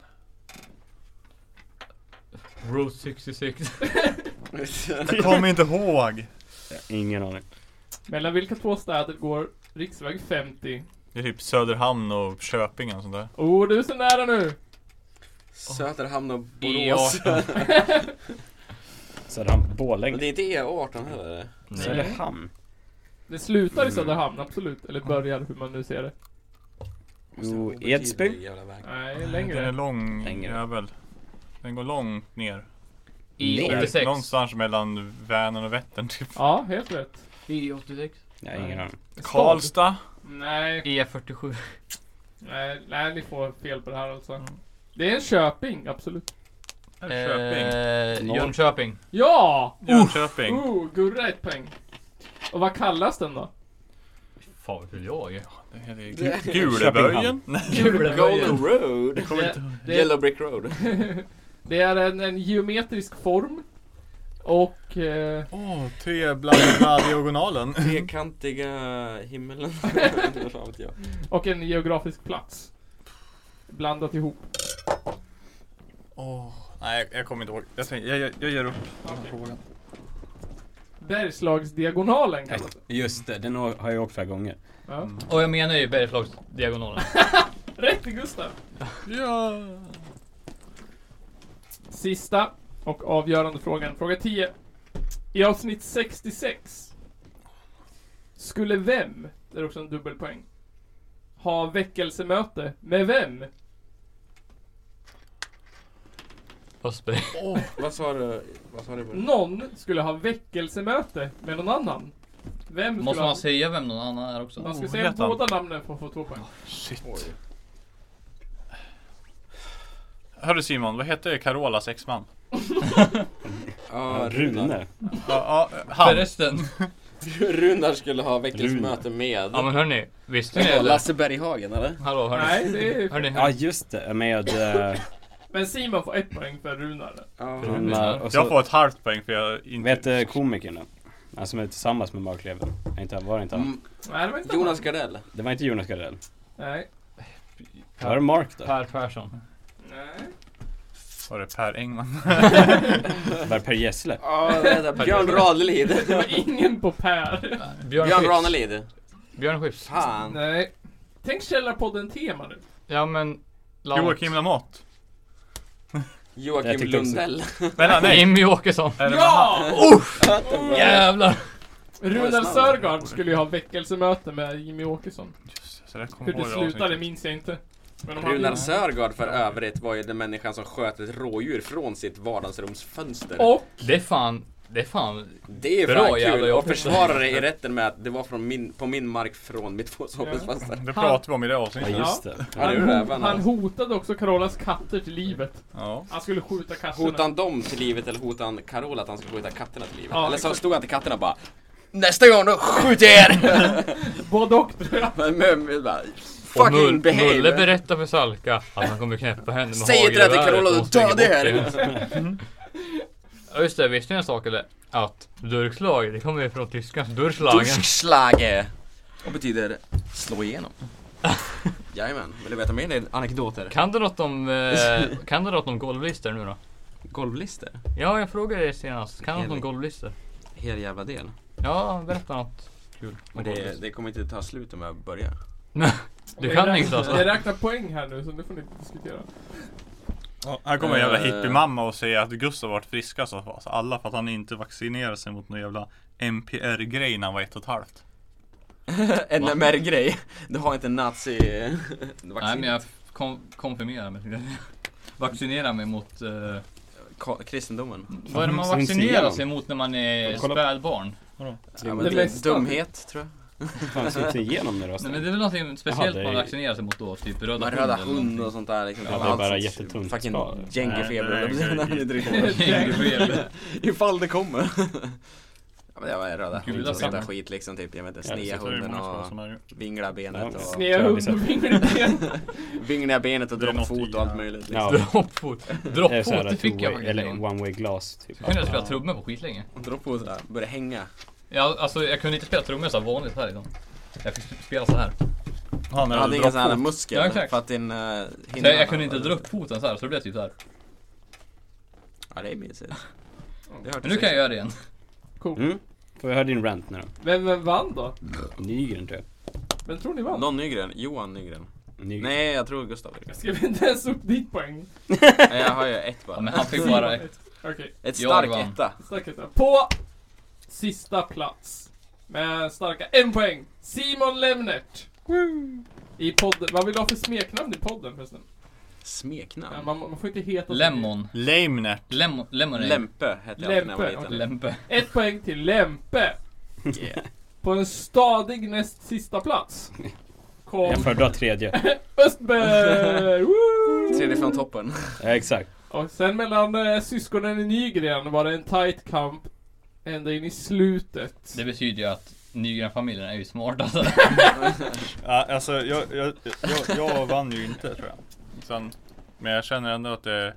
Speaker 2: Route 66.
Speaker 3: Jag kommer inte ihåg.
Speaker 4: Ingen aning.
Speaker 1: Mellan vilka två städer går riksväg 50?
Speaker 3: Det är typ Söderhamn och Köping och sånt där.
Speaker 1: Oh, du är så nära nu!
Speaker 5: Söderhamn och Borås.
Speaker 2: E18.
Speaker 4: Söderhamn,
Speaker 5: Men det
Speaker 4: Borlänge.
Speaker 5: är inte E18 heller.
Speaker 4: Söderhamn.
Speaker 1: Det slutar i Söderhamn, absolut. Eller börjar, hur man nu ser det.
Speaker 4: Jo, Edsbyn.
Speaker 1: Nej,
Speaker 3: Den är
Speaker 1: längre.
Speaker 3: lång
Speaker 4: Längre.
Speaker 3: jävel. Den går långt ner.
Speaker 2: E
Speaker 6: E86.
Speaker 3: Någonstans mellan Vänern och Vättern typ.
Speaker 1: Ja, helt rätt.
Speaker 2: E
Speaker 6: E86.
Speaker 4: Nej, ingen aning.
Speaker 1: Stad?
Speaker 3: Karlstad.
Speaker 1: Nej,
Speaker 2: E
Speaker 6: E47.
Speaker 1: nej, nej, ni får fel på det här
Speaker 3: Mm.
Speaker 1: alltså. Det är en Köping, absolut.
Speaker 3: Köping.
Speaker 6: Eh, Jönköping.
Speaker 1: Ja!
Speaker 3: Jönköping.
Speaker 1: Oh, Gurra ett poäng. Och vad kallas den då?
Speaker 6: Fan vad kul jag är.
Speaker 3: Det är Gu- Guleböjen.
Speaker 5: Golden Road.
Speaker 1: Det, det,
Speaker 5: Yellow Brick Road.
Speaker 1: det är en, en geometrisk form. Och... Eh,
Speaker 3: Åh, oh, trebladda diagonalen.
Speaker 5: Trekantiga himlen. Vad fan vet jag.
Speaker 1: och en geografisk plats. Blandat ihop.
Speaker 3: Åh, nej jag kommer inte ihåg. Jag, tänker- jag, jag, jag ger upp den här frågan.
Speaker 1: Bergslagsdiagonalen kallas det.
Speaker 4: Just det, den har har jag åkt flera gånger.
Speaker 1: Ja.
Speaker 6: Och jag menar ju Bergslagsdiagonalen.
Speaker 1: Rätt Gustav!
Speaker 3: Ja.
Speaker 1: Sista och avgörande frågan. Fråga 10. I avsnitt 66 skulle vem, det är också en dubbelpoäng, ha väckelsemöte med vem?
Speaker 6: Östberg.
Speaker 5: Vad sa du? Vad sa du? Boris?
Speaker 1: Någon skulle ha väckelsemöte med någon annan. Vem skulle
Speaker 2: Måste
Speaker 1: ha...
Speaker 2: man säga vem någon annan är också?
Speaker 1: Man ska
Speaker 3: Oh,
Speaker 1: säga
Speaker 3: heter han?
Speaker 1: båda namnen för att få två poäng.
Speaker 3: Shit.
Speaker 5: Oj.
Speaker 3: Hörru Simon, vad heter Carolas exman?
Speaker 5: Ja, Runar.
Speaker 4: Rune.
Speaker 3: Ja, ja, han.
Speaker 6: Förresten.
Speaker 5: Runar skulle ha veckelsmöte med. eh,
Speaker 6: Ja men hörni. Visste ni eller?
Speaker 5: Lasse Berghagen eller?
Speaker 6: Hallå hörni.
Speaker 1: Nej, det är...
Speaker 6: Hörni,
Speaker 4: Ja,
Speaker 6: hörni.
Speaker 4: just det. Med eh,
Speaker 1: Men Simon får ett poäng för Runar.
Speaker 5: Ja.
Speaker 4: Runar och
Speaker 3: Jag
Speaker 4: så...
Speaker 3: får ett halvt poäng för jag inte...
Speaker 4: Vet du komikern då? Han som är tillsammans med Mark Leven. Nej, inte han. Var det inte han?
Speaker 5: Mm,
Speaker 1: Nej, det var inte
Speaker 5: Jonas
Speaker 1: han.
Speaker 5: Gardell.
Speaker 4: Det var inte Jonas Gardell.
Speaker 1: Nej.
Speaker 4: Var det Mark då?
Speaker 6: Per Persson.
Speaker 1: Nej.
Speaker 3: Var det Per Engman?
Speaker 4: Var det Per Gessle?
Speaker 5: Ja, det heter Björn Ranelid.
Speaker 1: Det var ingen på Per.
Speaker 5: Björn
Speaker 6: Björn Skifs.
Speaker 5: Ranelid.
Speaker 6: Björn Skifs.
Speaker 5: Fan.
Speaker 1: Nej. Tänk Källarpodden-tema nu.
Speaker 6: Ja men. Lars.
Speaker 3: Joakim Lamotte?
Speaker 4: Jag
Speaker 5: Joakim
Speaker 4: tyckte också-
Speaker 5: Lundell.
Speaker 3: Vänta, nej!
Speaker 6: Jimmy Åkesson.
Speaker 3: Är det
Speaker 1: Ja!
Speaker 6: Jävlar.
Speaker 1: Runar Sörgard skulle ju ha väckelsemöte med Jimmy Åkesson.
Speaker 3: Just det, så där kommer
Speaker 1: Hur
Speaker 3: jag
Speaker 1: det
Speaker 3: ihåg
Speaker 1: slutade
Speaker 3: avsnittet.
Speaker 1: minns jag inte. Men de hade
Speaker 5: Runar
Speaker 1: ju-
Speaker 5: Sörgard för övrigt var ju den människan som sköt ett rådjur från sitt vardagsrumsfönster.
Speaker 1: Och
Speaker 6: Det är fan
Speaker 11: Det är fan
Speaker 7: Det är
Speaker 11: bra
Speaker 7: fan
Speaker 11: jävla
Speaker 7: kul
Speaker 11: jobb.
Speaker 7: och försvara det i rätten med att det var från min, på min mark från mitt fotbollsfönster.
Speaker 3: Det pratade vi om i det avsnittet.
Speaker 4: Ja, just det.
Speaker 7: Ja, det
Speaker 1: Han,
Speaker 7: är det,
Speaker 1: hot,
Speaker 7: men
Speaker 1: han
Speaker 7: alltså.
Speaker 1: hotade också Carolas katter till livet.
Speaker 3: Ja.
Speaker 1: Han skulle skjuta katterna.
Speaker 7: Hotade han dem till livet eller hotade han Carola att han skulle skjuta katterna till livet?
Speaker 1: Ja,
Speaker 7: eller så
Speaker 1: exakt.
Speaker 7: stod han till katterna och bara Nästa gång då skjuter jag er!
Speaker 1: Både och tror jag.
Speaker 7: Men Mummel bara
Speaker 11: Och Mull,
Speaker 7: Fucking
Speaker 11: Mulle
Speaker 7: behave!
Speaker 11: berättar för Salka att han kommer knäppa henne med
Speaker 7: Säg inte det till
Speaker 11: hagelgeväret
Speaker 7: Carola,
Speaker 11: och
Speaker 7: då
Speaker 11: hon springer
Speaker 7: dör det
Speaker 11: bort
Speaker 7: här.
Speaker 11: igen. Ja just det, visste ni en sak eller? Att durkslag, det kommer ju från tyskans durslagen.
Speaker 7: Duschschlage! Och betyder slå igenom. Jajamän, vill du veta mer anekdoter?
Speaker 11: Kan du något om, eh, kan du något om golvlister nu då?
Speaker 7: Golvlister?
Speaker 11: Ja, jag frågade dig senast. Kan du något om
Speaker 7: Erik.
Speaker 11: golvlister?
Speaker 7: Hel jävla del.
Speaker 11: Ja, berätta något kul. om
Speaker 7: Och det,
Speaker 11: golvlister.
Speaker 7: det kommer inte ta slut om jag börjar.
Speaker 11: Du kan inget alltså?
Speaker 1: Jag räknar poäng här nu så nu får ni diskutera.
Speaker 3: Ja, Här kommer en jävla
Speaker 7: Eh.
Speaker 3: hippiemamma och säger att Gustav varit friskast av oss alla för att han inte vaccinerade sig mot någon jävla MPR-grej när han var ett och ett halvt.
Speaker 7: NMR-grej. Du har inte nazi...
Speaker 6: Nej
Speaker 7: vaccin.
Speaker 6: men jag kom, konfirmerar mig. Vaccinera mig mot... eh,
Speaker 7: Ka- kristendomen.
Speaker 6: vad är det man
Speaker 4: Mm, Som
Speaker 6: vaccinerar
Speaker 4: Sion.
Speaker 6: sig mot när man är
Speaker 4: Kolla-
Speaker 6: spädbarn?
Speaker 7: Ja,
Speaker 1: Det
Speaker 7: men det är
Speaker 1: bästa.
Speaker 7: dumhet tror jag.
Speaker 4: Fan, syns det igenom nu då?
Speaker 6: Nej men det är väl någonting speciellt
Speaker 4: Jaha, det är-
Speaker 6: man vaccinerar sig mot då? Typ röda,
Speaker 7: Man röda
Speaker 6: eller någonting.
Speaker 7: hund och sånt där liksom.
Speaker 4: Ja, det är
Speaker 7: Allt
Speaker 4: bara
Speaker 7: sånt.
Speaker 4: jättetunt
Speaker 7: Fucking
Speaker 4: skal.
Speaker 7: jänkelfeber.
Speaker 3: Nej, det är
Speaker 7: eller
Speaker 3: grej.
Speaker 7: något sånt där.
Speaker 6: Jänkelfeber.
Speaker 7: Ifall det kommer. ja men det var röda
Speaker 6: Gula
Speaker 7: hund och sånt där
Speaker 6: samma.
Speaker 7: skit liksom typ. Jag vet inte,
Speaker 4: Ja, det
Speaker 7: snea
Speaker 3: Det är ju
Speaker 7: hunden
Speaker 3: många som har
Speaker 7: och
Speaker 3: såna här-
Speaker 7: vingla benet och...
Speaker 4: Ja.
Speaker 1: Snea hund och vingelben.
Speaker 7: Vingla benet och
Speaker 3: Det är något
Speaker 7: droppfot
Speaker 3: i-
Speaker 7: och allt möjligt liksom.
Speaker 4: Ja,
Speaker 11: Droppfot.
Speaker 4: det är
Speaker 11: Droppfot,
Speaker 4: såhär
Speaker 11: det fick jag
Speaker 4: two-way,
Speaker 11: faktiskt.
Speaker 4: eller
Speaker 11: en gång.
Speaker 4: one way glass typ.
Speaker 6: Jag kunde spela trummor på skitlänge.
Speaker 7: Droppfot där, börja hänga.
Speaker 6: Ja, alltså jag kunde inte spela trummor så här vanligt här idag. Jag fick sp- spela så här. Så
Speaker 3: Han
Speaker 7: Jag
Speaker 3: är
Speaker 7: hade
Speaker 3: väl
Speaker 7: ingen sån här
Speaker 3: droppfot.
Speaker 7: muskel
Speaker 6: Ja, exakt.
Speaker 7: för att din... eh,
Speaker 6: jag,
Speaker 7: hinnan
Speaker 6: jag kunde inte
Speaker 7: var-
Speaker 6: dra upp foten så här så det blev typ så här.
Speaker 7: Ja det är mysigt. Det hör
Speaker 6: Men
Speaker 7: till
Speaker 6: nu kan jag göra det igen.
Speaker 4: Mm. Får vi höra din rant nu då?
Speaker 1: Men vem vann då?
Speaker 4: Nygren tror jag.
Speaker 1: Vem tror ni
Speaker 7: sig.
Speaker 1: vann?
Speaker 7: Någon Nygren? Johan Nygren?
Speaker 4: Nygren.
Speaker 7: Nej, jag tror Gustav Nygren.
Speaker 1: Jag skrev inte ens upp ditt poäng.
Speaker 7: Nej, jag har ju ett
Speaker 6: Ja,
Speaker 7: bara.
Speaker 6: men han fick bara...
Speaker 1: Okej,
Speaker 7: Ett
Speaker 6: Jag
Speaker 7: stark
Speaker 6: vann.
Speaker 7: etta.
Speaker 1: starkt detta. På sista plats. Med starka en poäng. Simon Lemnert. I podden. Vad vill du ha för smeknamn i podden förresten? Ja,
Speaker 7: Smeknamn?
Speaker 1: man, man får inte heta...
Speaker 6: Lemon.
Speaker 3: Lamenet.
Speaker 6: Lemon. Lemonade.
Speaker 7: Lempe hette jag alltid när
Speaker 1: Lempe,
Speaker 7: jag var liten.
Speaker 6: Lempe.
Speaker 1: Ett poäng till Lempe.
Speaker 7: Yeah.
Speaker 1: På en stadig näst sista plats. Kom
Speaker 4: Jag föredrar tredje.
Speaker 1: Östberg! Woo!
Speaker 7: Tredje från toppen.
Speaker 4: Ja, exakt.
Speaker 1: Och sen mellan eh, syskonen i Nygren var det en tight kamp ända in i slutet.
Speaker 6: Det betyder ju att Nygren-familjen är ju smarta. Alltså.
Speaker 3: Ja, alltså jag, jag, jag, jag vann ju inte tror jag. Sen, men jag känner ändå att det är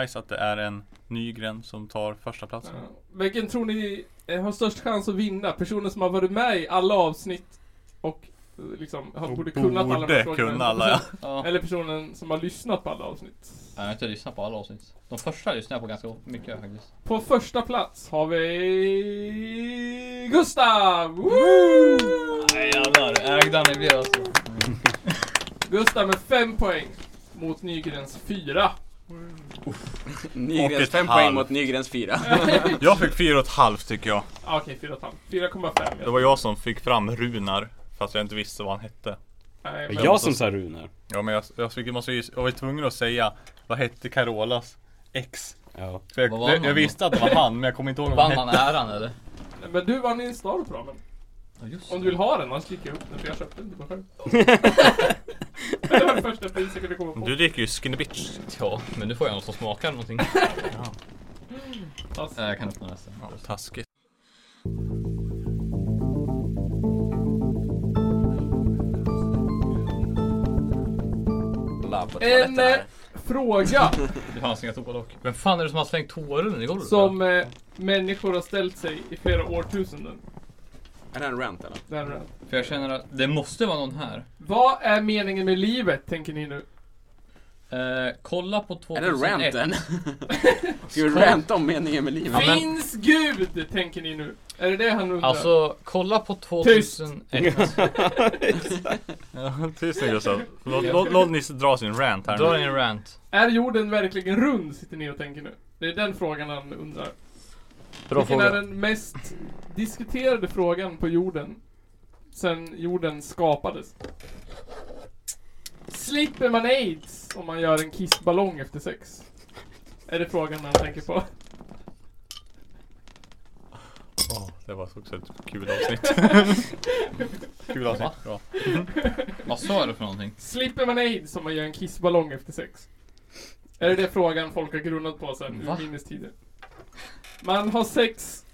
Speaker 3: nice att det är en Nygren som tar första platsen.
Speaker 1: Ja. Vilken tror ni eh, har störst chans att vinna? Personen som har varit med i alla avsnitt och eh, liksom har borde kunnat alla de här
Speaker 3: Borde
Speaker 1: frågorna.
Speaker 3: kunna alla ja.
Speaker 6: Ja.
Speaker 1: Eller personen som har lyssnat på alla avsnitt.
Speaker 6: Jag har inte lyssnat på alla avsnitt. De första lyssnade jag på ganska mycket faktiskt.
Speaker 1: På första plats har vi Gustav! Woo!
Speaker 6: Nej jävlar, ägda ni blir alltså.
Speaker 1: Gustav med fem poäng mot Nygrens fyra.
Speaker 7: Nygrens
Speaker 3: ett
Speaker 7: 5
Speaker 3: halvt.
Speaker 7: poäng mot Nygrens 4.
Speaker 3: Jag fick fyra och ett halvt tycker jag.
Speaker 1: Ah, Okej, fyra och ett halvt. 4,5.
Speaker 3: Det var jag som fick fram Runar. Fast jag inte visste vad han hette.
Speaker 1: Nej, men-
Speaker 4: Jag som sa Runar.
Speaker 3: Ja men jag, jag, fick, måste, ju- jag var ju tvungen att säga vad hette Carolas ex?
Speaker 4: Ja.
Speaker 3: För jag,
Speaker 6: Vad var han
Speaker 3: jag, jag
Speaker 6: då?
Speaker 3: visste att det var han men jag kommer inte ihåg vad han
Speaker 6: Vann
Speaker 3: hette.
Speaker 6: han äran eller?
Speaker 1: Men du vann ju en star på ramen.
Speaker 6: Ja just
Speaker 1: Om
Speaker 6: det.
Speaker 1: du vill ha den, annars klickar jag upp den för jag köpte den till mig själv. det var det första pris jag kunde komma på.
Speaker 3: Du dricker ju skinny bitch.
Speaker 11: Ja, men nu får jag något som smakar någonting.
Speaker 1: Fast-
Speaker 6: Ja, Jag kan öppna nästa.
Speaker 3: Ja, taskigt.
Speaker 1: En eh, fråga
Speaker 6: Det fanns inga toalock. Vem fan är det som har slängt toarullen i golvet?
Speaker 1: som eh, människor har ställt sig i flera årtusenden.
Speaker 7: Är det en rant eller?
Speaker 1: Den här.
Speaker 6: För jag känner att det måste vara någon här.
Speaker 1: Vad är meningen med livet, tänker ni nu?
Speaker 6: Eh, kolla på
Speaker 7: Är det eh?
Speaker 6: 2001.
Speaker 7: ranten? Ska vi ranta om meningen med livet?
Speaker 6: men-
Speaker 1: Finns Gud, tänker ni nu? Är det det han undrar?
Speaker 11: Alltså, kolla på 2001.
Speaker 3: Ja, tusen Gustav. Låt, låt, låt Nisse dra sin rant här
Speaker 11: Då är
Speaker 3: nu.
Speaker 11: det en rant.
Speaker 1: Är jorden verkligen rund, sitter ni och tänker nu? Det är den frågan han undrar.
Speaker 11: Bra
Speaker 1: Vilken är
Speaker 11: fråga.
Speaker 1: den mest diskuterade frågan på jorden? Sen jorden skapades. Slipper man aids om man gör en kissballong efter sex? Är det frågan man tänker på.
Speaker 3: Det var också ett kul avsnitt. kul avsnitt. Bra.
Speaker 2: Vad sa du för någonting?
Speaker 1: Slipper man aids om man gör en kissballong efter sex? Är det det frågan folk har grundat på sen
Speaker 2: Va?
Speaker 1: urminnes tider? Man har sex,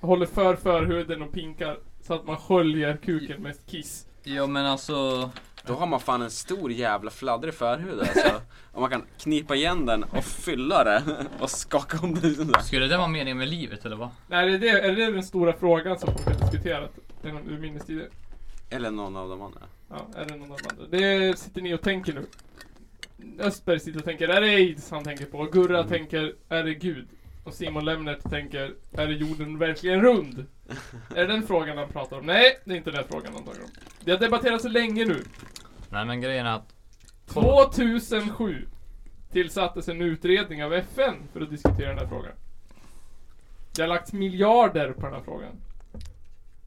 Speaker 1: håller för förhuden och pinkar så att man sköljer kuken med kiss.
Speaker 2: Ja men alltså...
Speaker 7: Då har man fan en stor jävla fladdrig förhud alltså. Och man kan knipa igen den och fylla det och skaka om den. liksom så här.
Speaker 2: Skulle det vara meningen med livet eller vad?
Speaker 1: Nej, är det, är det den stora frågan som folk har diskuterat genom urminnes tider?
Speaker 7: Eller någon av de andra.
Speaker 1: Ja, är det någon av de andra? Det sitter ni och tänker nu. Östberg sitter och tänker, är det aids han tänker på? Gurra
Speaker 7: Mm.
Speaker 1: tänker, är det Gud? Och Simon Lemnert tänker, är det jorden verkligen rund? är det den frågan han pratar om? Nej, det är inte den frågan han pratar om. Det har debatterats så länge nu.
Speaker 6: Nej men grejen är att
Speaker 1: 2007 tillsattes en utredning av FN för att diskutera den här frågan. Det har lagts miljarder på den här frågan.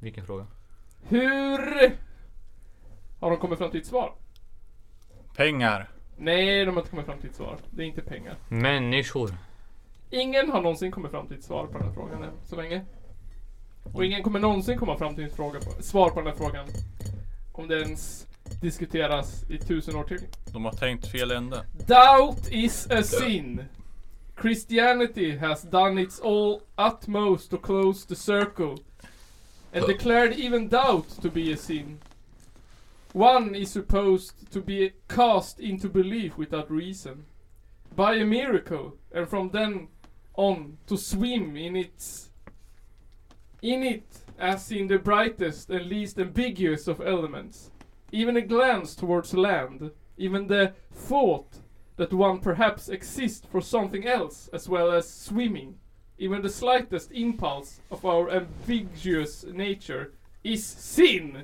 Speaker 6: Vilken fråga?
Speaker 1: Hur har de kommit fram till ett svar?
Speaker 3: Pengar.
Speaker 1: Nej, de har inte kommit fram till ett svar. Det är inte pengar.
Speaker 6: Människor.
Speaker 1: Ingen har någonsin kommit fram till ett svar på den här frågan än, så länge. Och ingen kommer någonsin komma fram till ett fråga på, svar på den här frågan. Om det ens diskuteras i tusen år till.
Speaker 3: De har tänkt fel ände.
Speaker 1: Doubt is a sin. Christianity has done its all utmost to close the circle. And declared even doubt to be a sin. One is supposed to be cast into belief without reason. By a miracle, and from then on to swim in its in it as in the brightest and least ambiguous of elements. Even a glance towards land, even the thought that one perhaps exists for something else as well as swimming, even the slightest impulse of our ambiguous nature is sin.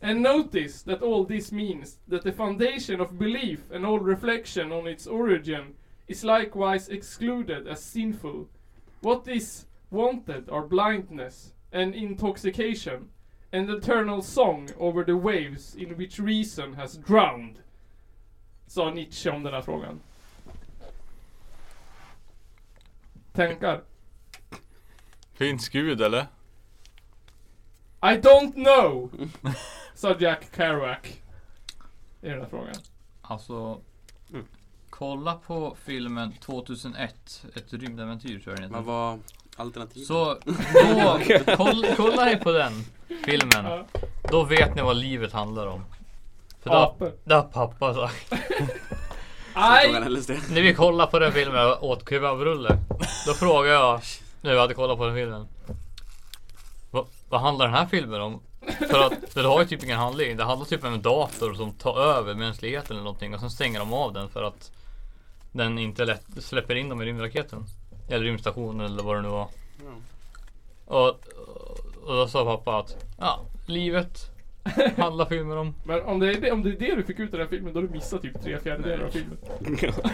Speaker 1: And notice that all this means that the foundation of belief and all reflection on its origin is likewise excluded as sinful. What is wanted are blindness and intoxication, and eternal song over the waves in which reason has drowned. Sa Nietzsche om den här frågan. Tankar?
Speaker 3: Finns gud eller?
Speaker 1: I don't know! Sa Jack Kerouac. I den här frågan.
Speaker 2: Alltså... Kolla på filmen 2001, ett rymdäventyr tror jag den
Speaker 7: Vad
Speaker 2: heter.
Speaker 7: var alternativet?
Speaker 2: Så
Speaker 6: Då, koll, kolla ni på den filmen.
Speaker 1: Ja.
Speaker 6: Då vet ni vad livet handlar om. För det har-
Speaker 1: Apor.
Speaker 6: det har pappa sagt.
Speaker 1: Aj!
Speaker 7: Frågan LSD.
Speaker 6: När vi kollade på den filmen jag åt kebabrulle. Då frågade jag när vi hade kollat på den filmen. "Va- Vad handlar den här filmen om? För att det har ju typ ingen handling. Det handlar typ om en dator som tar över mänskligheten eller någonting och sen stänger de av den för att den inte lätt släpper in dem i rymdraketen. Eller rymdstationen eller vad det nu var. Och, och då sa pappa att ja, livet handlar filmen om.
Speaker 1: Men om det, är det, om det är det du fick ut av den här filmen, då har du missat typ tre fjärdedelar av filmen.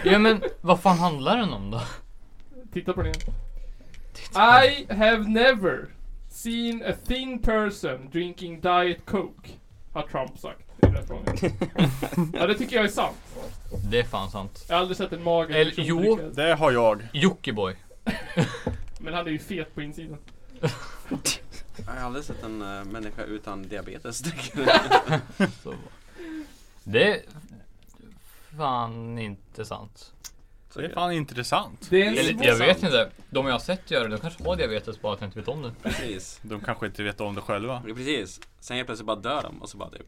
Speaker 6: Ja men vad fan handlar den om då?
Speaker 1: Titta på den igen. I have never seen a thin person drinking diet coke. Har Trump sagt i den här frågan. ja, det tycker jag är sant.
Speaker 6: Det är fan sant.
Speaker 1: Jag har aldrig sett en mager
Speaker 6: Eller-
Speaker 1: person
Speaker 6: jo.
Speaker 1: dricka-
Speaker 3: Det har jag.
Speaker 6: Jockiboi.
Speaker 1: Men han är ju fet på insidan.
Speaker 7: Jag har aldrig sett en eh, människa utan diabetes.
Speaker 6: Så. Det är fan inte sant.
Speaker 3: Det är fan intressant.
Speaker 1: Det är en
Speaker 6: Eller,
Speaker 1: svår-
Speaker 6: jag vet inte. De jag har sett göra det, de kanske har diabetes bara att jag inte vet om det.
Speaker 7: Precis.
Speaker 3: De kanske inte vet om det själva.
Speaker 7: Precis. Sen helt plötsligt bara dör de och så bara typ.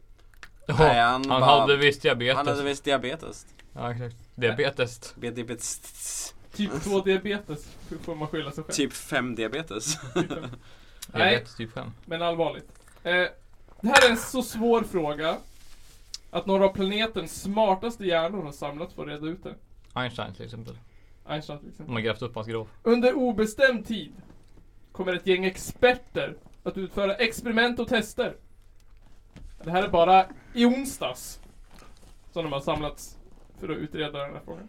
Speaker 6: Ja,
Speaker 7: han
Speaker 6: han
Speaker 7: bara-
Speaker 6: hade visst diabetes.
Speaker 7: Han hade visst diabetes.
Speaker 6: Ja, exakt. Diabetes.
Speaker 7: Diabetes.
Speaker 1: Typ 2 diabetes får man skylla sig själv.
Speaker 7: Typ 5 diabetes.
Speaker 1: Nej,
Speaker 6: Diabetes typ 5.
Speaker 1: men allvarligt. Eh, det här är en så svår fråga att några av planetens smartaste hjärnor har samlats för att reda ut det.
Speaker 6: Einstein till exempel.
Speaker 1: Einstein till exempel.
Speaker 6: De har grävt upp hans grav.
Speaker 1: Under obestämd tid kommer ett gäng experter att utföra experiment och tester. Det här är bara i onsdags som de har samlats för att utreda den här frågan.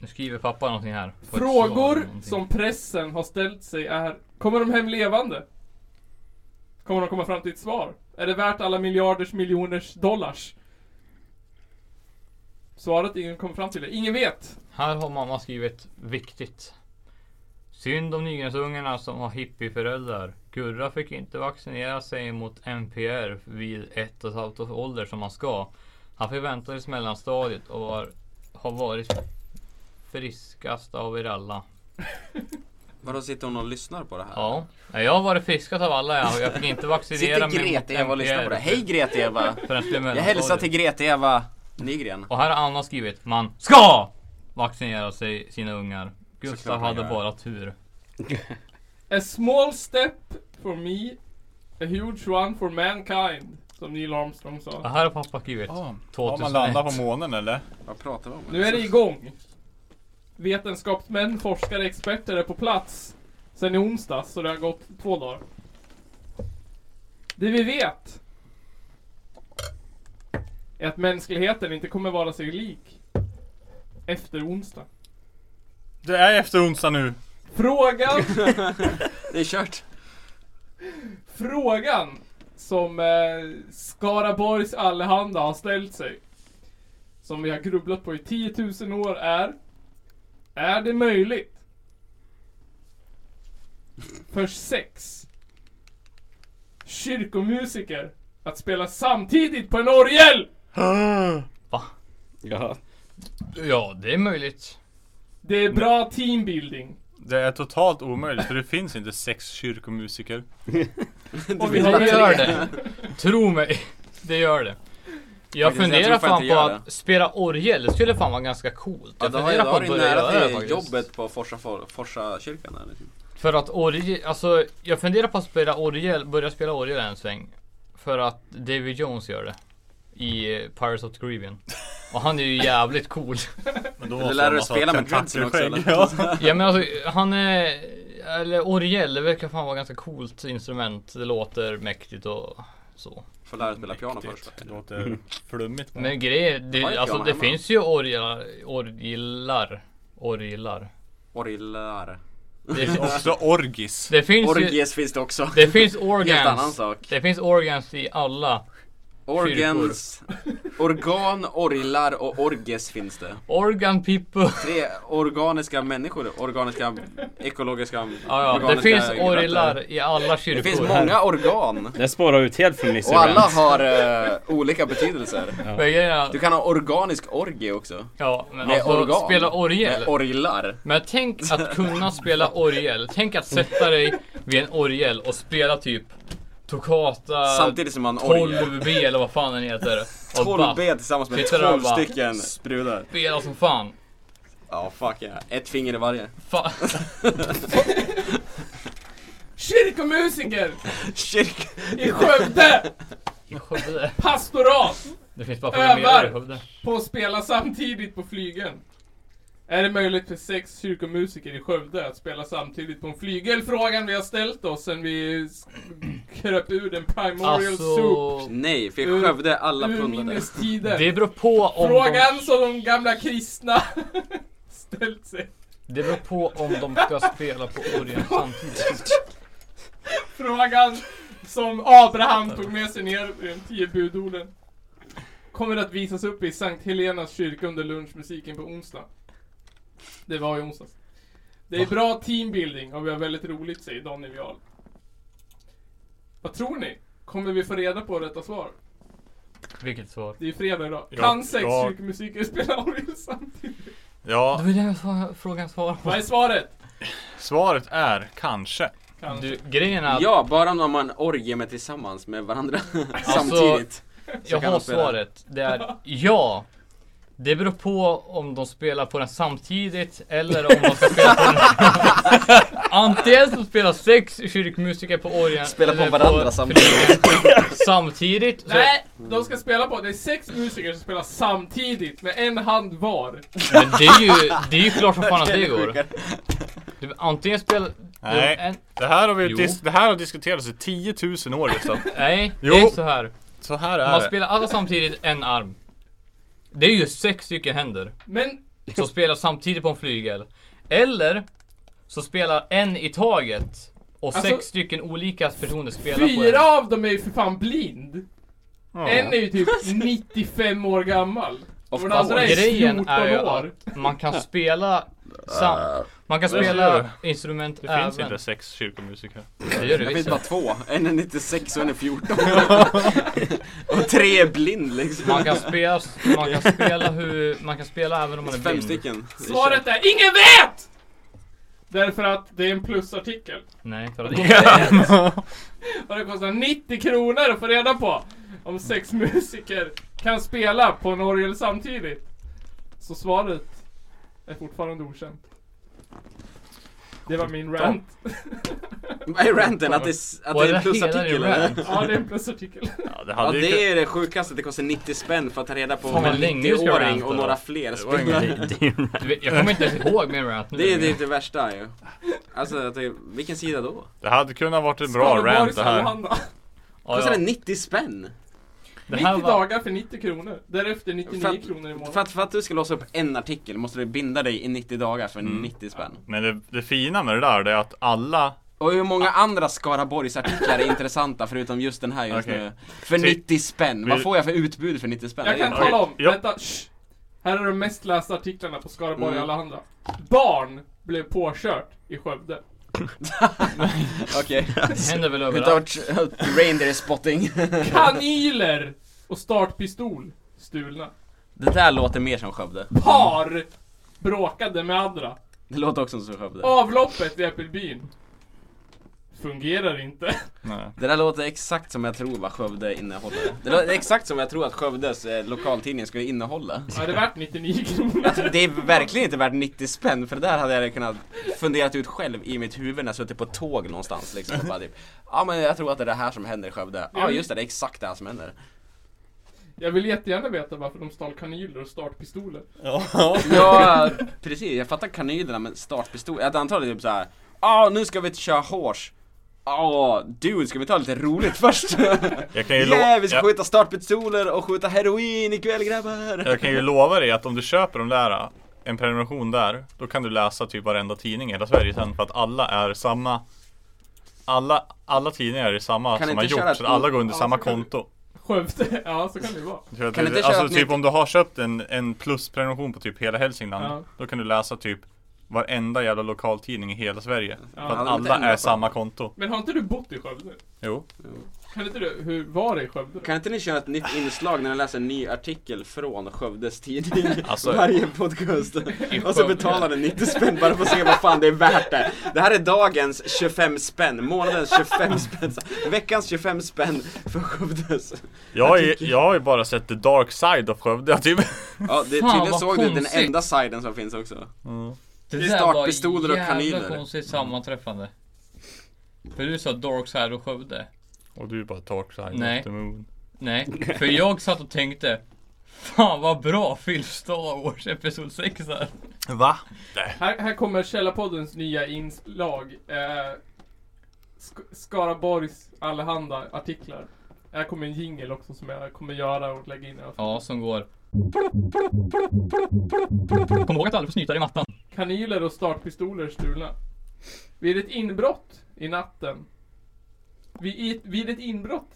Speaker 6: Nu skriver pappa någonting här. Får ett svar eller
Speaker 1: Frågor
Speaker 6: någonting.
Speaker 1: som pressen har ställt sig är Kommer de hem levande? Kommer de komma fram till ett svar? Är det värt alla miljarders miljoners dollars? Svaret ingen kom fram till det. Ingen vet.
Speaker 6: Här har mamma skrivit viktigt. Synd om Nygrensungarna som har hippieföräldrar. Gurra fick inte vaccinera sig mot NPR vid ett och ett halvt års ålder som han ska. Han förväntades mellanstadiet och var, har varit friskast av er alla.
Speaker 7: Vadå sitter hon och lyssnar på det här?
Speaker 6: Ja, Nej, jag har varit friskast av alla. Jag Jag fick inte vaccinera
Speaker 7: Sitter Grete-Eva och lyssnar på det. liksom Hej Grete-Eva! Jag hälsar till
Speaker 6: Grete-Eva Nygren. Och här har Anna skrivit. Man SKA vaccinera sig sina ungar. Gustav
Speaker 1: Såklart man
Speaker 6: hade
Speaker 1: gör.
Speaker 6: bara tur.
Speaker 1: A small step for me, a huge one for mankind. Som Neil Armstrong sa.
Speaker 6: Det här har pappa skrivit.
Speaker 1: Ja.
Speaker 6: 2001.
Speaker 3: man landat på månen eller?
Speaker 7: Vad pratar vi om?
Speaker 1: Nu är det igång. Vetenskapsmän, forskare, experter är på plats. Sen i onsdags, så det har gått två dagar. Det vi vet är att mänskligheten inte kommer vara sig lik efter onsdag.
Speaker 3: Det är efter onsdag nu.
Speaker 1: Frågan...
Speaker 7: det är kört.
Speaker 1: Frågan som eh, Skaraborgs Allehanda har ställt sig. Som vi har grubblat på i 10 000 år är. Är det möjligt? För sex kyrkomusiker att spela samtidigt på en orgel?
Speaker 6: Va?
Speaker 4: Ja.
Speaker 6: Ja, det är möjligt.
Speaker 1: Det är bra teambuilding.
Speaker 3: Det är totalt omöjligt för det finns inte sex kyrkomusiker.
Speaker 1: Och
Speaker 6: vi har- Det gör det. Tro mig, det gör det. Jag
Speaker 3: Faktiskt,
Speaker 6: funderar
Speaker 3: jag tror fan
Speaker 6: fan
Speaker 3: inte
Speaker 6: på
Speaker 3: jag gör
Speaker 6: att spelare orgel, det skulle fan vara ganska coolt.
Speaker 7: Ja,
Speaker 6: Jag
Speaker 7: då har
Speaker 6: funderar
Speaker 7: jag
Speaker 6: på
Speaker 7: då
Speaker 6: att börja
Speaker 7: har du
Speaker 6: göra
Speaker 7: nära
Speaker 6: det
Speaker 7: till
Speaker 6: faktiskt.
Speaker 7: jobbet på Forsa, Forsa kyrkan där. liksom.
Speaker 6: För att orgel, alltså jag funderar på att spela orgel, börja spela orgel en sväng. För att David Jones gör det. I eh, Pirates of the Caribbean. Och han är ju jävligt cool.
Speaker 3: Men då måste lär han du ha spela med country- touchen också, country-skägg, eller?
Speaker 6: Ja.
Speaker 3: ja.
Speaker 6: men alltså han är... Eller orgel, det verkar fan vara ganska coolt instrument. Det låter mäktigt och så.
Speaker 7: Får lära dig spela piano först.
Speaker 3: Det låter flummigt. bara.
Speaker 6: Men grejen,
Speaker 7: Jag har
Speaker 6: det,
Speaker 7: ju
Speaker 6: alltså
Speaker 7: piano
Speaker 6: det
Speaker 7: hemma.
Speaker 6: finns ju orglar, orglar, orglar.
Speaker 7: Orglar.
Speaker 6: Det finns
Speaker 3: också orgis.
Speaker 6: Det finns ju-
Speaker 7: Orgies finns det också.
Speaker 6: Det finns organs.
Speaker 7: Helt annan sak.
Speaker 6: Det finns organs i alla
Speaker 7: Organs. Organ, orglar och orges finns det.
Speaker 6: Organ people.
Speaker 7: Tre organiska människor. Organiska, ekologiska,
Speaker 6: ja, det
Speaker 7: organiska
Speaker 6: finns
Speaker 7: grötter.
Speaker 6: orglar i alla kyrkor.
Speaker 7: Det finns många organ.
Speaker 4: Det spårar ut helt från Nisse
Speaker 7: Och alla
Speaker 4: Rant.
Speaker 7: har eh, olika betydelser.
Speaker 6: Men grejen-
Speaker 7: Du kan ha organisk orgie också.
Speaker 6: Ja, men
Speaker 7: Med
Speaker 6: alltså,
Speaker 7: organ.
Speaker 6: spela orgel.
Speaker 7: Med orglar.
Speaker 6: Men tänk att kunna spela orgel. Tänk att sätta dig vid en orgel och spela typ Toccata
Speaker 7: Samtidigt som man orgel.
Speaker 6: 12B eller vad fan den heter. Och
Speaker 7: 12B
Speaker 6: bara
Speaker 7: tillsammans med
Speaker 6: sitter där och
Speaker 7: 12
Speaker 6: bara
Speaker 7: stycken sprudar.
Speaker 6: Spela som fan.
Speaker 7: Ja, fuck yeah. Ett finger i varje.
Speaker 6: Fan.
Speaker 1: Kyrkomusiker!
Speaker 7: Kyrk...
Speaker 1: I Skövde!
Speaker 6: I Skövde?
Speaker 1: Pastorat!
Speaker 6: Det finns bara programmerare i
Speaker 1: Övar
Speaker 6: Skövde.
Speaker 1: på att spela samtidigt på flygeln. Är det möjligt för sex kyrkomusiker i Skövde att spela samtidigt på en flygel? Frågan vi har ställt oss sen vi s- kröp ur den primorial
Speaker 6: Alltså,
Speaker 1: soup.
Speaker 7: Nej, för
Speaker 1: Ur-
Speaker 7: jag Skövde alla
Speaker 1: ur
Speaker 7: pundade.
Speaker 1: minnes tider.
Speaker 6: Alltså, Det beror på om
Speaker 1: Frågan
Speaker 6: de-
Speaker 1: som de gamla kristna ställt sig.
Speaker 6: Det beror på om de ska spela på orgel samtidigt.
Speaker 1: Frågan som Abraham tog med sig ner i de tio budorden. Kommer att visas upp i Sankt Helenas kyrka under lunchmusiken på onsdag. Det var i onsdags. Det är bra teambuilding och vi har väldigt roligt, säger Daniel Jarl. Vad tror ni? Kommer vi få reda på rätta svar?
Speaker 6: Vilket svar?
Speaker 1: Det är fredag idag.
Speaker 6: Ja,
Speaker 1: kan sex
Speaker 6: ja.
Speaker 1: kyrkomusiker spela orgel samtidigt?
Speaker 3: Ja.
Speaker 6: Det var den svar- frågan svarade på.
Speaker 1: Vad är svaret?
Speaker 3: Svaret är kanske.
Speaker 1: Kanske.
Speaker 6: Du, grejen är att-
Speaker 7: Ja, bara om de har en orgie med tillsammans med varandra
Speaker 6: Alltså,
Speaker 7: samtidigt. Så
Speaker 6: Jag
Speaker 7: kan
Speaker 6: har
Speaker 7: de spela.
Speaker 6: svaret. Det är ja. Det beror på om de spelar på den samtidigt eller om de ska spela på den. Antingen så spelar sex kyrkmusiker på orgeln
Speaker 7: Spelar på
Speaker 6: eller
Speaker 7: varandra
Speaker 6: på
Speaker 7: samtidigt.
Speaker 6: flygel. samtidigt. Så
Speaker 1: Nej! De ska spela på, det är sex musiker som spelar samtidigt med en hand var.
Speaker 6: Men det är ju, det är ju klart som fan att det går. Du, antingen spelar...
Speaker 3: Nej. Det här, har vi
Speaker 6: Jo.
Speaker 3: dis- det här har diskuterats i 10 000 år Gustav.
Speaker 6: Nej,
Speaker 3: Jo.
Speaker 6: det är så här.
Speaker 3: Så här är
Speaker 6: Man
Speaker 3: det.
Speaker 6: spelar alla samtidigt en arm. Det är ju sex stycken händer.
Speaker 1: Men-
Speaker 6: Som spelar samtidigt på en flygel. Eller så spelar en i taget. Och
Speaker 1: Alltså,
Speaker 6: sex stycken olika personer spelar på
Speaker 1: Fyra
Speaker 6: en.
Speaker 1: av dem är ju för fan blind.
Speaker 6: Ja.
Speaker 1: En är ju typ 95 år gammal. Och den andra är
Speaker 6: grejen
Speaker 1: 14
Speaker 6: är ju
Speaker 1: år.
Speaker 6: att man kan spela sam- Man kan
Speaker 3: Det
Speaker 6: spela
Speaker 3: gör
Speaker 6: instrument
Speaker 3: Det
Speaker 6: även.
Speaker 3: finns inte sex kyrkomusiker.
Speaker 6: Det gör det
Speaker 7: Jag
Speaker 6: visst.
Speaker 7: vet bara två. En är 96 och en är 14. och tre är blind liksom.
Speaker 6: Man kan spela, man kan spela hur, man kan spela även om man är
Speaker 7: Fem
Speaker 6: blind.
Speaker 7: stycken. Det är
Speaker 1: Svaret är INGEN VET! Därför att det är en plusartikel.
Speaker 6: Nej, för att
Speaker 1: Och det kostar 90 kronor att få reda på om sex musiker kan spela på en orgel samtidigt. Så svaret är fortfarande okänt. Det var min rant.
Speaker 7: Vad är ranten? Att det, s- att
Speaker 6: Vad
Speaker 7: det är
Speaker 6: är
Speaker 7: en
Speaker 6: det hela
Speaker 7: plusartikel
Speaker 6: din
Speaker 7: eller?
Speaker 6: rant?
Speaker 1: Ja, det är en plusartikel.
Speaker 3: Ja, det
Speaker 7: Ja
Speaker 3: hade ju
Speaker 7: det är det sjukaste, det kostar 90 spänn för att ta reda på
Speaker 6: Fan, vad
Speaker 7: en
Speaker 6: länge du ska
Speaker 7: 90-åring
Speaker 6: ranta
Speaker 7: och
Speaker 6: då.
Speaker 7: några fler
Speaker 3: Det var
Speaker 7: spelare.
Speaker 3: ingen din
Speaker 6: Du vet, jag kommer inte ens ihåg min rant nu.
Speaker 7: Det är typ det värsta ju. Alltså, att det- vilken sida då?
Speaker 3: Det hade kunnat varit en bra rant det här.
Speaker 1: Johanna.
Speaker 6: ja,
Speaker 7: Kostar det
Speaker 6: ja.
Speaker 7: 90 spänn?
Speaker 6: Det
Speaker 1: 90
Speaker 6: här var,
Speaker 1: dagar för 90 kronor. Därefter 99
Speaker 7: För att-
Speaker 1: kronor i
Speaker 7: För
Speaker 1: månaden.
Speaker 7: att, för att du ska låsa upp en artikel måste du binda dig i 90 dagar för
Speaker 3: Mm.
Speaker 7: 90 spänn.
Speaker 3: Men det, det fina med det där det är att alla
Speaker 7: Och hur många andra Skaraborgsartiklar är intressanta förutom just den här just
Speaker 3: Okej.
Speaker 7: nu? För
Speaker 3: Ty-
Speaker 7: 90 spänn, vad
Speaker 3: Vi-
Speaker 7: får jag för utbud för 90 spänn?
Speaker 1: Jag kan
Speaker 7: Det är-
Speaker 1: tala om,
Speaker 3: Ja.
Speaker 1: vänta, shh. Här är de mest lästa artiklarna på Skaraborg
Speaker 7: Mm.
Speaker 1: alla andra. Barn blev påkört i Skövde.
Speaker 7: Okej.
Speaker 6: det händer väl
Speaker 7: Utav
Speaker 6: överallt.
Speaker 7: tr- reindeer spotting.
Speaker 1: Kanyler och startpistol stulna.
Speaker 7: Det där låter mer som Skövde.
Speaker 1: Par bråkade med andra.
Speaker 7: Det låter också som Skövde.
Speaker 1: Avloppet i Äppelbyn fungerar inte.
Speaker 3: Nej.
Speaker 7: Det där låter exakt som jag tror vad Skövde innehåller. Det låter exakt som jag tror att Skövdes eh, lokaltidning skulle innehålla.
Speaker 1: Ja, det är värt 99 kronor.
Speaker 7: Alltså, det är verkligen inte värt 90 spänn för det där hade jag kunnat funderat ut själv i mitt huvud när jag suttit på ett tåg någonstans liksom och bara typ Ja men jag tror att det är det här som händer i Skövde. Ja just det, det är exakt det här som händer.
Speaker 1: Jag vill jättegärna veta varför de stal kanyler och startpistoler.
Speaker 10: Ja.
Speaker 7: Ja precis, jag fattar kanylerna men startpistol, jag antar det är typ såhär Ja nu ska vi köra hårs Ja, dude ska vi ta lite roligt först?
Speaker 3: Jag kan ju, lo-
Speaker 7: Yeah, vi ska
Speaker 3: jag,
Speaker 7: skjuta startpistoler och skjuta heroin ikväll grabbar!
Speaker 3: jag kan ju lova dig att om du köper de där eh, en prenumeration där, då kan du läsa typ varenda tidning i hela Sverige sen för att alla är samma alla, alla tidningar är samma
Speaker 7: Kan
Speaker 3: som
Speaker 7: inte
Speaker 3: har
Speaker 7: köra
Speaker 3: gjort,
Speaker 7: ett-
Speaker 3: så att alla går under
Speaker 1: Ja,
Speaker 3: samma
Speaker 1: så kan du-
Speaker 3: konto.
Speaker 1: Skövde, ja så kan det vara.
Speaker 3: För att
Speaker 7: Kan
Speaker 3: det-
Speaker 7: inte köra
Speaker 3: alltså
Speaker 7: ett
Speaker 3: typ
Speaker 7: nytt-
Speaker 3: om du har köpt en, en plusprenumeration på typ hela Hälsingland
Speaker 1: Ja.
Speaker 3: Då kan du läsa typ varenda jävla lokaltidning i hela Sverige
Speaker 1: Ja,
Speaker 3: För att
Speaker 7: hade inte
Speaker 3: alla
Speaker 7: ändrat
Speaker 3: är
Speaker 7: på
Speaker 3: samma
Speaker 7: det.
Speaker 3: konto
Speaker 1: Men har inte du bott i Skövde?
Speaker 3: Jo
Speaker 1: Kan inte du, hur var det i Skövde?
Speaker 7: Kan inte ni köra ett nytt inslag när ni läser en ny artikel från Skövdes tidning
Speaker 3: Alltså-
Speaker 7: varje podcast? Och så betalar ni 90 spänn bara för att se vad fan det är värt det. Det här är dagens 25 spänn, månadens 25 spänn, veckans 25 spänn för Skövdes.
Speaker 3: jag, har ju- jag har ju bara sett the dark side of Skövde typ
Speaker 7: Ja, det,
Speaker 6: Fan,
Speaker 7: tydligen
Speaker 6: vad
Speaker 7: såg du den
Speaker 6: konstigt.
Speaker 7: enda siden som finns också.
Speaker 6: Det
Speaker 7: är
Speaker 6: där var
Speaker 7: startpistoler och kanyler.
Speaker 6: jävla konstigt sammanträffande. För du sa Darkside och Skövde.
Speaker 3: Och du är bara dark side
Speaker 6: Nej.
Speaker 3: of the moon
Speaker 6: Nej, för jag satt och tänkte Fan vad bra Phil Star Wars Episod 6 här.
Speaker 3: Va?
Speaker 1: Här, här kommer Källarpoddens nya inslag. Eh, Sk- Skaraborgs allehanda artiklar. Här kommer en jingel också som jag kommer göra och lägga in.
Speaker 6: Ja, som går Kom ihåg att alla får snyta i mattan.
Speaker 1: Kanyler och startpistoler stulna. Vid ett inbrott i natten. Vid, i, vid ett inbrott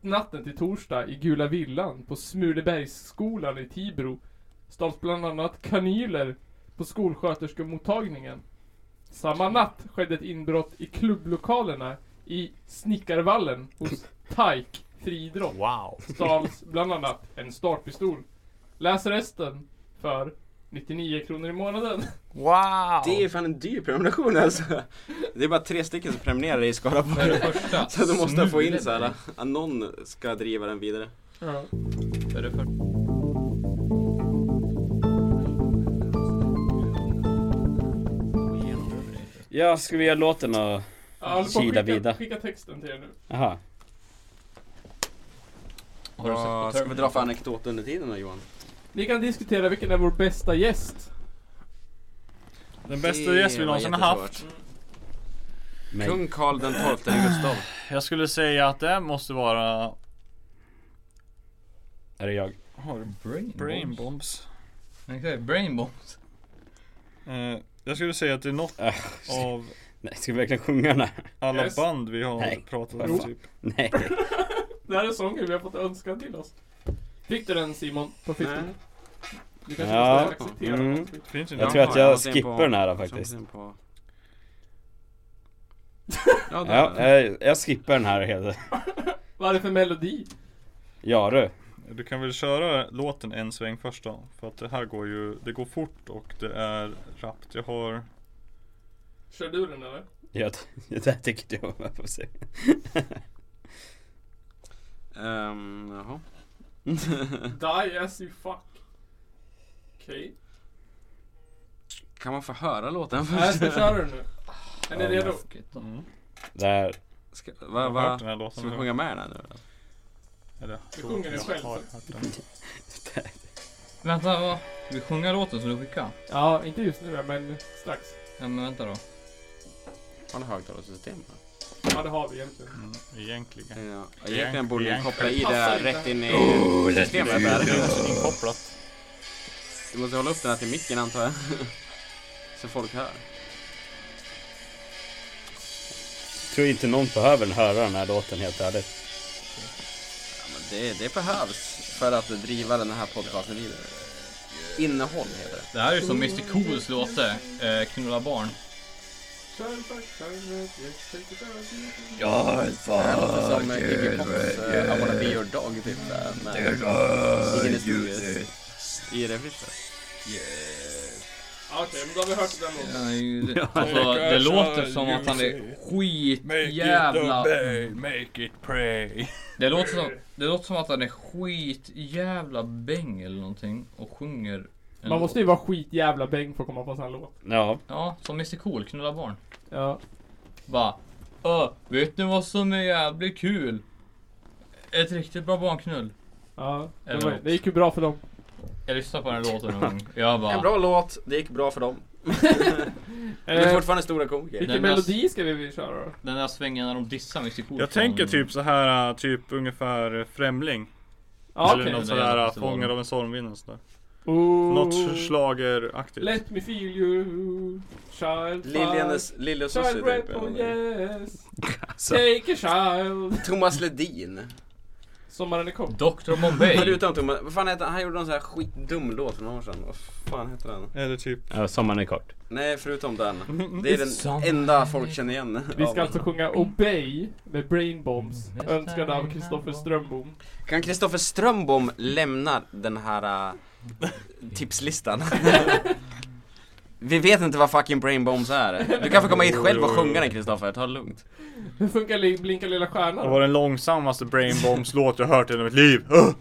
Speaker 1: natten till torsdag i Gula Villan på Smulebergsskolan i Tibro stals bland annat kanyler på skolsköterskemottagningen. Samma natt skedde ett inbrott i klubblokalerna i Snickarvallen hos TAIK Friidrott.
Speaker 3: Wow
Speaker 1: Stals bland annat en startpistol. Läs resten för 99 kronor i månaden.
Speaker 3: Wow!
Speaker 7: Det är fan en dyr prenumeration alltså. Det är bara tre stycken som prenumererar i
Speaker 6: För det
Speaker 7: Skaraborg.
Speaker 6: första.
Speaker 7: Så du måste få in
Speaker 6: smulen.
Speaker 7: såhär, att någon ska driva den vidare.
Speaker 1: Ja.
Speaker 6: För det första.
Speaker 4: Ja, ska vi göra låten och...
Speaker 1: Jag håller på att alltså,
Speaker 4: Kila
Speaker 1: skicka-
Speaker 4: vida.
Speaker 1: Skicka texten till er nu.
Speaker 4: Aha.
Speaker 6: Har du sett på
Speaker 7: Vad ska vi
Speaker 6: Terminator?
Speaker 7: dra för anekdot under tiden då Johan?
Speaker 1: Ni kan diskutera vilken är vår bästa gäst.
Speaker 3: Den bästa
Speaker 7: Det
Speaker 3: gäst vi
Speaker 7: var
Speaker 3: någonsin har
Speaker 7: jättesvårt.
Speaker 3: haft
Speaker 4: Mig.
Speaker 7: Kung Karl den XII Gustav.
Speaker 3: Jag skulle säga att det måste vara
Speaker 4: Är det jag?
Speaker 10: Har du
Speaker 6: Brain
Speaker 10: brain
Speaker 6: bombs.
Speaker 10: bombs?
Speaker 6: Exakt, brain bombs.
Speaker 10: Eh, jag skulle säga att det är något
Speaker 4: Äh,
Speaker 10: av
Speaker 4: nej, ska vi verkligen sjunga den här?
Speaker 10: alla
Speaker 1: Yes.
Speaker 10: band vi har
Speaker 4: Nej.
Speaker 10: pratat
Speaker 4: Jo.
Speaker 10: om typ.
Speaker 4: Nej.
Speaker 1: Det här är sången vi har fått önskan till oss. Fick du den Simon på Facebook?
Speaker 7: Nej.
Speaker 1: Du kanske
Speaker 4: Ja.
Speaker 1: måste acceptera
Speaker 4: Mm.
Speaker 1: något.
Speaker 10: Finns inte.
Speaker 4: Jag tror att jag
Speaker 5: måste in på-
Speaker 4: skippar den här
Speaker 5: jag måste
Speaker 4: faktiskt.
Speaker 5: in på-
Speaker 4: Ja, jag, jag skippar den här helt.
Speaker 1: Vad är det för melodi?
Speaker 4: Ja du.
Speaker 10: Du kan väl köra låten en sväng först då? För att det här går ju, det går fort och det är rappt. Jag har...
Speaker 1: Kör du den eller?
Speaker 4: Jag, det där tycker du om, jag får se.
Speaker 7: eh.
Speaker 5: Ehm, jaha.
Speaker 1: Die as you fuck. Okej.
Speaker 5: Kan man få höra låten
Speaker 1: Okay. Jag
Speaker 5: först?
Speaker 1: ska köra den nu. Är ni
Speaker 4: Ja,
Speaker 1: redo?
Speaker 2: Fuck it då.
Speaker 1: Mm.
Speaker 4: Där.
Speaker 5: Ska, va,
Speaker 10: Jag har hört
Speaker 5: va?
Speaker 10: den här låten
Speaker 5: Ska vi
Speaker 10: nu.
Speaker 5: sjunga med den här nu då?
Speaker 10: Eller,
Speaker 1: Du sjunger den själv.
Speaker 10: har hört den.
Speaker 6: Vänta, vad? Ska vi sjunga låten som du skickade?
Speaker 1: Ja, inte just nu men strax.
Speaker 6: Ja men vänta då.
Speaker 5: Har ni högtalarsystem? här?
Speaker 1: Ja, det har vi egentligen.
Speaker 10: Mm, egentligen.
Speaker 5: Ja, egentligen borde vi koppla i det
Speaker 1: Passar
Speaker 5: här
Speaker 1: inte.
Speaker 5: rätt in i systemet
Speaker 10: Det
Speaker 5: där.
Speaker 10: är så inkopplat.
Speaker 5: Du måste hålla upp den här till micken antar jag. Så folk hör.
Speaker 4: Tror inte någon behöver höra den här låten helt ärligt.
Speaker 5: Ja, men det, det behövs för att driva den här podcasten vidare. Innehåll heter det.
Speaker 2: Det här är ju som Mr Cools låter, eh, Knulla barn.
Speaker 1: Ja.
Speaker 5: Det låter som eh, Iggy Pops eh, I wanna be your dog typ. där, Med Iggy Studios i refrischer.
Speaker 1: Okej, men då har vi hört den låten.
Speaker 6: Ja, ju- Alltså, det låter som att han är skitjävla...
Speaker 10: make it pray.
Speaker 6: Det låter som, det låter som att han är skitjävla bäng eller någonting och sjunger... en
Speaker 1: Man
Speaker 6: låt.
Speaker 1: måste ju vara skitjävla bäng för att komma på en sån här låt.
Speaker 4: Ja.
Speaker 6: Ja, som Mr Cool, knulla barn.
Speaker 1: Ja.
Speaker 6: Bara, "Ö, vet ni vad som är jävligt kul? Ett riktigt bra barnknull.
Speaker 1: ja. Det,
Speaker 6: Eller
Speaker 1: var,
Speaker 6: något.
Speaker 1: det gick ju bra för dem.
Speaker 6: Jag lyssnade på den här låten en gång. Jag
Speaker 7: En
Speaker 6: bara,
Speaker 7: bra låt, det gick bra för dem. De är
Speaker 1: Eh,
Speaker 7: fortfarande stora komiker.
Speaker 1: vilken
Speaker 2: Den
Speaker 1: melodi ska vi köra då?
Speaker 2: Den där svängen när de dissar Mr Cool.
Speaker 10: Jag
Speaker 2: från-
Speaker 10: tänker typ så här, äh, typ ungefär äh, Främling.
Speaker 1: Ja,
Speaker 10: Eller
Speaker 1: okej.
Speaker 2: Nej,
Speaker 10: något
Speaker 2: det
Speaker 10: sådär, äh,
Speaker 2: måste vara
Speaker 10: Fångad
Speaker 2: den.
Speaker 10: av en stormvind och sådär.
Speaker 1: Oh.
Speaker 10: Något schlageraktigt.
Speaker 1: Let me feel you Child
Speaker 7: Liljenes, Lilje och Susie
Speaker 1: Child
Speaker 7: typ.
Speaker 1: Red
Speaker 7: eller
Speaker 1: on
Speaker 7: någonting.
Speaker 1: yes Take a child
Speaker 7: Thomas Ledin.
Speaker 1: Sommaren är kort
Speaker 6: Dr Bombay.
Speaker 7: Förutom Thomas, vad fan heter han? Han gjorde någon sån här skitdum låt för några år sedan. Vad fan heter den?
Speaker 10: Eller typ...
Speaker 4: ja sommaren är kort.
Speaker 7: Nej, förutom den. Det är den
Speaker 6: Som-
Speaker 7: enda folk känner igen.
Speaker 1: Vi
Speaker 7: av
Speaker 1: ska alltså sjunga Obey med Brain Bombs
Speaker 6: Mm.
Speaker 1: Önskad av Kristoffer Strömbom
Speaker 7: Kan Kristoffer Strömbom lämna den här äh, tipslistan? Vi vet inte vad fucking brain bombs är. Du kan få komma hit själv och sjunga den Kristoffer, ta det lugnt.
Speaker 1: Hur funkar li- Blinka lilla
Speaker 10: Det
Speaker 1: stjärnan?
Speaker 10: var den långsammaste Brain Bombs låt jag hört i hela mitt liv. Ugh!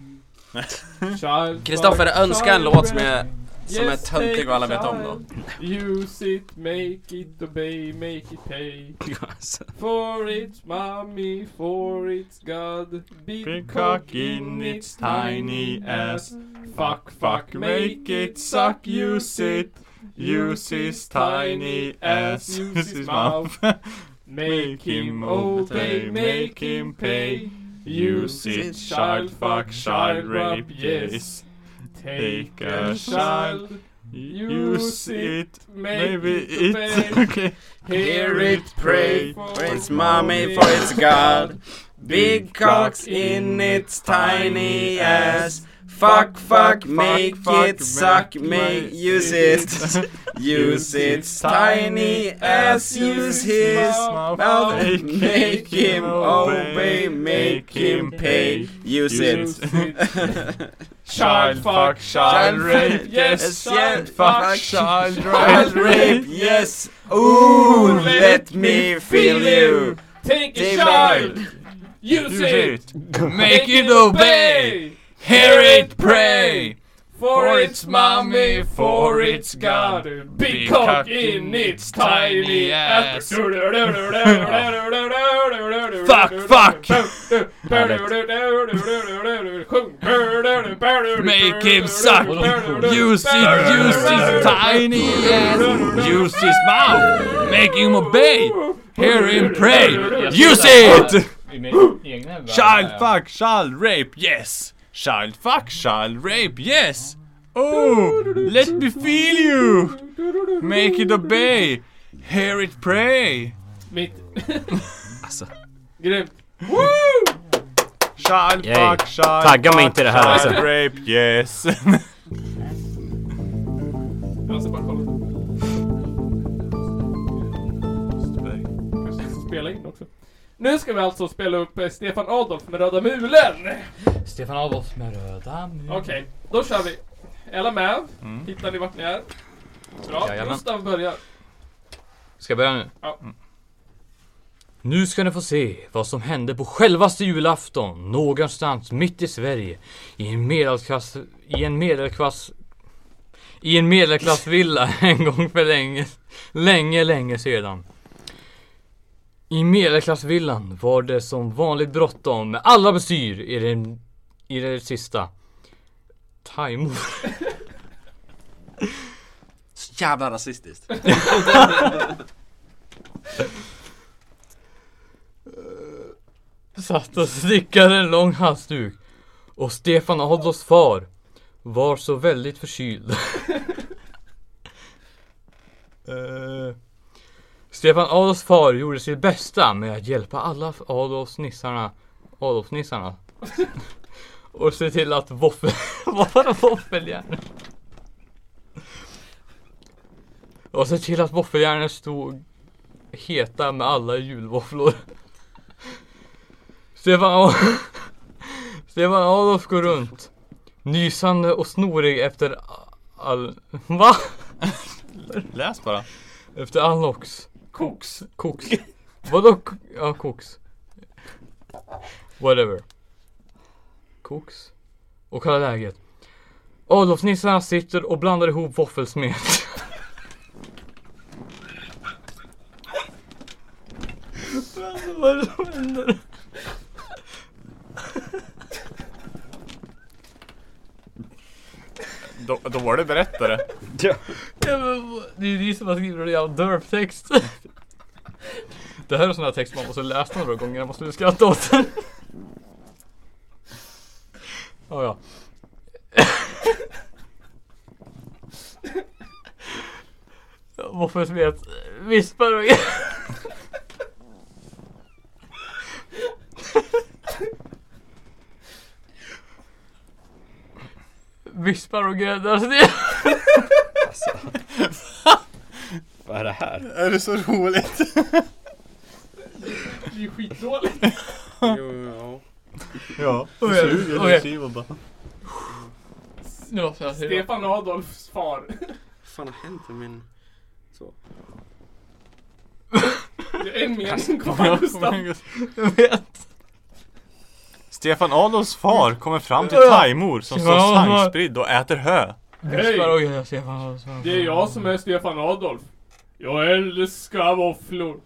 Speaker 1: Child
Speaker 7: Kristoffer,
Speaker 1: Child
Speaker 7: önska en
Speaker 1: Red-
Speaker 7: låt som är, som är
Speaker 1: Yes,
Speaker 7: töntig
Speaker 1: take
Speaker 7: och alla
Speaker 1: a
Speaker 7: vet om då.
Speaker 1: child. Use it, make it, obey, make it pay
Speaker 4: Yes.
Speaker 1: For its mommy, for its god
Speaker 10: Big cock in its tiny ass.
Speaker 1: Fuck, fuck, make it suck, use it Use his tiny ass, use his mouth Make him obey, make him pay Use it, child fuck, child rape, yes Take a child, use it, maybe it
Speaker 10: okay.
Speaker 1: Hear it pray
Speaker 7: For its
Speaker 1: mommy,
Speaker 7: mommy, for its god. Big cocks in its tiny ass. Fuck, fuck, make it suck, make, use it. Use its tiny ass, use his mouth. Make him obey, make him pay, use it.
Speaker 1: Child fuck, child rape, yes, child fuck,
Speaker 10: child
Speaker 7: Child rape, yes. Ooh, let me feel you.
Speaker 1: Take a
Speaker 7: Take
Speaker 1: child, use it,
Speaker 6: Make it obey. Hear it pray.
Speaker 1: For its mommy, for its god, a big cock in its tiny ass.
Speaker 6: Fuck, fuck.
Speaker 1: Make
Speaker 6: him suck. Use it, use his tiny ass. Use his mouth. Make him obey. Hear him pray. Use it!
Speaker 3: Child fuck, child rape, yes! Child fuck, child rape, yes! Oh, let me feel you! Make it obey! Hear it pray!
Speaker 1: Mitt...
Speaker 4: Alltså.
Speaker 1: Grymt.
Speaker 3: Child
Speaker 4: Yay.
Speaker 3: fuck, child
Speaker 4: Tagga mig
Speaker 3: fuck,
Speaker 4: inte i det här,
Speaker 3: child
Speaker 4: alltså.
Speaker 3: rape, yes!
Speaker 1: Men så bara kolla. Spela in också. Nu ska vi alltså spela upp eh, Stefan Adolf med Röda Mulen.
Speaker 6: Stefan Adolf med röda mun.
Speaker 1: Okej, då kör vi. Är alla med? Hittar ni vart ni är? Bra,
Speaker 6: Mm. Jajamän.
Speaker 1: Gustav börjar.
Speaker 6: Ska jag börja nu?
Speaker 1: Ja.
Speaker 6: Mm. Nu ska ni få se vad som hände på självaste julafton någonstans mitt i Sverige i en medelklass... I en medelklass... I en medelklassvilla en gång för länge, länge, länge sedan. I medelklassvillan var det som vanligt bråttom med alla bestyr i det, i det sista. Thaimål.
Speaker 5: Så jävla rasistiskt.
Speaker 6: satt och snickade en lång halsduk. Och Stefan Adolfs far var så väldigt förkyld. Eh, Stefan Adolfs far gjorde sitt bästa med att hjälpa alla Adolfsnissarna, Adolfsnissarna. och se till att våffel, vara våffeljärn. Och se till att våffeljärnen stod heta med alla julvåfflor. Stefan, Ad- Stefan Adolf går runt. Nysande och snorig efter all... Va?
Speaker 3: Läs bara.
Speaker 6: Efter all lox.
Speaker 1: Koks.
Speaker 6: Koks. Vadå? k- Ja, koks. Whatever. Koks. Och kolla läget. Adolfsnissarna sitter och blandar ihop våffelsmet. Vad är det som händer?
Speaker 3: Då, då var det berättare.
Speaker 6: Ja, men vad- Det är ju ni som har skrivit en jävla dörftext. Det här är sån här text man måste läsa några gånger, man måste skratta åt den. Ja, ja. Varför smet vispar och... Vispar och gräddas ner.
Speaker 4: Vad är det här?
Speaker 10: Är det så roligt?
Speaker 1: Det är ju skitdåligt.
Speaker 5: jo, ja.
Speaker 3: Ja,
Speaker 6: det suger, det Okej. Nu måste jag se det.
Speaker 1: Stefan Adolfs far.
Speaker 5: Vad fan har hänt med min... Så.
Speaker 1: Det är en mening kvar Gustav.
Speaker 6: Jag vet.
Speaker 3: Stefan Adolfs far kommer fram till Taimor som står
Speaker 6: Ja.
Speaker 3: sangspridd och äter hö.
Speaker 1: Hej!
Speaker 6: Vispar och jag ser fan
Speaker 1: Det är jag som är Stefan Adolf. Jag älskar våfflor.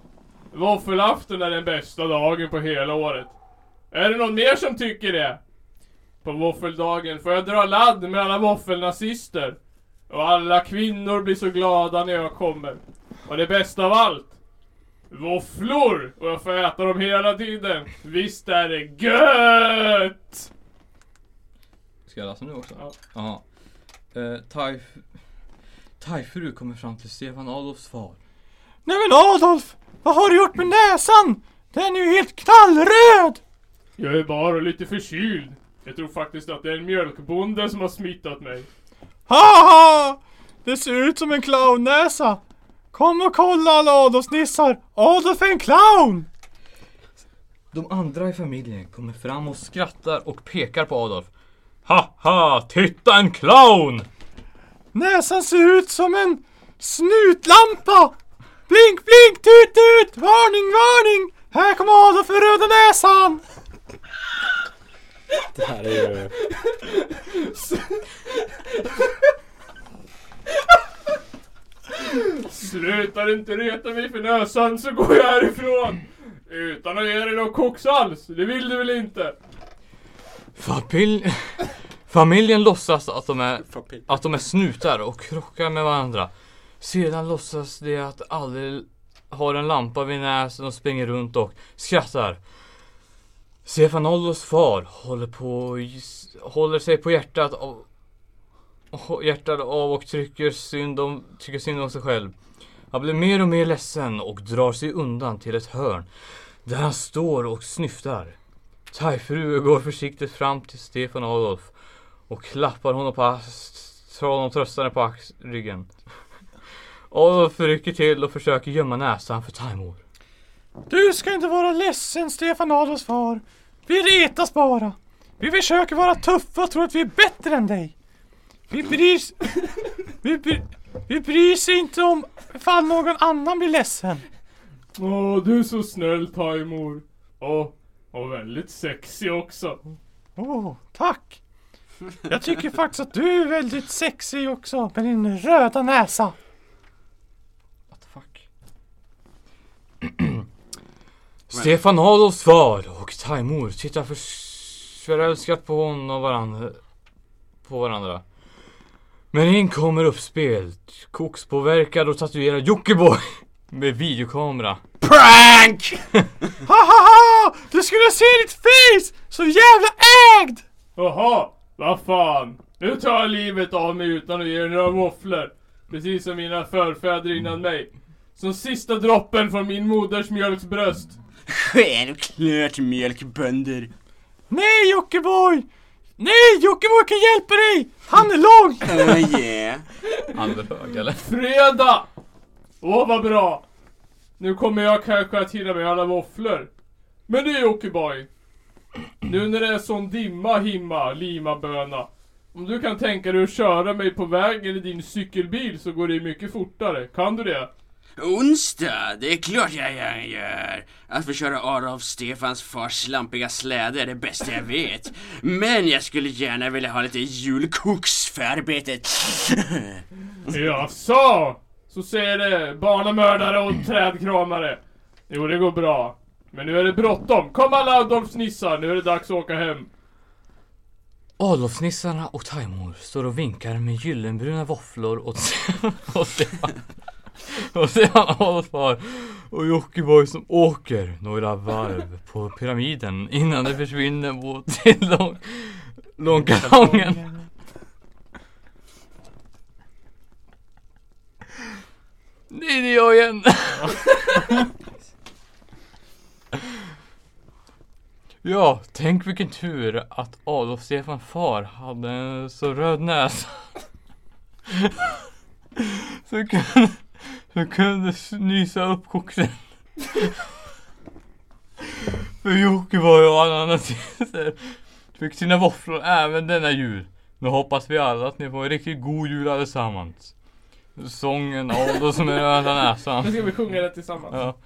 Speaker 1: Våffelafton är den bästa dagen på hela året. Är det någon mer som tycker det? På våffeldagen får jag dra ladd med alla våffelnazister. Och alla kvinnor blir så glada när jag kommer. Och det bästa av allt. Våfflor! Och jag får äta dem hela tiden. Visst är det gött!
Speaker 6: Ska jag läsa nu också?
Speaker 1: Ja.
Speaker 6: Jaha. Eh, thai... Thaifru kommer fram till Stefan Adolfs far.
Speaker 3: Nej men Adolf! Vad har du gjort med näsan? Den är ju helt knallröd!
Speaker 1: Jag är bara lite förkyld. Jag tror faktiskt att det är en mjölkbonde som har smittat mig.
Speaker 3: Haha! Det ser ut som en clownnäsa! Kom och kolla alla Adolfsnissar! Adolf är en clown!
Speaker 6: De andra i familjen kommer fram och skrattar och pekar på Adolf. Haha, titta en clown!
Speaker 3: Näsan ser ut som en snutlampa! Blink, blink, tut, tut! Varning, varning! Här kommer Adolf med röda näsan!
Speaker 4: Det här är ju...
Speaker 1: Slutar inte reta mig för näsan så går jag härifrån! Utan att ge dig någon koksals, det vill du väl inte?
Speaker 6: Familj... Familjen låtsas att de är
Speaker 5: Papil.
Speaker 6: att de är snutar och krockar med varandra. Sedan låtsas de att alla har en lampa vid näsan och springer runt och skrattar. Stefan Ollos far håller, på, håller sig på hjärtat av, hjärtat av och trycker synd, om, tycker synd om sig själv. Han blir mer och mer ledsen och drar sig undan till ett hörn där han står och snyftar. Thaifru går försiktigt fram till Stefan Adolf och klappar honom på ax- honom tröstande på ax- ryggen. Och rycker till och försöker gömma näsan för Timor.
Speaker 3: Du ska inte vara ledsen Stefan Adolfs far. Vi retas bara. Vi försöker vara tuffa och tror att vi är bättre än dig. Vi bryr, vi bryr, vi bryr sig inte om ifall någon annan blir ledsen.
Speaker 1: Åh, du är så snäll Taimor. Åh, och väldigt sexig också.
Speaker 3: Åh, oh, tack! Jag tycker faktiskt att du är väldigt sexig också med din röda näsa.
Speaker 6: What the fuck? Stefan Adolfs far och Taimor tittar förs- förälskat på hon och varandra. På varandra. Men in kommer uppspelt, kokspåverkad och tatuerad Jockiboi med videokamera.
Speaker 3: Prank! Hahaha! Du skulle se ditt face! Så jävla ägd!
Speaker 1: Jaha, vad fan. Nu tar jag livet av mig utan att ge er några våfflor. Precis som mina förfäder innan mig. Som sista droppen från min moders mjölksbröst.
Speaker 7: Självklart mjölkbönder.
Speaker 3: Nej Jockiboi! Nej Jockiboi kan hjälpa dig! Han är lång!
Speaker 7: Oh yeah.
Speaker 6: Andehög eller?
Speaker 1: Fredag! Åh vad bra! Nu kommer jag kanske att hinna med alla våfflor. Men du Jockiboi. Nu när det är sån dimma himma lima böna. Om du kan tänka dig att köra mig på vägen i din cykelbil så går det mycket fortare. Kan du det?
Speaker 7: Onsdag, det är klart jag gör- gör. Att få köra Adolf Stefans fars slampiga släde är det bästa jag vet. Men jag skulle gärna vilja ha lite julkoks för arbetet.
Speaker 1: Jaså? Så säger det barnamördare och trädkramare. Jo, det går bra. Men nu är det bråttom. Kom alla Adolfsnissar, nu är det dags att åka hem.
Speaker 6: Adolfsnissarna och Taimor står och vinkar med gyllenbruna våfflor åt Stefan- åt Stefan. Och Stefan Adolfs far och Jockiboi som åker några varv på pyramiden innan det försvinner mot till lång, långkalongen. Nej, det är jag igen. Ja, tänk vilken tur att Adolf Stefan far hade en så röd näsa. Så kunde, så kunde nysa upp koksen. För Jockiboi och alla andra tisser fick sina våfflor även denna jul. Nu hoppas vi alla att ni får en riktigt god jul allesammans. Sången Adolf som är röda
Speaker 1: Nu
Speaker 6: näsan.
Speaker 1: ska vi sjunga det tillsammans.
Speaker 6: Ja.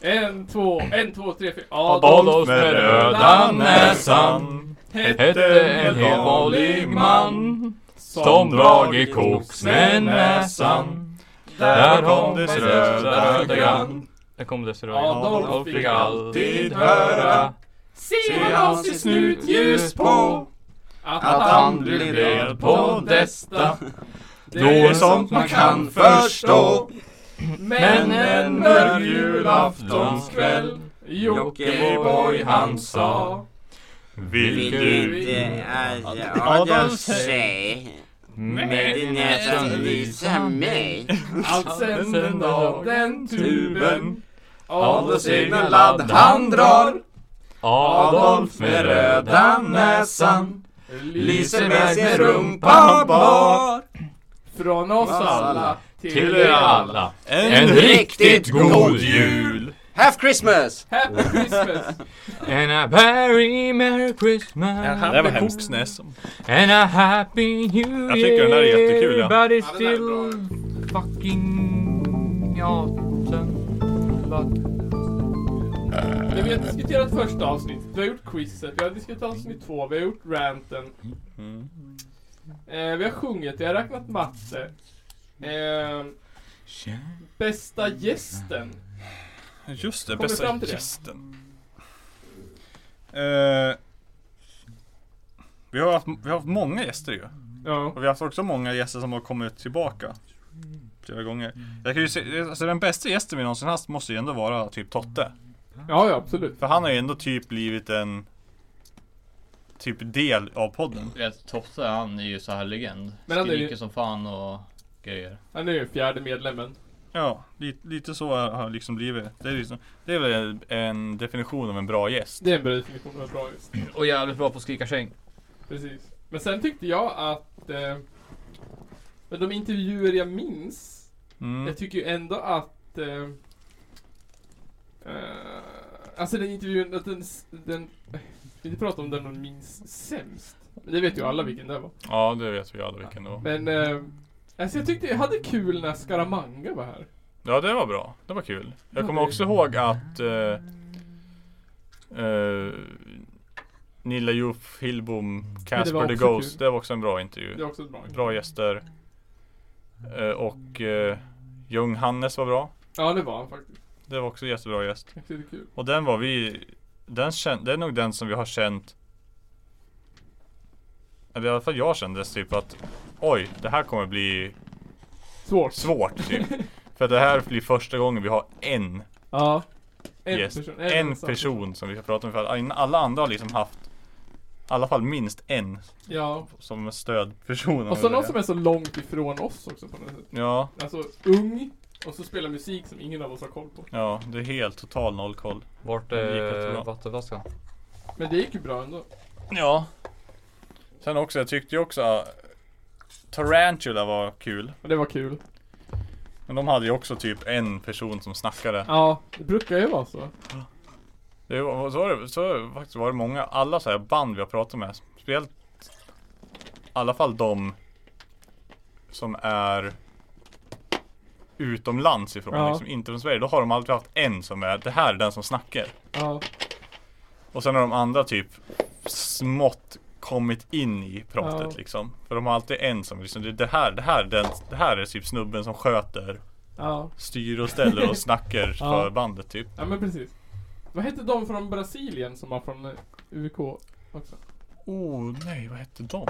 Speaker 1: En, två, en, två, tre, fyra.
Speaker 6: Adolf med röda näsan hette en helt vanlig man som dragit koks med näsan. Där kom dess röda ödegan. Där kom dess röda
Speaker 1: Adolf fick
Speaker 6: alltid höra
Speaker 1: Se
Speaker 6: se
Speaker 1: han
Speaker 6: hans
Speaker 1: sitt
Speaker 6: snut ljus på
Speaker 1: Att
Speaker 6: att han blev del på detta. Då är sånt man kan förstå. Men en mörk julaftonskväll Jockiboi han sa Vill du
Speaker 7: Adolf säg?
Speaker 6: med din näsa visa mig?
Speaker 1: Allt sen den dag den tuben
Speaker 6: Adolfs egna ladd han drar Adolf med röda näsan lyser med sin rumpa bar
Speaker 1: Från oss alla
Speaker 6: Till er alla en
Speaker 7: riktigt
Speaker 6: riktigt
Speaker 7: god
Speaker 6: god jul!
Speaker 7: Have Christmas!
Speaker 1: Happy Christmas!
Speaker 6: And a very merry Christmas
Speaker 10: Det var hemskt.
Speaker 6: And a happy new
Speaker 10: Jag tycker den här är
Speaker 6: year,
Speaker 10: jättekul, ja.
Speaker 6: But it's
Speaker 1: Ja, den här är
Speaker 6: still mm. fucking... Ja, sen... Vad-
Speaker 1: Men vi har diskuterat första avsnittet, vi har gjort quizet, vi har diskuterat avsnitt två, vi har gjort ranten.
Speaker 10: Mm.
Speaker 1: Eh, vi har sjungit, vi har räknat matte. Eh, bästa gästen.
Speaker 10: Just det,
Speaker 1: Kommer vi
Speaker 10: bästa
Speaker 1: fram till det?
Speaker 10: gästen. Eh, vi, har haft, vi har haft många gäster ju.
Speaker 1: Ja.
Speaker 10: Och vi har haft också många gäster som har kommit tillbaka. Flera gånger. Jag kan ju se, alltså den bästa gästen vi någonsin haft måste ju ändå vara typ Totte.
Speaker 1: ja, ja absolut.
Speaker 10: För han har ju ändå typ blivit en typ del av podden.
Speaker 2: Vet, Tofte han är ju så här legend.
Speaker 1: Men han är ju-
Speaker 2: Skriker som fan och grejer.
Speaker 1: Han är ju fjärde medlemmen.
Speaker 10: Ja, lite, lite så har har det liksom blivit. Det är, liksom, det är väl en definition av en bra gäst.
Speaker 1: Det är en bra definition av bra gäst.
Speaker 6: Och jävligt bra på att skrika käng.
Speaker 1: Precis. Men sen tyckte jag att eh, men de intervjuer jag minns
Speaker 3: Mm.
Speaker 1: Jag tycker ju ändå att... Eh, eh, alltså den intervjun, att den... s- den jag vill inte prata om den man minns sämst. Men det vet ju alla vilken det var.
Speaker 3: Ja, det vet vi alla vilken det var.
Speaker 1: Men... Eh, alltså jag tyckte jag hade kul när Scaramanga var här.
Speaker 3: Ja, det var bra. Det var kul. Jag
Speaker 1: Ja,
Speaker 3: kommer
Speaker 1: det-
Speaker 3: också ihåg att eh, eh, Nilla Joof Hillbom, Casper the
Speaker 1: också
Speaker 3: Ghost.
Speaker 1: kul.
Speaker 3: Det var också en bra intervju.
Speaker 1: Det är också ett bra.
Speaker 3: Bra gäster. Eh, och eh, Jung Hannes var bra.
Speaker 1: Ja det var han faktiskt.
Speaker 3: Det var också en jättebra gäst.
Speaker 1: Jag tyckte det var kul.
Speaker 3: Och den var vi... Den kän, det är nog den som vi har känt... Eller i alla fall jag kände typ att Oj, det här kommer bli
Speaker 1: Svårt.
Speaker 3: svårt typ. För att det här blir första gången vi har en
Speaker 1: Ja.
Speaker 3: en, person, en,
Speaker 1: ensam.
Speaker 3: person som vi ska prata med. För att alla andra har liksom haft i alla fall minst en
Speaker 1: Ja.
Speaker 3: som stödperson. om
Speaker 1: Och så
Speaker 3: man
Speaker 1: någon
Speaker 3: säger.
Speaker 1: som är så långt ifrån oss också på något sätt.
Speaker 3: Ja,
Speaker 1: Alltså ung. Och så spelar musik som ingen av oss har koll på.
Speaker 3: ja, det är helt total noll koll.
Speaker 6: Vart
Speaker 3: Det gick
Speaker 6: är
Speaker 3: jättebra.
Speaker 6: vattenflaskan?
Speaker 1: Men det gick ju bra ändå.
Speaker 3: Ja. Sen också, jag tyckte ju också äh, Tarantula var kul.
Speaker 1: Och det var kul.
Speaker 3: Men de hade ju också typ en person som snackade.
Speaker 1: Ja, det brukar ju vara så.
Speaker 3: Det var, så, var det, så var det faktiskt var det många, alla så här band vi har pratat med. Speciellt i alla fall de som är utomlands ifrån,
Speaker 1: Ja.
Speaker 3: liksom inte från Sverige. Då har de alltid haft en som är, det här är den som snackar.
Speaker 1: Ja.
Speaker 3: Och sen har de andra typ smått kommit in i pratet
Speaker 1: Ja.
Speaker 3: liksom. För de har alltid en som liksom, det- det här, det här, den, det här är typ snubben som sköter,
Speaker 1: Ja.
Speaker 3: styr och ställer och snackar
Speaker 1: Ja.
Speaker 3: för bandet typ.
Speaker 1: Ja men precis. Vad hette de från Brasilien som var från eh, UK också?
Speaker 3: Oh nej, vad hette de?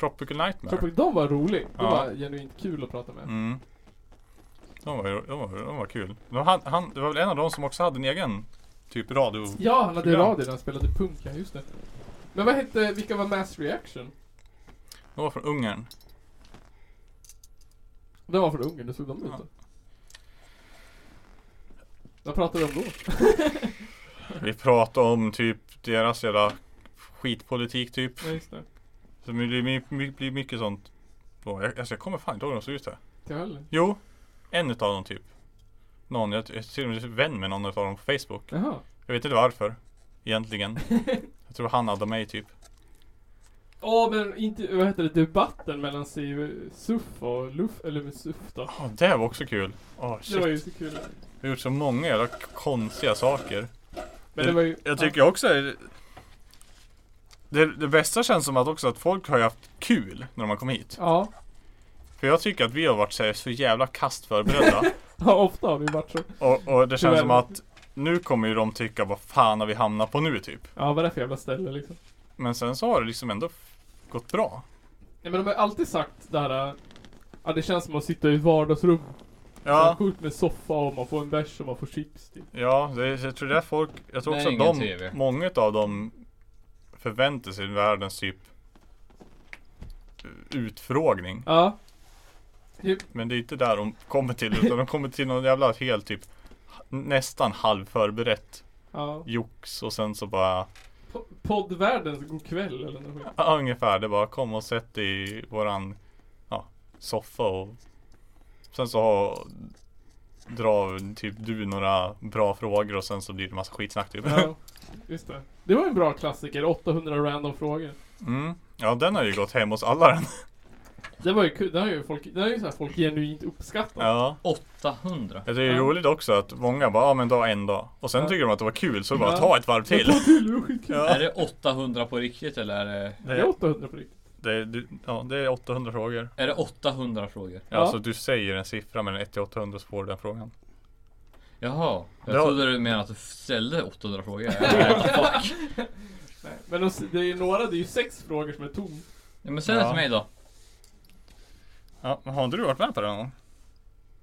Speaker 3: Tropical Nightmare?
Speaker 1: Jag tror de var rolig. De
Speaker 3: Ja.
Speaker 1: var genuint kul att prata med.
Speaker 3: Mm. De var, ju- de var, de var kul. De han, han, det var väl en av dem som också hade en egen typ radio...
Speaker 1: Ja, han hade
Speaker 3: Program.
Speaker 1: radio när han spelade punk, ja just det. Men vad hette, vilka var Mass Reaction?
Speaker 3: De var från Ungern.
Speaker 1: De var från Ungern, det såg de ut
Speaker 3: Ja.
Speaker 1: då. Vad pratade de då?
Speaker 3: Vi pratade om typ deras jävla skitpolitik typ.
Speaker 1: Ja just det.
Speaker 3: Så det blir, my- my- blir mycket sånt. Då, jag, alltså, jag kommer fan inte ihåg hur de såg ut där.
Speaker 1: Till höll.
Speaker 3: Jo, en utav dem typ. Någon, jag jag är till och med vän med någon utav dem på Facebook.
Speaker 1: Jaha.
Speaker 3: Jag vet inte varför. Egentligen. Jag tror han hade mig typ.
Speaker 1: Åh men inte, vad hette det, debatten mellan Siv Suff och Luff, eller med Suff då.
Speaker 3: Ja, det var också kul. Åh
Speaker 1: Det var
Speaker 3: shit.
Speaker 1: ju så kul.
Speaker 3: Vi har gjort så många jävla konstiga saker.
Speaker 1: Men det var ju...
Speaker 3: Jag tycker också det, det bästa känns som att också att folk har ju haft kul när de har kommit hit.
Speaker 1: Ja.
Speaker 3: För jag tycker att vi har varit så, här, så jävla kast förberedda.
Speaker 1: Ja, ofta har vi varit så.
Speaker 3: och, och det känns
Speaker 1: Tyvärr.
Speaker 3: som att nu kommer ju de tycka vad fan har vi hamnat på nu typ.
Speaker 1: Ja, vad är det för jävla ställe liksom?
Speaker 3: Men sen så har det liksom ändå f- gått bra.
Speaker 1: Nej men de har alltid sagt det här... äh, Ja, det känns som att sitta i ett vardagsrum. Ja.
Speaker 3: Ja,
Speaker 1: Sjukt med soffa och man får en bärs och man får chips typ.
Speaker 3: ja det, jag tror det är folk, jag tror
Speaker 2: Det är
Speaker 3: också att
Speaker 2: ingen
Speaker 3: de,
Speaker 2: TV.
Speaker 3: många av dem förväntar sig världens typ eh, utfrågning.
Speaker 1: Ja.
Speaker 3: Men det är inte där de kommer till utan de kommer till någon jävla helt typ Nästan halvförberett
Speaker 1: Ja.
Speaker 3: jox och sen så bara
Speaker 1: Po- Poddvärldens godkväll eller något skit.
Speaker 3: ja, Ungefär det bara kom och sätt dig i våran ja, Soffa och Sen så har Dra typ du några bra frågor och sen så blir det massa skitsnack typ
Speaker 1: Ja, just det. Det var en bra klassiker, 800 random frågor.
Speaker 3: mm. Ja den har ju gått hem hos alla den
Speaker 1: Det var ju kul, det har ju folk, det har ju så här folk genuint uppskattat.
Speaker 3: Ja
Speaker 2: 800.
Speaker 3: Det är ju
Speaker 1: Ja.
Speaker 3: roligt också att många bara ja men då en dag Och sen
Speaker 1: Ja.
Speaker 3: tycker de att det var kul så bara
Speaker 1: Ja.
Speaker 3: ta ett varv
Speaker 1: Men
Speaker 3: till
Speaker 1: ta till, det var skitkul.
Speaker 3: Ja.
Speaker 2: Är det 800 på riktigt eller är det,
Speaker 1: Det är 800 på riktigt.
Speaker 3: Det är, du- ja, det är 800 frågor.
Speaker 2: är det 800 frågor?
Speaker 1: Ja.
Speaker 3: Alltså du säger en siffra mellan 1 till 800 så får du den frågan.
Speaker 2: Jaha, jag
Speaker 3: Det har-
Speaker 2: trodde du menade att du ställde 800 frågor. Ja, fuck.
Speaker 1: Nej, men de, det är ju några, det är ju sex frågor som är tom.
Speaker 2: Ja, men säg det
Speaker 3: Ja.
Speaker 2: till mig då.
Speaker 3: Ja, men har inte du varit med på det någon gång?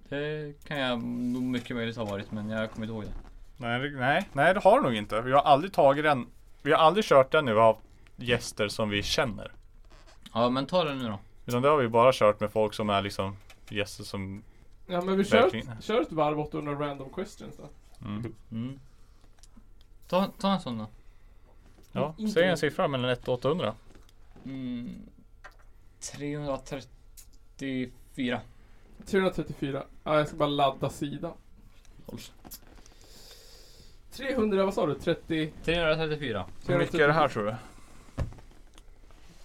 Speaker 2: Det kan jag nog mycket möjligt ha varit men jag kommer inte ihåg det.
Speaker 3: Nej, det- nej, nej det har du nog inte. Vi har aldrig tagit den. Vi har aldrig kört den när vi har haft gäster som vi känner.
Speaker 2: Ja men ta det nu då.
Speaker 3: Utan det har vi bara kört med folk som är liksom gäster som...
Speaker 1: Ja men vi kör,
Speaker 3: Verkligen.
Speaker 1: ett- kör ett varv 800 random questions då.
Speaker 3: Mm.
Speaker 2: Mm. Ta, ta en sån då.
Speaker 3: Ja,
Speaker 1: Mm.
Speaker 3: säg en siffra mellan 1 till 800.
Speaker 2: Mm. 334.
Speaker 1: 334. Ja, jag ska bara ladda sidan. 300, vad sa du? 30?
Speaker 6: 334.
Speaker 3: Hur mycket är det här tror du?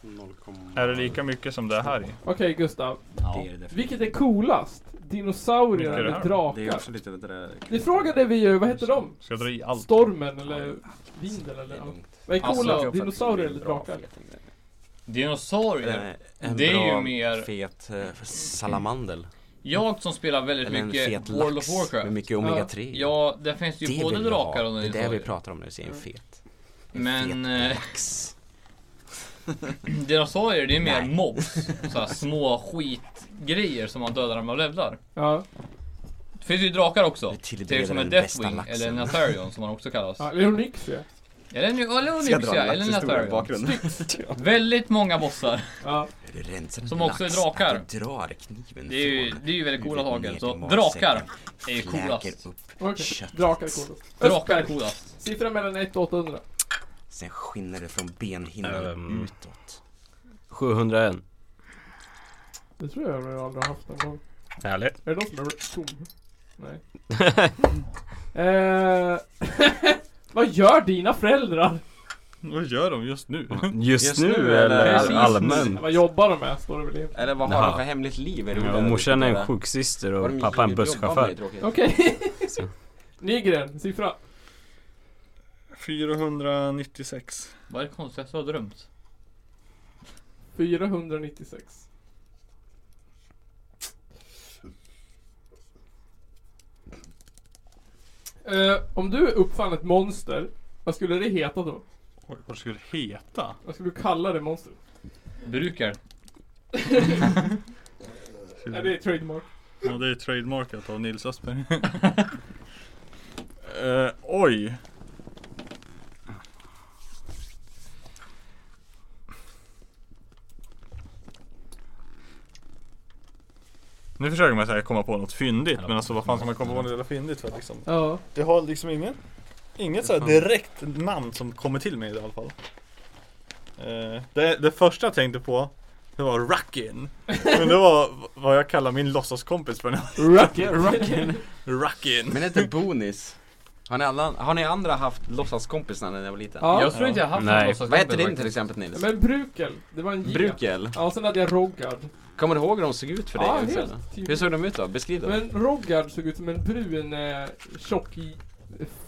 Speaker 7: 0,
Speaker 3: Är det lika mycket som det är här i?
Speaker 1: Okej, Gustav.
Speaker 7: Det är det definitivt.
Speaker 1: Vilket är coolast? Dinosaurier
Speaker 3: Vilka är det
Speaker 1: eller
Speaker 3: här?
Speaker 7: Det är
Speaker 1: drakar?
Speaker 7: också lite vet du, det-
Speaker 1: Det frågade vi ju, vad heter de?
Speaker 3: Ska jag dra i allt?
Speaker 1: Stormen eller vinden eller allt. Vad är
Speaker 6: Alltså,
Speaker 1: coolast?
Speaker 6: jag
Speaker 1: dinosaurier eller drakar?
Speaker 6: Dinosaurier. Det är ju mer-
Speaker 7: fet eh, salamandel.
Speaker 6: Jag som spelar väldigt
Speaker 7: Eller en
Speaker 6: mycket
Speaker 7: fet
Speaker 6: World of
Speaker 7: lax
Speaker 6: Warcraft.
Speaker 7: med mycket omega
Speaker 1: Ja.
Speaker 7: 3.
Speaker 6: Ja, där finns det ju
Speaker 7: det
Speaker 6: både
Speaker 7: vill jag ha.
Speaker 6: drakar och
Speaker 7: Det är det vi
Speaker 6: dinosaurier. Mm.
Speaker 7: pratar om när du säger en fet.
Speaker 6: Men eh,
Speaker 7: Lax.
Speaker 6: dinosaurier det är mer
Speaker 7: Nej.
Speaker 6: mobs. Såhär små skitgrejer som man dödar när man levlar.
Speaker 1: Ja.
Speaker 6: Det finns ju drakar också.
Speaker 7: Du tillbereder
Speaker 6: Till som en
Speaker 7: den bästa
Speaker 6: Deathwing
Speaker 7: laxen.
Speaker 6: eller Natharion som man också kallas.
Speaker 1: ja eller Onyxia.
Speaker 6: Eller nu, eller
Speaker 12: Ska jag dra
Speaker 6: Onyxia
Speaker 12: en
Speaker 6: eller
Speaker 12: laxhistoria i
Speaker 6: Natharion.
Speaker 12: bakgrunden?
Speaker 6: Väldigt många bossar.
Speaker 1: Ja.
Speaker 7: Du rensar en
Speaker 6: Som också är
Speaker 7: lax,
Speaker 6: drakar.
Speaker 7: att Du drar kniven
Speaker 6: Det är ju,
Speaker 7: från
Speaker 6: det är ju väldigt coola
Speaker 7: huvudet
Speaker 6: saker.
Speaker 7: ner
Speaker 6: Så
Speaker 7: till magsäcken,
Speaker 6: drakar är ju
Speaker 7: fläker
Speaker 6: coolast.
Speaker 7: upp,
Speaker 1: Okej,
Speaker 7: Köttet.
Speaker 1: drakar är coolast.
Speaker 6: Drakar är
Speaker 1: Östberg.
Speaker 6: coolast.
Speaker 1: Siffran mellan 1 och 800.
Speaker 7: sen skinner det från benhinnan
Speaker 4: Ehm.
Speaker 7: utåt.
Speaker 4: 701.
Speaker 1: Det tror jag jag aldrig har haft någon gång.
Speaker 4: Härligt.
Speaker 1: Är det någon som är tom? Nej. eh, vad gör dina föräldrar?
Speaker 3: Vad gör de just nu?
Speaker 4: Just,
Speaker 7: Just
Speaker 4: nu,
Speaker 7: nu,
Speaker 4: eller
Speaker 7: eller?
Speaker 4: all- allmänt?
Speaker 1: Vad jobbar de med? Står det väl i.
Speaker 7: Eller vad har
Speaker 4: Jaha.
Speaker 7: de för hemligt liv? Är det
Speaker 4: Ja,
Speaker 7: roligare
Speaker 4: morsan är
Speaker 7: att veta.
Speaker 4: en sjuksyster
Speaker 7: Vad de
Speaker 4: och pappa är en
Speaker 7: jobbar med är
Speaker 4: busschaufför.
Speaker 7: tråkigt.
Speaker 1: Okej.
Speaker 4: Så.
Speaker 1: Nygren, siffra.
Speaker 3: 496.
Speaker 6: Vad är det konstigaste du har drömt?
Speaker 1: 496. Eh, om du uppfann ett monster, vad skulle det heta då?
Speaker 3: Oj, vad det skulle heta?
Speaker 1: Vad skulle du kalla det monstret?
Speaker 6: Brukar.
Speaker 4: Mm.
Speaker 1: Nej, det är trademark.
Speaker 3: Ja, det är trademarkat av Nils Östberg. Eh, oj. Nu försöker man så här komma på något fyndigt men alltså vad fan ska man komma på något jävla fyndigt för liksom?
Speaker 1: Ja.
Speaker 3: Jag har liksom ingen, inget såhär direkt namn som kommer till mig i alla fall. Eh, det, det första jag tänkte på, det var Ruckin. Men det var vad jag kallar min låtsaskompis för nu.
Speaker 1: Rocket.
Speaker 3: Ruckin.
Speaker 7: Men är det inte Bonis? Har ni, alla, har ni andra haft låtsaskompisar när ni var liten?
Speaker 1: Ja.
Speaker 6: Jag tror inte jag har haft
Speaker 4: Nej.
Speaker 6: någon låtsaskompis
Speaker 7: Vad hette din
Speaker 6: faktiskt.
Speaker 7: till exempel Nils?
Speaker 1: Men Brukel, det var en J.
Speaker 7: Brukel?
Speaker 1: Ja, sen hade jag Roggard.
Speaker 7: Kommer du ihåg hur de såg ut för dig?
Speaker 1: Ja,
Speaker 7: Nils,
Speaker 1: helt
Speaker 7: eller?
Speaker 1: tydligt.
Speaker 7: Hur såg de ut då? Beskriv dem.
Speaker 1: Men Roggard såg ut som en brun, eh, tjock i-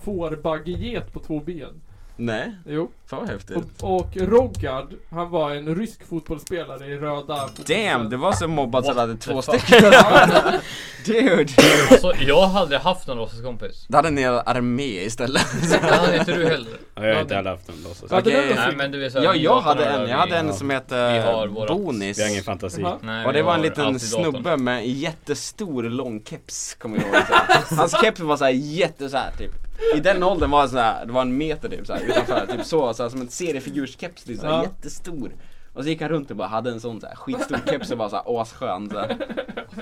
Speaker 1: fårbaggeget på två ben.
Speaker 7: Nej,
Speaker 1: Jo.
Speaker 7: fan vad häftigt.
Speaker 1: Och, och Roggard, han var en rysk fotbollsspelare i röda
Speaker 7: Damn, det var så mobbat så du hade två
Speaker 6: the fuck?
Speaker 7: stycken. Dude!
Speaker 6: Alltså jag hade aldrig haft någon låtsaskompis.
Speaker 7: Då hade ni en armé istället.
Speaker 6: Det hade inte du heller.
Speaker 4: Ja, jag har inte heller haft en låtsas.
Speaker 1: Hade
Speaker 7: Okej.
Speaker 1: du någon
Speaker 6: Nej
Speaker 1: snygg?
Speaker 6: men du vet såhär,
Speaker 7: Ja,
Speaker 6: vi
Speaker 7: jag hade
Speaker 6: datorn
Speaker 7: en.
Speaker 6: där,
Speaker 7: Jag hade
Speaker 6: vi-
Speaker 7: en som
Speaker 6: vi har
Speaker 7: hette
Speaker 6: vårat-
Speaker 7: Bonis.
Speaker 4: Vi har ingen fantasi.
Speaker 1: Jaha.
Speaker 6: Nej,
Speaker 7: Och
Speaker 6: vi
Speaker 7: det var en
Speaker 6: har
Speaker 7: liten
Speaker 6: alltid datorn.
Speaker 7: snubbe med en jättestor lång keps, kommer jag ihåg. Hans keps var såhär jätte såhär typ. I den åldern var det såhär, det var en meter typ såhär utanför. Typ så, såhär, som en seriefigurskeps, typ, såhär,
Speaker 1: Ja.
Speaker 7: jättestor. Och så gick han runt och bara hade en sån såhär skitstor keps och var såhär asskön såhär.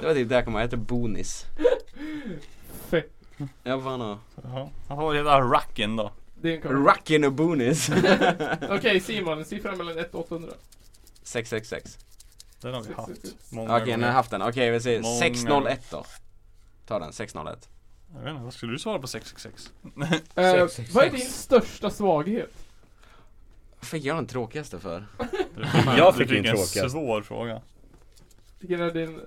Speaker 7: Det var typ det jag kommer ihåg, jag hette Bonis.
Speaker 1: Fett.
Speaker 7: Jag var nog
Speaker 3: Jaha. Han har hela Ruckin då.
Speaker 1: Det är en kamera.
Speaker 7: Rockin' och Bonis.
Speaker 1: Okej Simon, en siffra mellan 1 och 800.
Speaker 7: 666.
Speaker 3: Den har vi haft. Många
Speaker 7: Okej, ni har
Speaker 3: gånger.
Speaker 7: haft den. Okej, vi säger
Speaker 3: Många
Speaker 7: 601 då. Ta den, 601.
Speaker 3: Jag vet inte, vad skulle du svara på 666?
Speaker 1: Eh,
Speaker 6: sex,
Speaker 1: vad är
Speaker 6: sex.
Speaker 1: din största svaghet?
Speaker 7: Vad fick jag den tråkigaste för?
Speaker 3: Jag
Speaker 4: fick en
Speaker 3: en
Speaker 4: tråkigast.
Speaker 3: svår fråga.
Speaker 1: Vilken är din... eh,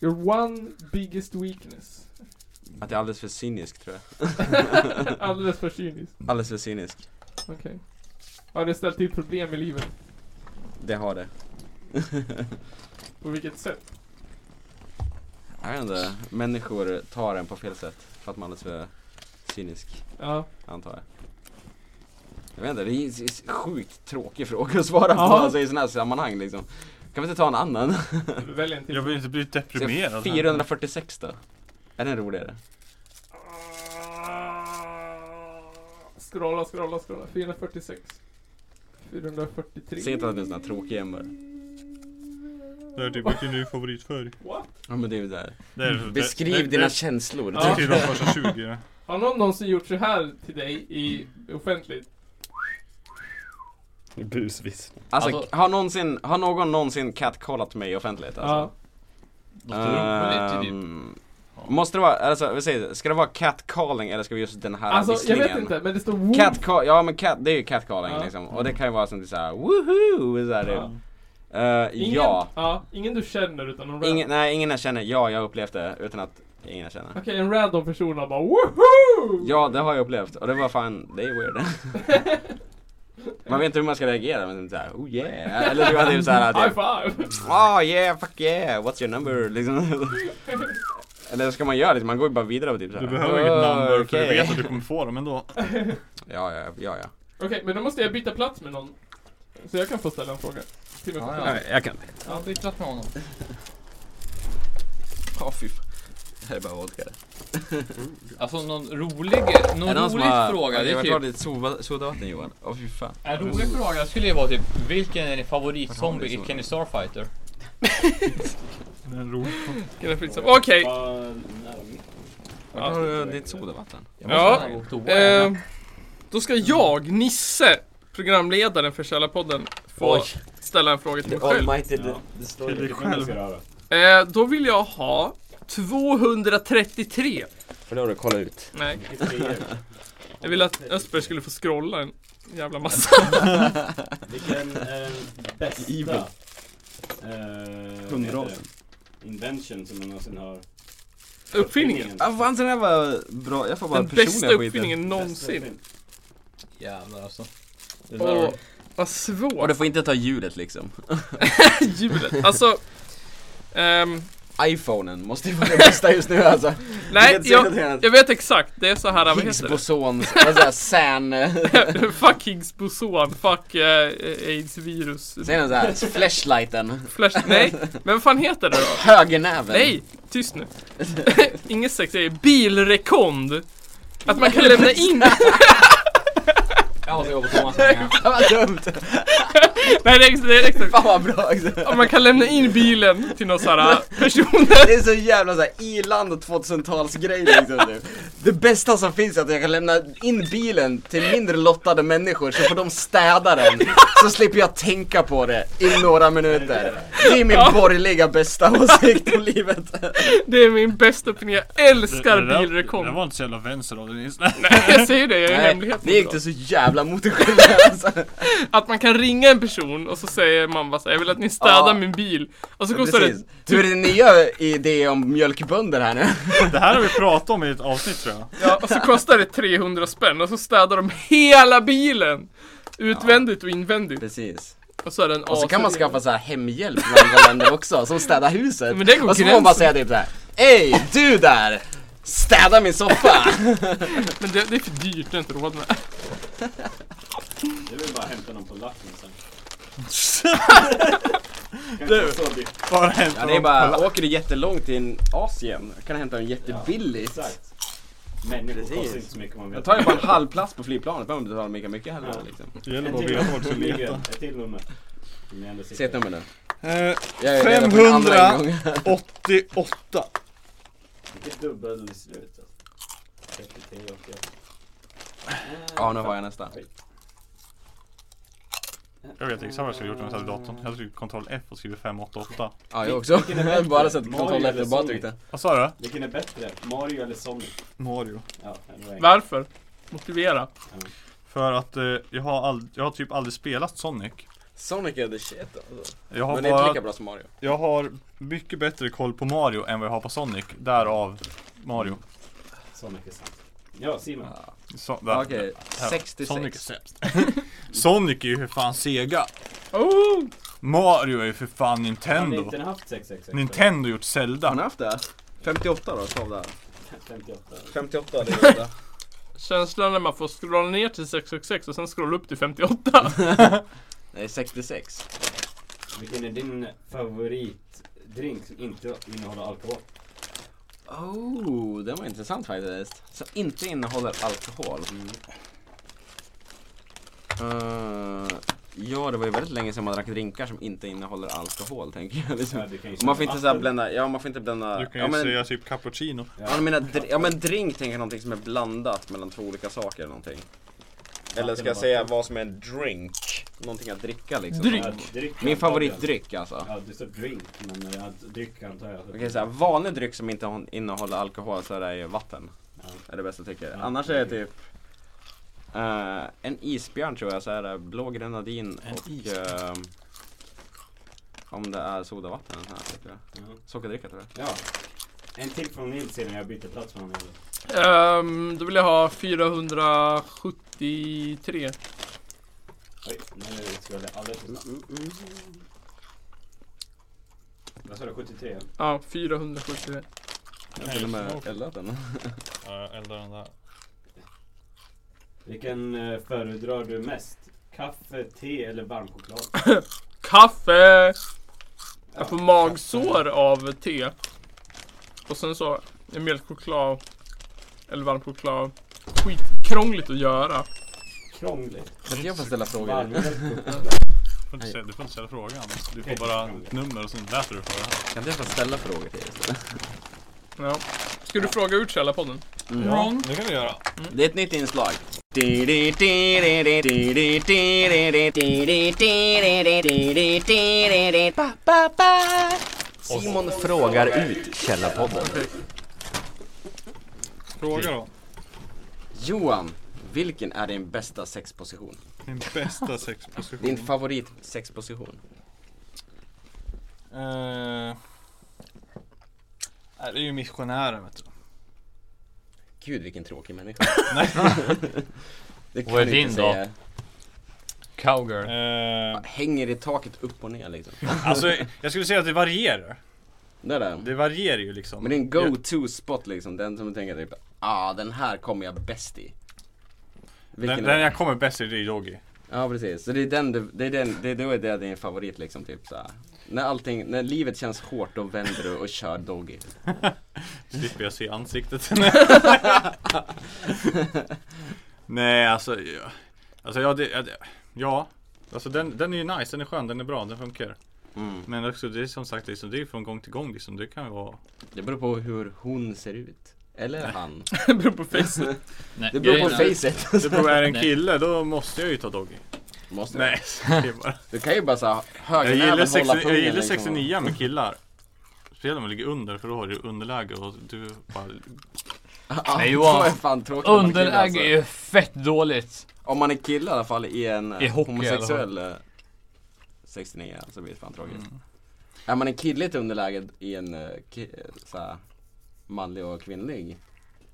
Speaker 1: Your one biggest weakness.
Speaker 7: Att jag är alldeles för cynisk tror jag.
Speaker 1: Alldeles för cynisk.
Speaker 7: Alldeles för cynisk.
Speaker 1: Okej. Har det ställt till problem i livet?
Speaker 7: Det har det.
Speaker 1: På vilket sätt?
Speaker 7: Jag vet inte, människor tar en på fel sätt. För att man är alldeles för cynisk,
Speaker 1: Ja.
Speaker 7: antar jag. Jag vet inte, det är en s- sjukt tråkig fråga att svara på
Speaker 1: Ja.
Speaker 7: alltså, i sådana här sammanhang liksom. Kan vi inte ta en annan?
Speaker 1: Välj en till.
Speaker 3: Jag vill inte bli
Speaker 7: Så
Speaker 3: deprimerad.
Speaker 7: 446 då? Är den roligare?
Speaker 1: Scrolla, scrolla, scrolla. 446. 443.
Speaker 7: Säg inte att det är en sån här tråkig jämförelse.
Speaker 3: Det är typ vilken du favoritfärg.
Speaker 1: What?
Speaker 7: Ja men det är ju där.
Speaker 3: Det är-
Speaker 7: Beskriv
Speaker 3: det- det-
Speaker 7: dina
Speaker 3: det-
Speaker 7: känslor.
Speaker 3: Det är till de första 20.
Speaker 1: Har någon någonsin gjort så här till dig i offentligt?
Speaker 4: Busvis.
Speaker 7: Alltså,
Speaker 6: Alltså-
Speaker 7: har, någonsin, har någon någonsin catcallat mig offentligt? Alltså?
Speaker 1: Ja.
Speaker 6: Doktorn um, typ.
Speaker 7: Ehm, Måste det vara, alltså vi säger, ska det vara catcalling eller ska vi just den här
Speaker 13: Alltså jag
Speaker 7: visslingen?
Speaker 13: vet inte, men det står woof.
Speaker 7: Catcall, ja men cat, det är ju catcalling
Speaker 13: Ja. Mm.
Speaker 7: liksom. Och det kan ju vara sånt såhär, woohoo! Såhär,
Speaker 13: Ja.
Speaker 7: ja. Uh,
Speaker 13: Ingen,
Speaker 7: ja.
Speaker 13: ja. Ingen du känner utan någon
Speaker 7: Ingen,
Speaker 13: random.
Speaker 7: nej, ingen jag känner, ja jag har upplevt det utan att ingen jag känner.
Speaker 13: Okej, en random person har bara woohoo!
Speaker 7: Ja, det har jag upplevt och det var fan, det är weird. man vet inte hur man ska reagera men såhär, oh yeah! Eller du hade ju såhär
Speaker 13: High
Speaker 7: typ,
Speaker 13: five!
Speaker 7: oh yeah, fuck yeah, what's your number? Liksom. Eller ska man göra liksom, man går ju bara vidare och typ såhär.
Speaker 3: Du behöver inget number för du
Speaker 7: okej.
Speaker 3: vet att du kommer få dem ändå.
Speaker 7: Ja, ja, ja, ja.
Speaker 13: Okej, men då måste jag byta plats med någon. Så jag kan få ställa en fråga. Till mig själv.
Speaker 7: Nej, jag kan
Speaker 6: Jag har bytt med honom.
Speaker 7: Ja, fy fan. Det här är bara vodka.
Speaker 6: Alltså någon rolig, någon rolig fråga. Det är
Speaker 7: Jag
Speaker 6: typ,
Speaker 7: lite soda- sodavatten Johan. Åh fy fan.
Speaker 6: en rolig fråga skulle ju vara typ, vilken är din favoritzombie i Kenny Starfighter?
Speaker 3: Det är en rolig
Speaker 1: Okej.
Speaker 7: Vart har du ditt sodavatten?
Speaker 6: Jag
Speaker 1: Ja,
Speaker 6: måste gå på toa.
Speaker 1: Eh,
Speaker 7: Ehm.
Speaker 1: då ska jag, Nisse, programledaren för Källarpodden, få
Speaker 14: Oj.
Speaker 1: ställa en fråga till mig själv.
Speaker 14: Almighty ja. Destroyer.
Speaker 3: Till dig själv.
Speaker 1: Eh, då vill jag ha 233.
Speaker 14: För det har du kollat ut.
Speaker 1: Nej. Jag ville att Östberg skulle få scrolla en jävla massa.
Speaker 4: Vilken är den bästa
Speaker 7: Evil.
Speaker 4: eh,
Speaker 7: Hundrasen.
Speaker 4: invention som man någonsin har?
Speaker 1: Uppfinningen.
Speaker 7: Ah, fan den här var bra. Jag får bara
Speaker 1: Den bästa
Speaker 7: personliga skiten.
Speaker 1: uppfinningen någonsin.
Speaker 6: Jävlar alltså. Det där-
Speaker 1: Och vad
Speaker 7: Och
Speaker 1: svårt.
Speaker 7: du får inte ta hjulet liksom.
Speaker 1: Hjulet. Alltså. ehm,
Speaker 7: Iphonen måste ju vara det bästa just nu alltså.
Speaker 1: nej,
Speaker 7: Jag kan
Speaker 1: jag,
Speaker 7: se det här.
Speaker 1: jag vet exakt. Det är så här, vad
Speaker 7: Higgs
Speaker 1: heter det?
Speaker 7: bosons, vad säger jag, SAN.
Speaker 1: fuck Higgs boson, fuck eh, aids-virus.
Speaker 7: Säg någon såhär, flashlighten.
Speaker 1: Flash, nej, men vad fan heter det då?
Speaker 7: Högernäven.
Speaker 1: Nej, tyst nu. Inget sex, det är bilrekond. Att man kan lämna in...
Speaker 6: Jag måste gå på toan sen. ja.
Speaker 7: Fan vad dumt.
Speaker 1: Nej, det är, ex- det är exakt.
Speaker 7: Fan vad bra. alltså. också.
Speaker 1: Att man kan lämna in bilen till någon sån här ah, person.
Speaker 7: Det är så jävla såhär i-land och 2000-talsgrej liksom nu. Det bästa som finns är att jag kan lämna in bilen till mindre lottade människor så får de städa den. Så slipper jag tänka på det i några minuter. Det är min borgerliga bästa åsikt om livet.
Speaker 1: Det är min bästa uppfinning, jag älskar
Speaker 3: Det- det där-
Speaker 1: bilrekond.
Speaker 3: Det där var inte så jävla vänster av dig Nils. Nej.
Speaker 1: Nej, jag säger det, jag är hemligheten.
Speaker 7: det gick det så jävla mot dig själv alltså.
Speaker 1: Att man kan ringa en person och så säger man bara så här, jag vill att ni städar
Speaker 7: Ja.
Speaker 1: min bil. Och så kostar det
Speaker 7: Precis. Du är din nya idé om mjölkbönder här nu.
Speaker 3: Det här har vi pratat om i ett avsnitt tror jag.
Speaker 1: Ja, och så kostar det 300 spänn och så städar de hela bilen! Utvändigt och invändigt.
Speaker 7: Precis.
Speaker 1: Och så är den
Speaker 7: Och så kan man skaffa så här hemhjälp i andra länder också, som städar huset.
Speaker 1: Men det går
Speaker 7: och så får man bara
Speaker 1: gränsen.
Speaker 7: säga typ såhär, Ey, du där! Städa min soffa!
Speaker 1: Men det, det är för dyrt, det har jag inte råd med.
Speaker 4: Det är väl bara att hämta någon på lappen sen.
Speaker 3: Du, bara hämta
Speaker 7: Ja det är
Speaker 3: dem.
Speaker 7: bara, åker du jättelångt till Asien kan du hämta den jättebilligt.
Speaker 4: Människor
Speaker 7: Precis.
Speaker 4: kostar inte så mycket om man
Speaker 7: Jag
Speaker 4: vet.
Speaker 7: tar ju bara en halv plats på flygplanet, behöver inte betala lika mycket heller. Liksom.
Speaker 3: Det gäller
Speaker 4: En
Speaker 3: bara att
Speaker 4: till
Speaker 3: veta vart du ska
Speaker 4: nummer.
Speaker 3: leta.
Speaker 4: Ett till nummer. Som ni ändå sitter-
Speaker 7: Se ett nummer nu.
Speaker 3: Eh,
Speaker 7: Jag är redan på min andra
Speaker 3: 500.
Speaker 7: ingång.
Speaker 3: 88.
Speaker 4: Vilket dubbelslut. alltså. 33 och ett.
Speaker 7: Ja nu har jag nästa.
Speaker 3: Jag vet exakt vad jag skulle gjort om jag satt i datorn. Jag tryckte ctrl F och skriver 588.
Speaker 7: Ja jag också.
Speaker 4: Vilken är bättre?
Speaker 7: bara sett
Speaker 4: Mario
Speaker 7: kontroll
Speaker 4: eller
Speaker 7: efter bara
Speaker 4: Sonic?
Speaker 7: tryckte.
Speaker 3: Vad sa du?
Speaker 4: Vilken är bättre? Mario eller Sonic?
Speaker 3: Mario.
Speaker 4: Ja, det var enkelt.
Speaker 1: Varför? Motivera.
Speaker 3: För att eh, jag, har ald- jag har typ aldrig spelat Sonic.
Speaker 7: Sonic är the shit alltså.
Speaker 3: Jag har,
Speaker 7: Men det är inte
Speaker 3: bara,
Speaker 7: lika bra som Mario.
Speaker 3: jag har mycket bättre koll på Mario än vad jag har på Sonic. Därav Mario.
Speaker 4: Sonic är sant. Ja, Simon.
Speaker 3: So- där.
Speaker 7: Okej,
Speaker 3: Här. Sonic är
Speaker 7: 66.
Speaker 3: sämst. Sonic är ju för fan Sega.
Speaker 1: Oh!
Speaker 3: Mario är ju för fan
Speaker 4: Har ni
Speaker 3: Nintendo.
Speaker 4: inte haft 666?
Speaker 3: Nintendo gjort
Speaker 7: Har ni
Speaker 3: Zelda.
Speaker 7: haft det? 58 då, stav där.
Speaker 4: 58.
Speaker 7: 58 det är det.
Speaker 1: Känslan när man får scrolla ner till 666 och sen scrolla upp till 58.
Speaker 7: Nej 66.
Speaker 4: Vilken är din favoritdrink som inte innehåller alkohol?
Speaker 7: Oh, den var intressant faktiskt. Som inte innehåller alkohol. Eh, ja, det var ju väldigt länge sedan man drack drinkar som inte innehåller alkohol tänker jag. Liksom.
Speaker 4: Ja, du kan ju
Speaker 7: Och man får inte
Speaker 4: säga
Speaker 7: såhär
Speaker 4: vatten.
Speaker 7: blända, ja man får inte blända.
Speaker 3: Du kan
Speaker 7: ja,
Speaker 3: ju
Speaker 7: men,
Speaker 3: säga typ cappuccino.
Speaker 7: ja, men, dr- ja men drink tänker jag någonting som är blandat mellan två olika saker eller någonting.
Speaker 15: Eller ska jag säga vad som är en drink? Någonting att dricka liksom.
Speaker 7: Dryck. Ja, dryck, Min favoritdryck, alltså.
Speaker 15: Ja, det står drink, men
Speaker 4: eh,
Speaker 15: jag, dryck antar jag. Okej, så här, vanlig dryck som inte hon- innehåller alkohol så är det ju vatten. Är det bästa jag tycker. Annars är det typ eh, en isbjörn tror jag, så är det blå grenadin och eh, om det är sodavatten eller sån här, tycker jag. Sockerdricka tror jag. Ja.
Speaker 4: En till från Nils innan jag byter plats med honom.
Speaker 1: Ehm, då vill jag ha 473.
Speaker 4: Oj, nu ska jag alldeles för snabbt. Vad sa du, 73?
Speaker 1: Ja, 473.
Speaker 15: Jag har till och med eldat den.
Speaker 3: Ja, jag eldar den där.
Speaker 4: Vilken eh, föredrar du mest? Kaffe, te eller varm choklad?
Speaker 1: Kaffe! Jag får magsår av te. Och sen så, en mjölkchoklad. Eller varm choklad. Skitkrångligt att göra.
Speaker 4: Krångligt.
Speaker 3: Kan inte jag få ställa frågor?
Speaker 4: Varm
Speaker 3: Du får inte ställa, du får inte ställa frågan. Du får bara ett nummer och sen läser du för det.
Speaker 7: Kan inte jag få ställa frågor till er?
Speaker 1: Ja. Ska du fråga ut Källarpodden?
Speaker 7: Mm. Ja,
Speaker 3: det kan vi göra.
Speaker 7: Det är ett nytt inslag. Simon frågar ut Källarpodden.
Speaker 3: Fråga då.
Speaker 7: Johan, vilken är din bästa sexposition?
Speaker 3: Min bästa sexposition.
Speaker 7: Din favorit sexposition?
Speaker 3: Eh, nej, det är ju missionären vet du.
Speaker 7: Gud vilken tråkig människa. det kan
Speaker 3: Vad är
Speaker 7: du
Speaker 3: din
Speaker 7: inte
Speaker 3: då?
Speaker 7: säga.
Speaker 6: Cowgirl.
Speaker 7: Hänger i taket upp och ner liksom.
Speaker 3: Eh, Alltså jag skulle säga att det varierar.
Speaker 7: Det, där.
Speaker 3: det varierar ju liksom.
Speaker 7: Men det är en go-to spot liksom. Den som du tänker typ, ah den här kommer jag bäst i.
Speaker 3: Den,
Speaker 7: är
Speaker 3: den
Speaker 7: det?
Speaker 3: jag kommer bäst i det är Doggy.
Speaker 7: Ja precis, så det är den du, det är den, det är då är det din favorit liksom typ såhär. När allting, när livet känns hårt då vänder du och kör Doggy.
Speaker 3: Slipper jag se ansiktet. Nej alltså, ja. alltså ja, det, ja, det- ja. Alltså den, den är ju nice, den är skön, den är bra, den funkar.
Speaker 7: Mm.
Speaker 3: Men också det är som sagt liksom, det är från gång till gång liksom, det kan ju vara
Speaker 7: Det beror på hur hon ser ut. Eller han.
Speaker 1: det beror på facet.
Speaker 7: Nej, det beror på facet.
Speaker 3: Det beror, är det en kille då måste jag ju ta Doggy.
Speaker 7: Måste
Speaker 3: Nej, det är bara.
Speaker 7: Du kan ju bara såhär
Speaker 3: Jag gillar,
Speaker 7: högernäven
Speaker 3: 60,
Speaker 7: hålla pungen
Speaker 3: jag gillar
Speaker 7: liksom.
Speaker 3: 69 med killar. Speciellt om man ligger under för då har du underläge och du bara...
Speaker 7: Ja,
Speaker 6: Nej
Speaker 7: då är
Speaker 6: Johan,
Speaker 7: fan tråkigt om man är kille,
Speaker 6: underläge
Speaker 7: alltså.
Speaker 6: är ju fett dåligt.
Speaker 7: Om man är kille i alla fall i en
Speaker 6: I
Speaker 7: eh,
Speaker 6: hockey i alla
Speaker 7: homosexuell eh, 69 så blir det fan tråkigt. Är man en kille i ett underläge i en eh, ki- eh, såhär, manlig och kvinnlig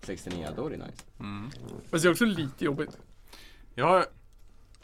Speaker 7: 69 då är det nice.
Speaker 3: Mm.
Speaker 1: Fast det är också lite jobbigt.
Speaker 3: Jag har,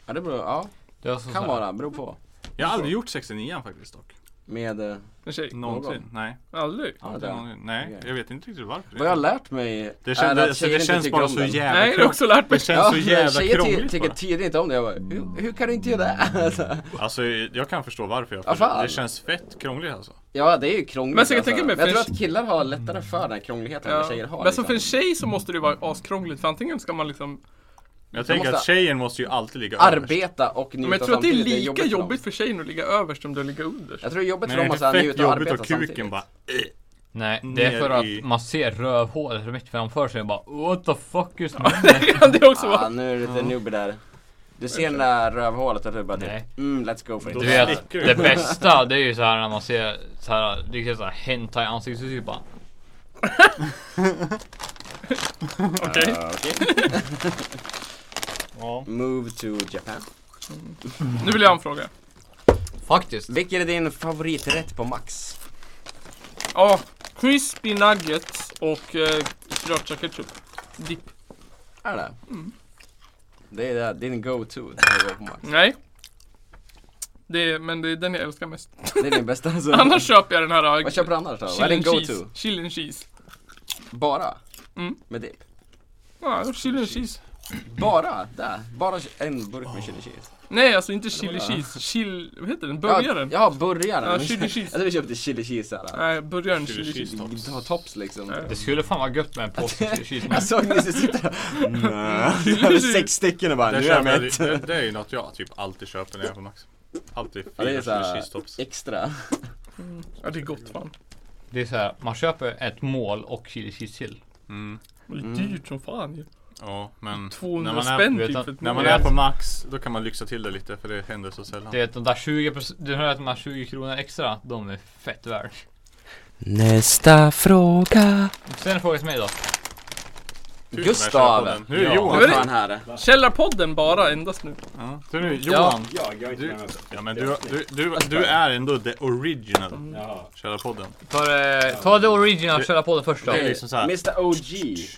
Speaker 7: Ja det beror, ja.
Speaker 6: Det är alltså
Speaker 7: kan
Speaker 6: så här.
Speaker 7: vara, beror på.
Speaker 3: jag har aldrig gjort 69 faktiskt dock.
Speaker 7: Med, eh,
Speaker 1: En tjej?
Speaker 3: Någonsin, nej.
Speaker 1: Aldrig?
Speaker 3: Aldrig
Speaker 7: det-
Speaker 3: någonsin. Nej,
Speaker 7: okej.
Speaker 3: jag vet inte riktigt varför.
Speaker 7: vad jag har lärt mig
Speaker 3: Det
Speaker 7: är
Speaker 3: känns,
Speaker 7: att
Speaker 3: det, alltså,
Speaker 7: tjejer
Speaker 3: det
Speaker 7: inte
Speaker 3: känns
Speaker 7: tycker
Speaker 3: bara
Speaker 7: om
Speaker 3: så
Speaker 7: den.
Speaker 3: jävla
Speaker 1: Nej, det har jag också lärt mig.
Speaker 3: Det känns så jävla
Speaker 7: tjejer ty-
Speaker 3: krångligt
Speaker 7: tycker
Speaker 3: bara. Mm.
Speaker 7: tydligen inte om det. Jag bara, hur, hur kan du inte göra det? Alltså,
Speaker 3: Alltså jag kan förstå varför jag,
Speaker 7: Ja, fan.
Speaker 3: för det känns fett krångligt alltså.
Speaker 7: ja det är ju krångligt
Speaker 1: Men jag kan
Speaker 7: alltså.
Speaker 1: tänka mig
Speaker 7: Men jag
Speaker 1: för-
Speaker 7: tror att killar har lättare för den här krångligheten än vad
Speaker 1: Ja.
Speaker 7: tjejer har. liksom.
Speaker 1: Men som för en tjej så måste det ju vara askrångligt för antingen ska man liksom
Speaker 3: Jag tänker
Speaker 7: Alltså, måste-
Speaker 3: att tjejen måste ju alltid ligga överst.
Speaker 7: Arbeta och njuta
Speaker 1: Men jag tror att det är
Speaker 7: samtidigt.
Speaker 1: lika
Speaker 7: jobbigt för
Speaker 1: jobbigt,
Speaker 7: dem.
Speaker 1: för tjejen att ligga överst som det är att ligga underst.
Speaker 7: Jag tror det är jobbigt
Speaker 3: Men det
Speaker 7: för dem att
Speaker 3: är
Speaker 7: såhär
Speaker 3: fett
Speaker 7: njuta och
Speaker 3: jobbigt
Speaker 7: arbeta
Speaker 3: och kuken
Speaker 7: samtidigt.
Speaker 3: bara...
Speaker 6: Nej, det är för
Speaker 3: Ner i-
Speaker 6: att man ser rövhålet mitt framför sig och bara What the fuck is
Speaker 1: Kan det också
Speaker 7: Ah,
Speaker 1: vara?
Speaker 7: nu är du lite nubbe där. Du ser det där rövhålet och du bara typ,
Speaker 6: Nej.
Speaker 7: mm, let's go for it.
Speaker 6: Du vet, det bästa det är ju så här när man ser så här, det är så här hentai ansiktsuttryck typ bara
Speaker 1: Okej.
Speaker 7: Ah, okej.
Speaker 3: Ja.
Speaker 7: Move to Japan.
Speaker 1: Nu vill jag ha en fråga.
Speaker 6: Faktiskt.
Speaker 7: Vilken är din favoriträtt på Max?
Speaker 1: Ja, crispy nuggets och eh, sriracha ketchup. Dipp.
Speaker 7: Är det?
Speaker 1: Mm.
Speaker 7: Det är det- din go-to när du går på Max.
Speaker 1: Nej. Det är, men det är den jag älskar mest.
Speaker 7: Det är din bästa alltså.
Speaker 1: Annars köper jag den här... eh,
Speaker 7: Vad köper du annars då? Vad är
Speaker 1: Chili
Speaker 7: din
Speaker 1: and
Speaker 7: go-to?
Speaker 1: cheese. Chili and cheese.
Speaker 7: Bara?
Speaker 1: Mm.
Speaker 7: Med dipp?
Speaker 1: Ja, ah, chili and cheese.
Speaker 7: Bara? Där? Bara en burk med chili cheese?
Speaker 1: Nej, alltså inte chili cheese. Chill... Vad heter den? Burgaren?
Speaker 7: Ja, burgaren.
Speaker 1: Ja, chili cheese.
Speaker 7: Jag tror vi köpte chili cheese här.
Speaker 1: Nej, burgaren
Speaker 3: Chili
Speaker 1: chili cheese.
Speaker 3: cheese. Tops.
Speaker 7: Du har tops liksom.
Speaker 1: Ja.
Speaker 6: Det skulle fan vara gött med en påse cheese
Speaker 7: Jag såg Nisse sitta där. Du hade sex stycken och bara,
Speaker 3: Det,
Speaker 7: nu är jag
Speaker 3: köper jag,
Speaker 7: mätt.
Speaker 3: det, det är ju något jag typ alltid köper när jag är på Max. Alltid
Speaker 7: Ja, det är
Speaker 3: fyra
Speaker 7: såhär
Speaker 3: cheese tops.
Speaker 7: extra.
Speaker 1: Ja, det är gott fan.
Speaker 6: Det är så här, man köper ett mål och chili cheese till.
Speaker 3: Mm.
Speaker 1: Det är dyrt som fan ju.
Speaker 3: Ja, men
Speaker 1: 200
Speaker 3: när man är,
Speaker 1: spänn
Speaker 3: vet
Speaker 1: typ
Speaker 3: att-
Speaker 1: för ett
Speaker 3: När man
Speaker 1: mål.
Speaker 3: är på max, då kan man lyxa till det lite för det händer så sällan.
Speaker 6: Du vet de där 20 du hör att de här 20 kronorna extra, de är fett värd.
Speaker 7: Nästa fråga.
Speaker 6: Sen en fråga till mig då.
Speaker 7: Gustav.
Speaker 1: Nu är Johan fan här. Källarpodden bara, endast nu.
Speaker 3: Ja. Så nu, Johan. du, ja, men du, du, du, du är ändå the original
Speaker 6: Ja.
Speaker 3: Källarpodden.
Speaker 6: För, eh, ta the original
Speaker 3: Det-
Speaker 6: Källarpodden först då.
Speaker 3: Det är liksom så här.
Speaker 6: Mr
Speaker 16: OG.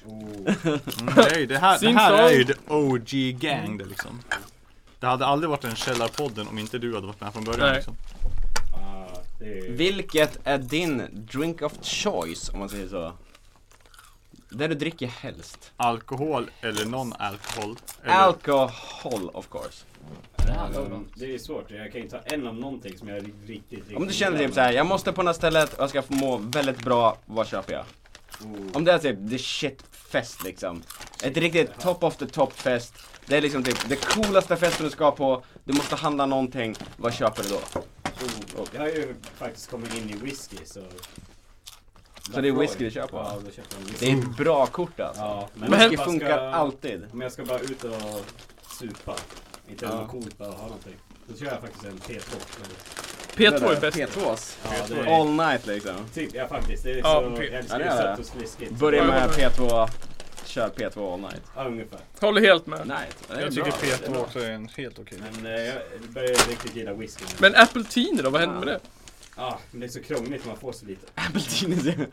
Speaker 3: Mm, det, är ju, det, här, det
Speaker 6: Sing
Speaker 3: här är
Speaker 6: song.
Speaker 3: ju the OG gang det liksom. Det hade aldrig varit en källarpodden om inte du hade varit med från början
Speaker 16: Nej.
Speaker 3: liksom.
Speaker 4: Ah,
Speaker 7: Vilket är din drink of choice om man säger så? Det du dricker helst?
Speaker 3: Alkohol eller non-alkohol?
Speaker 4: eller-
Speaker 7: Alkohol of course.
Speaker 4: Ehm, Det är svårt, jag kan ju ta en av någonting som jag är riktigt, riktigt
Speaker 7: Om du känner typ såhär, jag måste på det här stället och jag ska få må väldigt bra, vad köper jag? Om det är typ the shit fest liksom. Ett riktigt top of the top fest. Det är liksom typ det coolaste festen du ska på, du måste handla någonting, vad köper du då?
Speaker 4: Oh, jag har ju faktiskt kommit in i whisky så...
Speaker 7: Så det är whisky du köper?
Speaker 4: Ja, då köper jag whisky.
Speaker 7: Det är ett bra kort alltså.
Speaker 4: Ja, men
Speaker 7: whisky
Speaker 4: om jag
Speaker 7: funkar
Speaker 4: ska-
Speaker 7: alltid.
Speaker 4: Om jag ska bara ut och supa, inte
Speaker 7: Ja.
Speaker 4: ja. något coolt, bara ha någonting. Då kör jag faktiskt en P2.
Speaker 7: P2 är bäst. P2s? All night, liksom.
Speaker 4: Typ, ja faktiskt. Det är
Speaker 7: Ja,
Speaker 4: så,
Speaker 7: P-
Speaker 4: jag
Speaker 7: Ja,
Speaker 4: älskar
Speaker 7: det
Speaker 4: ju
Speaker 7: är det.
Speaker 4: sött och sliskigt.
Speaker 7: Börja med P2, kör P2 all night.
Speaker 4: Ja, ungefär.
Speaker 1: Håller helt med.
Speaker 7: Nej, det är
Speaker 3: Jag
Speaker 7: bra.
Speaker 3: tycker P2
Speaker 7: Det är bra.
Speaker 3: också är en helt okej.
Speaker 4: Men eh, jag börjar riktigt gilla whisky nu.
Speaker 1: Men apple tiner då, vad händer med det?
Speaker 4: Ja, men det är så krångligt, man får så lite.
Speaker 7: Apple tiner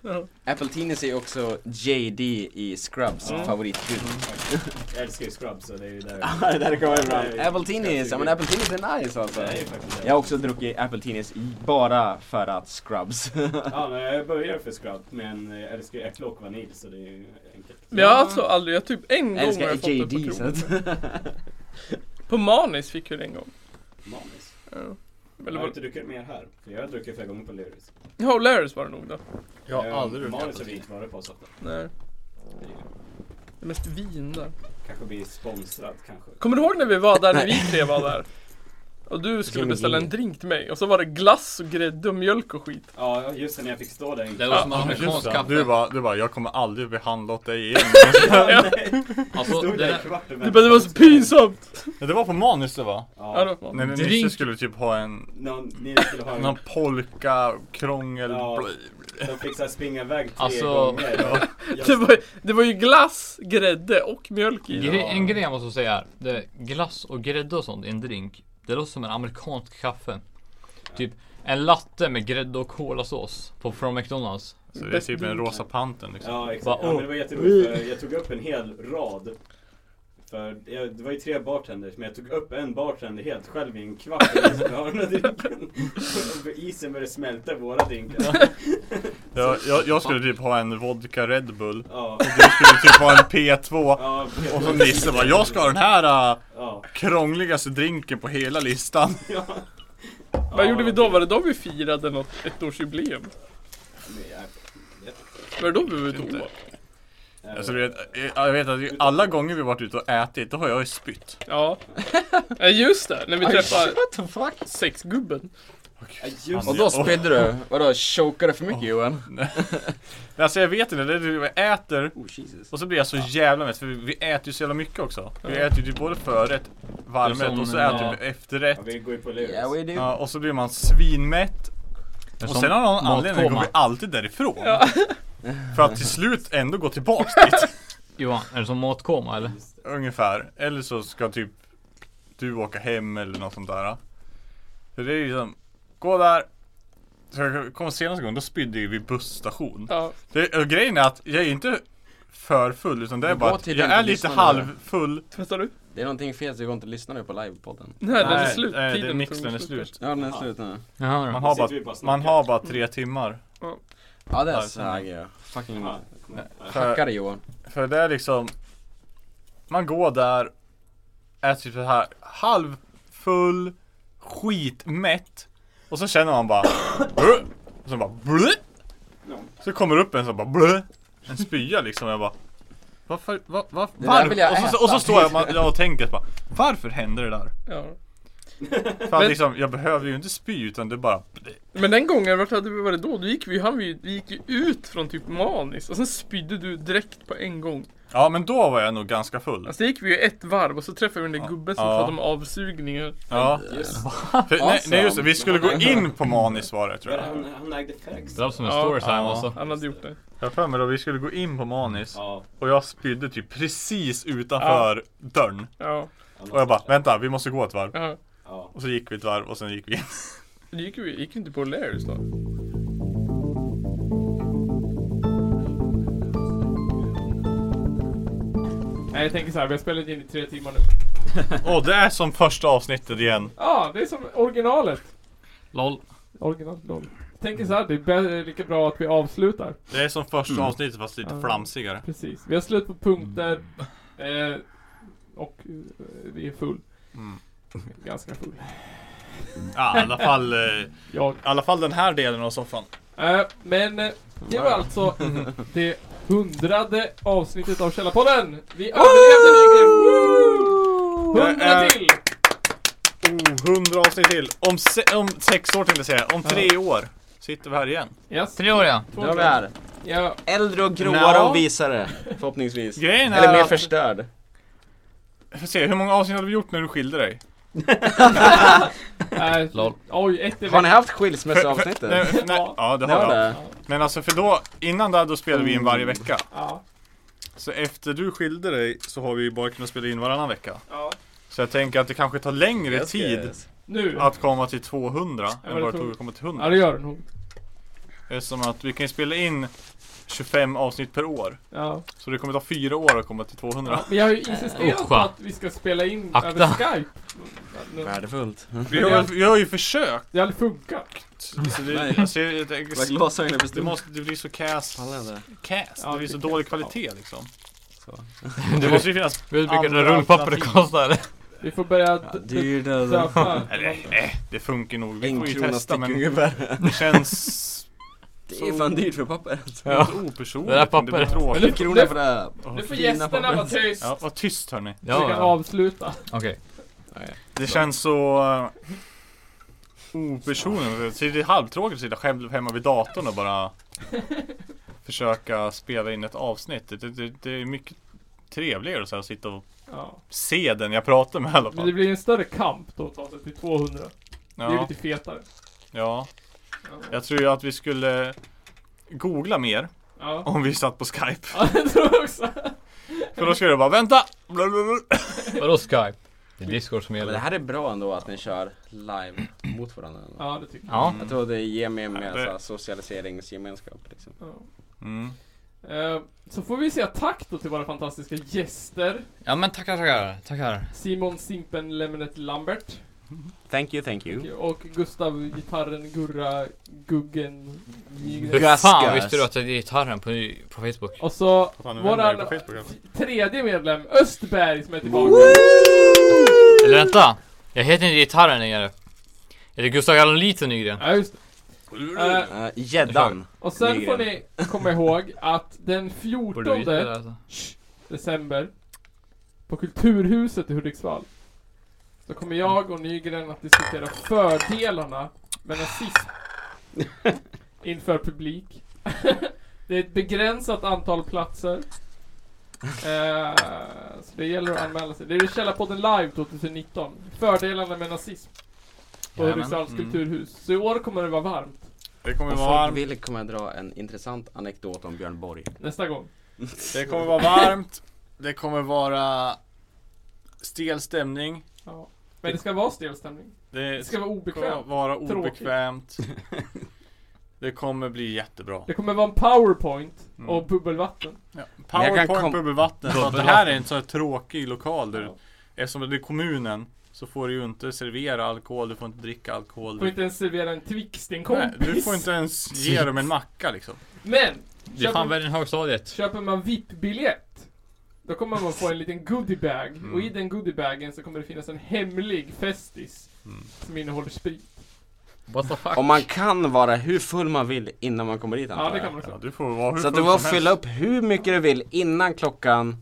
Speaker 1: Ja.
Speaker 7: Apple Teenies är ju också JD i Scrubs
Speaker 4: Ja.
Speaker 7: favoritgud.
Speaker 4: Jag älskar ju Scrubs så det är ju där.
Speaker 7: Ja, det där kommer fram.
Speaker 4: Det är ju-
Speaker 7: Apple Teenies, ja men Apple Teenies är nice alltså.
Speaker 4: Det är ju faktiskt det.
Speaker 7: Jag har också druckit Apple Teenies bara för att Scrubs.
Speaker 4: Ja, men jag börjar för Scrub, men jag älskar ju äpple och vanilj så det är ju enkelt.
Speaker 1: Men jag har alltså aldrig, jag typ en gång
Speaker 7: Jag älskar
Speaker 1: har jag fått det på
Speaker 7: JD, så att-
Speaker 1: krogen. På Manis fick jag det en gång.
Speaker 4: Manis?
Speaker 1: Ja.
Speaker 4: Jag
Speaker 1: Eller
Speaker 4: har
Speaker 1: var...
Speaker 4: inte druckit mer här, för jag har druckit flera gånger på Lyris.
Speaker 1: Ja, O'Larrys var det nog då.
Speaker 4: Eh, Manis har vi inte varit på så ofta.
Speaker 1: Nej. Det är mest vin där.
Speaker 4: Kanske bli sponsrad kanske.
Speaker 1: Kommer du ihåg när vi var där, när vi tre var där? Och du skulle
Speaker 4: Jimmy
Speaker 1: beställa en
Speaker 4: Jimmy.
Speaker 1: drink till mig och så var det glass och grädde och mjölk och skit.
Speaker 4: Ja, just det, när jag fick stå där.
Speaker 1: Det var som amerikansk
Speaker 3: just det.
Speaker 1: kaffe.
Speaker 3: Du bara, du bara, jag kommer aldrig behandla åt dig igen.
Speaker 1: Ja.
Speaker 3: Alltså,
Speaker 4: Stod
Speaker 3: det
Speaker 4: där i
Speaker 3: där-
Speaker 4: kvart och
Speaker 1: Du bara, det var så pinsamt!
Speaker 3: Ja, det var på manus det va?
Speaker 4: Ja, det var-
Speaker 3: Nej men
Speaker 4: Drink.
Speaker 3: Nisse skulle typ ha en...
Speaker 4: Någon, ni skulle ha en-
Speaker 3: Någon polka, krångel...
Speaker 4: Ja, de fick så här springa iväg tre
Speaker 1: Alltså-
Speaker 4: gånger.
Speaker 1: det, var, det var ju glass, grädde och mjölk i.
Speaker 6: Gre- En grej jag måste säga är, det glass och grädde och sånt i en drink, det låter som en amerikansk kaffe. Typ en latte med grädde och kolasås på, från McDonalds.
Speaker 3: Så det är typ en rosa panten liksom.
Speaker 4: Ja exakt,
Speaker 6: Bara,
Speaker 4: ja, men det
Speaker 6: åh.
Speaker 4: var jätteroligt för jag tog upp en hel rad för jag, det var ju tre bartenders, men jag tog upp en bartender helt själv i en kvart och jag skulle ha den här drinken. Och Isen började smälta i våra drinkar.
Speaker 3: Jag, jag, jag skulle typ ha en vodka Red Bull.
Speaker 4: Ja.
Speaker 3: Och du skulle typ ha en P2.
Speaker 4: Ja, P2.
Speaker 3: Och så Nisse bara, jag ska ha den här äh,
Speaker 4: Ja.
Speaker 3: krångligaste drinken på hela listan.
Speaker 1: Vad gjorde vi då? Var det då vi firade något ettårsjubileum? Var det då vi var ute och tog?
Speaker 3: Alltså du vet, eh, jag vet att ju- alla gånger vi varit ute och ätit, då har jag ju spytt.
Speaker 1: Ja. Ja just det, när vi
Speaker 3: Oj,
Speaker 1: träffade sexgubben.
Speaker 7: Och då spydde du? Vadå, chokade du för mycket Johan?
Speaker 3: Alltså jag vet inte, det är det jag äter och så blir jag så jävla mätt för vi, vi äter ju så jävla mycket också. Vi
Speaker 7: Ja.
Speaker 3: äter ju typ både förrätt,
Speaker 7: Det är
Speaker 3: varmrätt
Speaker 7: som
Speaker 3: och så
Speaker 7: en,
Speaker 3: äter vi
Speaker 7: eh,
Speaker 3: efterrätt.
Speaker 4: Ja, vi går ju på Lyris.
Speaker 7: Yeah, we do.
Speaker 3: Ja, och så blir man svinmätt.
Speaker 7: Det är
Speaker 3: Och
Speaker 7: som
Speaker 3: sen av någon
Speaker 7: matkoma.
Speaker 3: anledning går vi alltid därifrån. För att till slut ändå gå tillbaks dit.
Speaker 6: Johan, är det som matkoma eller?
Speaker 3: Ungefär. Eller så ska typ du åka hem eller något sånt där. Så det är ju liksom, gå där. Så jag kom senaste gången, då spydde ju vi busstation.
Speaker 1: Ja.
Speaker 3: Det, och grejen är att jag är inte för full utan det är
Speaker 7: Du går
Speaker 3: bara att
Speaker 7: till
Speaker 3: jag
Speaker 7: inte
Speaker 3: är lite
Speaker 7: lyssna nu.
Speaker 3: halvfull.
Speaker 1: Vad sa du?
Speaker 7: Det är någonting fel så det går inte att lyssna nu på livepodden.
Speaker 1: Nej, den är slut.
Speaker 3: nej, det-
Speaker 1: Tiden
Speaker 3: mixen
Speaker 1: tog
Speaker 3: är
Speaker 1: slut.
Speaker 3: slut.
Speaker 7: Ja, den är slut nu.
Speaker 3: Man, har bara, man har bara tre timmar.
Speaker 1: Ja.
Speaker 7: Ja, det är
Speaker 3: Där
Speaker 7: så
Speaker 3: sen.
Speaker 7: här grejer. Fucking
Speaker 4: Ja.
Speaker 7: hackade Johan.
Speaker 3: För det är liksom Man går där Äter typ så här halvfull Skitmätt Och så känner man bara "Åh!" Och så bara "Blä!" Så kommer upp en som bara "Blä!" En spya liksom och jag bara varför, var, var,
Speaker 7: Det där vill jag
Speaker 3: varför? Och, så,
Speaker 7: äta.
Speaker 3: och så står jag och, man, jag och tänker bara Varför hände det där?
Speaker 1: Ja.
Speaker 3: Fan,
Speaker 17: Men-
Speaker 3: liksom, jag behöver ju inte spy utan det bara
Speaker 17: Men den gången, vart hade vi varit då? Då gick vi, han, vi, vi gick ju ut från typ Manis och sen spydde du direkt på en gång.
Speaker 3: Ja men då var jag nog ganska full
Speaker 17: Alltså det gick vi ju ett varv och så träffade vi den där gubben som
Speaker 3: Ja.
Speaker 17: pratade om avsugningar.
Speaker 3: Ja För, nej, nej just det, vi skulle gå in på Manis var det tror jag
Speaker 4: Han, han ägde fax.
Speaker 6: alltså.
Speaker 17: Han hade gjort det
Speaker 3: Jag har för mig då, vi skulle gå in på Manis Och jag spydde typ precis utanför
Speaker 17: Ja.
Speaker 3: dörren
Speaker 17: Ja.
Speaker 3: Och jag bara, vänta vi måste gå ett varv
Speaker 17: Ja.
Speaker 3: Och så gick vi ett varv och sen gick vi in
Speaker 17: Det gick ju gick ju inte på O'Learys då.
Speaker 1: Nej jag tänker så här, vi har spelat in i tre timmar nu.
Speaker 3: Åh det är som första avsnittet igen
Speaker 1: Ja, det är som originalet.
Speaker 6: LOL.
Speaker 1: Originalet LOL. Tänker så här, det är bä- lika bra att vi avslutar.
Speaker 3: Det är som första avsnittet fast lite
Speaker 1: Ja.
Speaker 3: flamsigare
Speaker 1: Precis. Vi har slut på punkter.
Speaker 17: Mm.
Speaker 1: Eh, och eh, vi är full. Ganska full.
Speaker 3: Ja i alla fall, eh,
Speaker 1: Jag.
Speaker 3: i alla fall den här delen av soffan
Speaker 1: Eh, men eh, det var alltså det hundrade avsnittet av Källarpodden! Vi överlevde
Speaker 3: Det är-
Speaker 1: Hundra till!
Speaker 3: Oh, 100 avsnitt till. Om, se, om sex år tänkte jag säga. Om tre år sitter vi här igen.
Speaker 1: Yes.
Speaker 6: Tre år ja.
Speaker 1: Då är vi här. Ja.
Speaker 7: Äldre och gråare
Speaker 3: Ja.
Speaker 7: och visare, förhoppningsvis.
Speaker 3: Grejen är
Speaker 7: Eller mer
Speaker 3: att-
Speaker 7: förstörd.
Speaker 3: Vi får se, hur många avsnitt har vi gjort när du skilde dig?
Speaker 1: Eh, Oj, ett i
Speaker 7: Har ni
Speaker 1: veckan.
Speaker 7: haft
Speaker 3: För-
Speaker 7: skilsmässoavsnittet?
Speaker 3: för- nej, nej, ja, Mm. det
Speaker 7: Det
Speaker 3: har
Speaker 7: har
Speaker 3: jag.
Speaker 7: det.
Speaker 3: Men alltså för då, innan det här, då spelade vi in varje vecka.
Speaker 1: Ja.
Speaker 3: Så efter du skilde dig så har vi ju bara kunnat spela in varannan vecka. Så jag tänker att det kanske tar längre
Speaker 1: Yes,
Speaker 3: tid
Speaker 1: yes. Nu.
Speaker 3: att komma till 200
Speaker 1: Ja, men
Speaker 3: än vad
Speaker 1: det
Speaker 3: det
Speaker 1: tror-
Speaker 3: tog att komma till 100.
Speaker 1: Ja, det gör det nog.
Speaker 3: Eftersom att vi kan ju spela in 25 avsnitt per år.
Speaker 1: Ja.
Speaker 3: Så det kommer ta fyra år att komma till 200.
Speaker 1: Vi har ju insisterat på att vi ska spela in
Speaker 3: Akta.
Speaker 1: över Skype.
Speaker 3: Värdefullt. Vi
Speaker 1: Vi
Speaker 3: har,
Speaker 1: har-
Speaker 3: vi har ju försökt.
Speaker 1: Det har aldrig funkat.
Speaker 3: Så det, alltså, jag, jag, jag,
Speaker 7: Vad glasögonen för
Speaker 3: det,
Speaker 7: stor.
Speaker 3: måste, det blir så cast. Cast.
Speaker 1: Ja,
Speaker 3: det blir så
Speaker 1: typ.
Speaker 3: dålig kvalitet liksom.
Speaker 6: Det måste ju finnas Vet du hur mycket det rullpapper det kostar?
Speaker 1: Vi får börja
Speaker 3: Ja,
Speaker 1: d-
Speaker 3: det är ju
Speaker 1: d-
Speaker 3: det-
Speaker 1: döpa.
Speaker 3: Eller, eh, det funkar nog. Vi
Speaker 7: En
Speaker 3: får ju
Speaker 7: krona
Speaker 3: testa
Speaker 7: styck
Speaker 3: men
Speaker 7: ungefär.
Speaker 3: det känns...
Speaker 7: Det är fan dyrt för papper alltså.
Speaker 3: Ja. Lite opersonligt.
Speaker 7: Det där
Speaker 3: men blir
Speaker 7: pappret.
Speaker 3: tråkigt.
Speaker 7: Men nu- Krona för det här
Speaker 3: Åh,
Speaker 1: Nu får
Speaker 3: fina
Speaker 1: gästerna
Speaker 3: papper.
Speaker 1: vara tyst.
Speaker 3: Ja, var tyst hörni.
Speaker 1: Så vi kan avsluta.
Speaker 6: Okej.
Speaker 3: Det känns så... eh, Opersonligt. Det är halvtråkigt att sitta själv hemma vid datorn och bara försöka spela in ett avsnitt. Det, det, det är mycket trevligare så här, att sitta och
Speaker 1: Ja.
Speaker 3: se den jag pratar med i alla
Speaker 1: Men det
Speaker 3: fall.
Speaker 1: blir en större kamp då att ta sig till 200. Det är
Speaker 3: Ja.
Speaker 1: lite fetare.
Speaker 3: Ja. Jag tror ju att vi skulle googla mer
Speaker 1: Ja.
Speaker 3: om vi satt på Skype.
Speaker 1: Ja, det tror jag också.
Speaker 3: För då skulle det bara vänta!
Speaker 6: Vadå Skype? Det är Discord som gäller.
Speaker 7: Men det här är bra ändå att ni kör live mot varandra.
Speaker 1: Ja, det tycker jag.
Speaker 6: Ja.
Speaker 7: Jag tror det ger mer med
Speaker 3: det-
Speaker 7: så här socialiseringsgemenskap liksom.
Speaker 3: Mm.
Speaker 1: Eh, Så får vi säga tack då till våra fantastiska gäster.
Speaker 6: Ja men tackar, tackar, tackar.
Speaker 1: Simon Simpen Lemonet Lambert.
Speaker 7: Thank you, thank you.
Speaker 1: Och Gustav Gitarren Gurra Guggen Nygren.
Speaker 6: Hur fan visste du att jag hade gitarren på, på Facebook?
Speaker 1: Och så
Speaker 6: Fan, nu vänder jag
Speaker 1: våran
Speaker 6: på Facebook, alltså.
Speaker 1: tredje medlem Östberg som är tillbaka.
Speaker 6: Eller vänta! Jag heter inte gitarren längre. Är det Gustav Gallonliten Nygren?
Speaker 1: Ja just
Speaker 6: det.
Speaker 1: Eh,
Speaker 7: Gäddan.
Speaker 1: Och sen
Speaker 6: Nygren.
Speaker 1: får ni komma ihåg att den 14
Speaker 6: Borde vi veta det, alltså?
Speaker 1: Shh, december på Kulturhuset i Hudiksvall så kommer jag och Nygren att diskutera fördelarna med nazism inför publik. det är ett begränsat antal platser. Eh, så det gäller att anmäla sig. Det är Källarpodden live 2019. Fördelarna med nazism. På
Speaker 7: Jajamän.
Speaker 1: Hudiksvalls
Speaker 7: Mm.
Speaker 1: kulturhus. Så i år kommer det vara varmt.
Speaker 3: Det kommer
Speaker 7: Om
Speaker 3: vara varmt.
Speaker 7: folk vill kommer jag dra en intressant anekdot om Björn Borg.
Speaker 1: Nästa gång.
Speaker 3: Det kommer vara varmt. Det kommer vara stel stämning.
Speaker 1: Ja. Men det ska vara stel stämning.
Speaker 3: Det
Speaker 1: ska vara
Speaker 3: kommer
Speaker 1: obekvämt.
Speaker 3: vara
Speaker 1: Tråkigt.
Speaker 3: obekvämt. Det kommer bli jättebra.
Speaker 1: Det kommer vara en powerpoint
Speaker 3: Mm.
Speaker 1: och bubbelvatten.
Speaker 3: Powerpoint, bubbelvatten. Så att det
Speaker 1: Bubbelvatten.
Speaker 3: här är en sån här tråkig lokal. Där, Eftersom det är kommunen så får du ju inte servera alkohol, du får inte dricka alkohol.
Speaker 1: Du får inte ens servera en Twix till en
Speaker 3: Nej,
Speaker 1: kompis.
Speaker 3: du får inte ens ge dem en macka liksom.
Speaker 1: Men!
Speaker 3: Det är fan värre än högstadiet.
Speaker 1: Köper man VIP-biljett. Då kommer man få en liten goodiebag.
Speaker 3: Mm.
Speaker 1: Och i den goodiebagen så kommer det finnas en hemlig festis.
Speaker 3: Mm.
Speaker 1: Som innehåller sprit.
Speaker 6: What the fuck?
Speaker 7: Om man kan vara hur full man vill innan man kommer dit
Speaker 1: Ja,
Speaker 7: antar
Speaker 1: det
Speaker 7: jag.
Speaker 1: kan man också. Ja,
Speaker 3: du får vara hur
Speaker 7: Så att
Speaker 3: full
Speaker 7: du får
Speaker 3: som helst.
Speaker 7: fylla upp hur mycket du vill innan klockan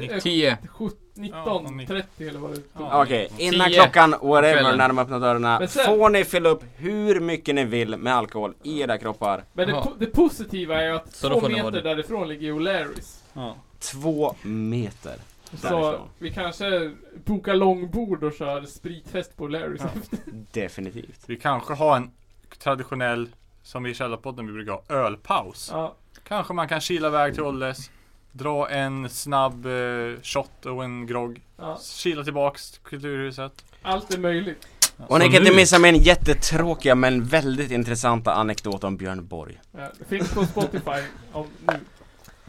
Speaker 1: Eh,
Speaker 2: 10.
Speaker 1: sjut- 19, 30 eller vad det
Speaker 7: Okej, innan klockan whatever när de öppnar dörrarna
Speaker 1: Men sen-
Speaker 7: får ni fylla upp hur mycket ni vill med alkohol i era kroppar.
Speaker 1: Men det, po- det positiva är ju att
Speaker 7: Så då
Speaker 1: två
Speaker 7: får ni
Speaker 1: meter
Speaker 7: vara det.
Speaker 1: därifrån ligger O'Larrys.
Speaker 7: Två meter.
Speaker 1: Så vi kanske bokar långbord och kör spritfest på O'Larrys efter.
Speaker 7: Definitivt.
Speaker 10: Vi kanske har en traditionell, som vi i Källarpodden vi brukar ha, ölpaus. Kanske man kan kila iväg till Olles, dra en snabb eh, shot och en grogg.
Speaker 1: Ja.
Speaker 10: Kila tillbaks till Kulturhuset.
Speaker 1: Allt är möjligt.
Speaker 7: Och ni kan inte missa min jättetråkiga men väldigt intressanta anekdot om Björn Borg.
Speaker 1: Ja, det finns på Spotify om nu. Eh,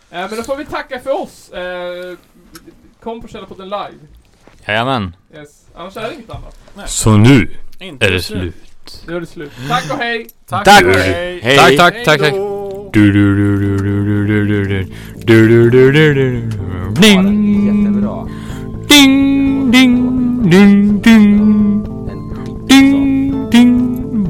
Speaker 1: men då får vi tacka för oss. Eh, kom på Källarpodden live.
Speaker 6: Jajamän.
Speaker 1: Yes. Annars är det inget annat.
Speaker 6: Så nu
Speaker 1: Inte
Speaker 6: är det
Speaker 1: just nu.
Speaker 6: slut.
Speaker 1: Nu är det slut. Tack och hej!
Speaker 6: Tack! Hej! Tack, tack, tack, tack! Du, du, du, du, du, du, du, du. Du, du, du, du, du, du. Bling! Jättebra. Ding, ding, ding, ding. Ding, ding,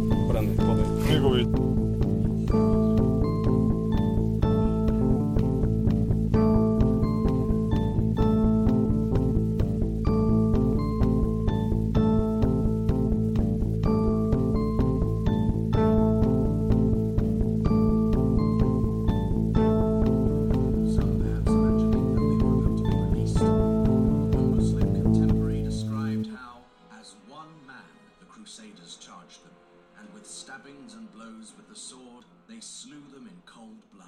Speaker 7: På den podden.
Speaker 10: Nu går vi ut.
Speaker 18: contemporary described how, as one man, the Crusaders charged them, and with stabbings and blows with the sword, they slew them in cold blood.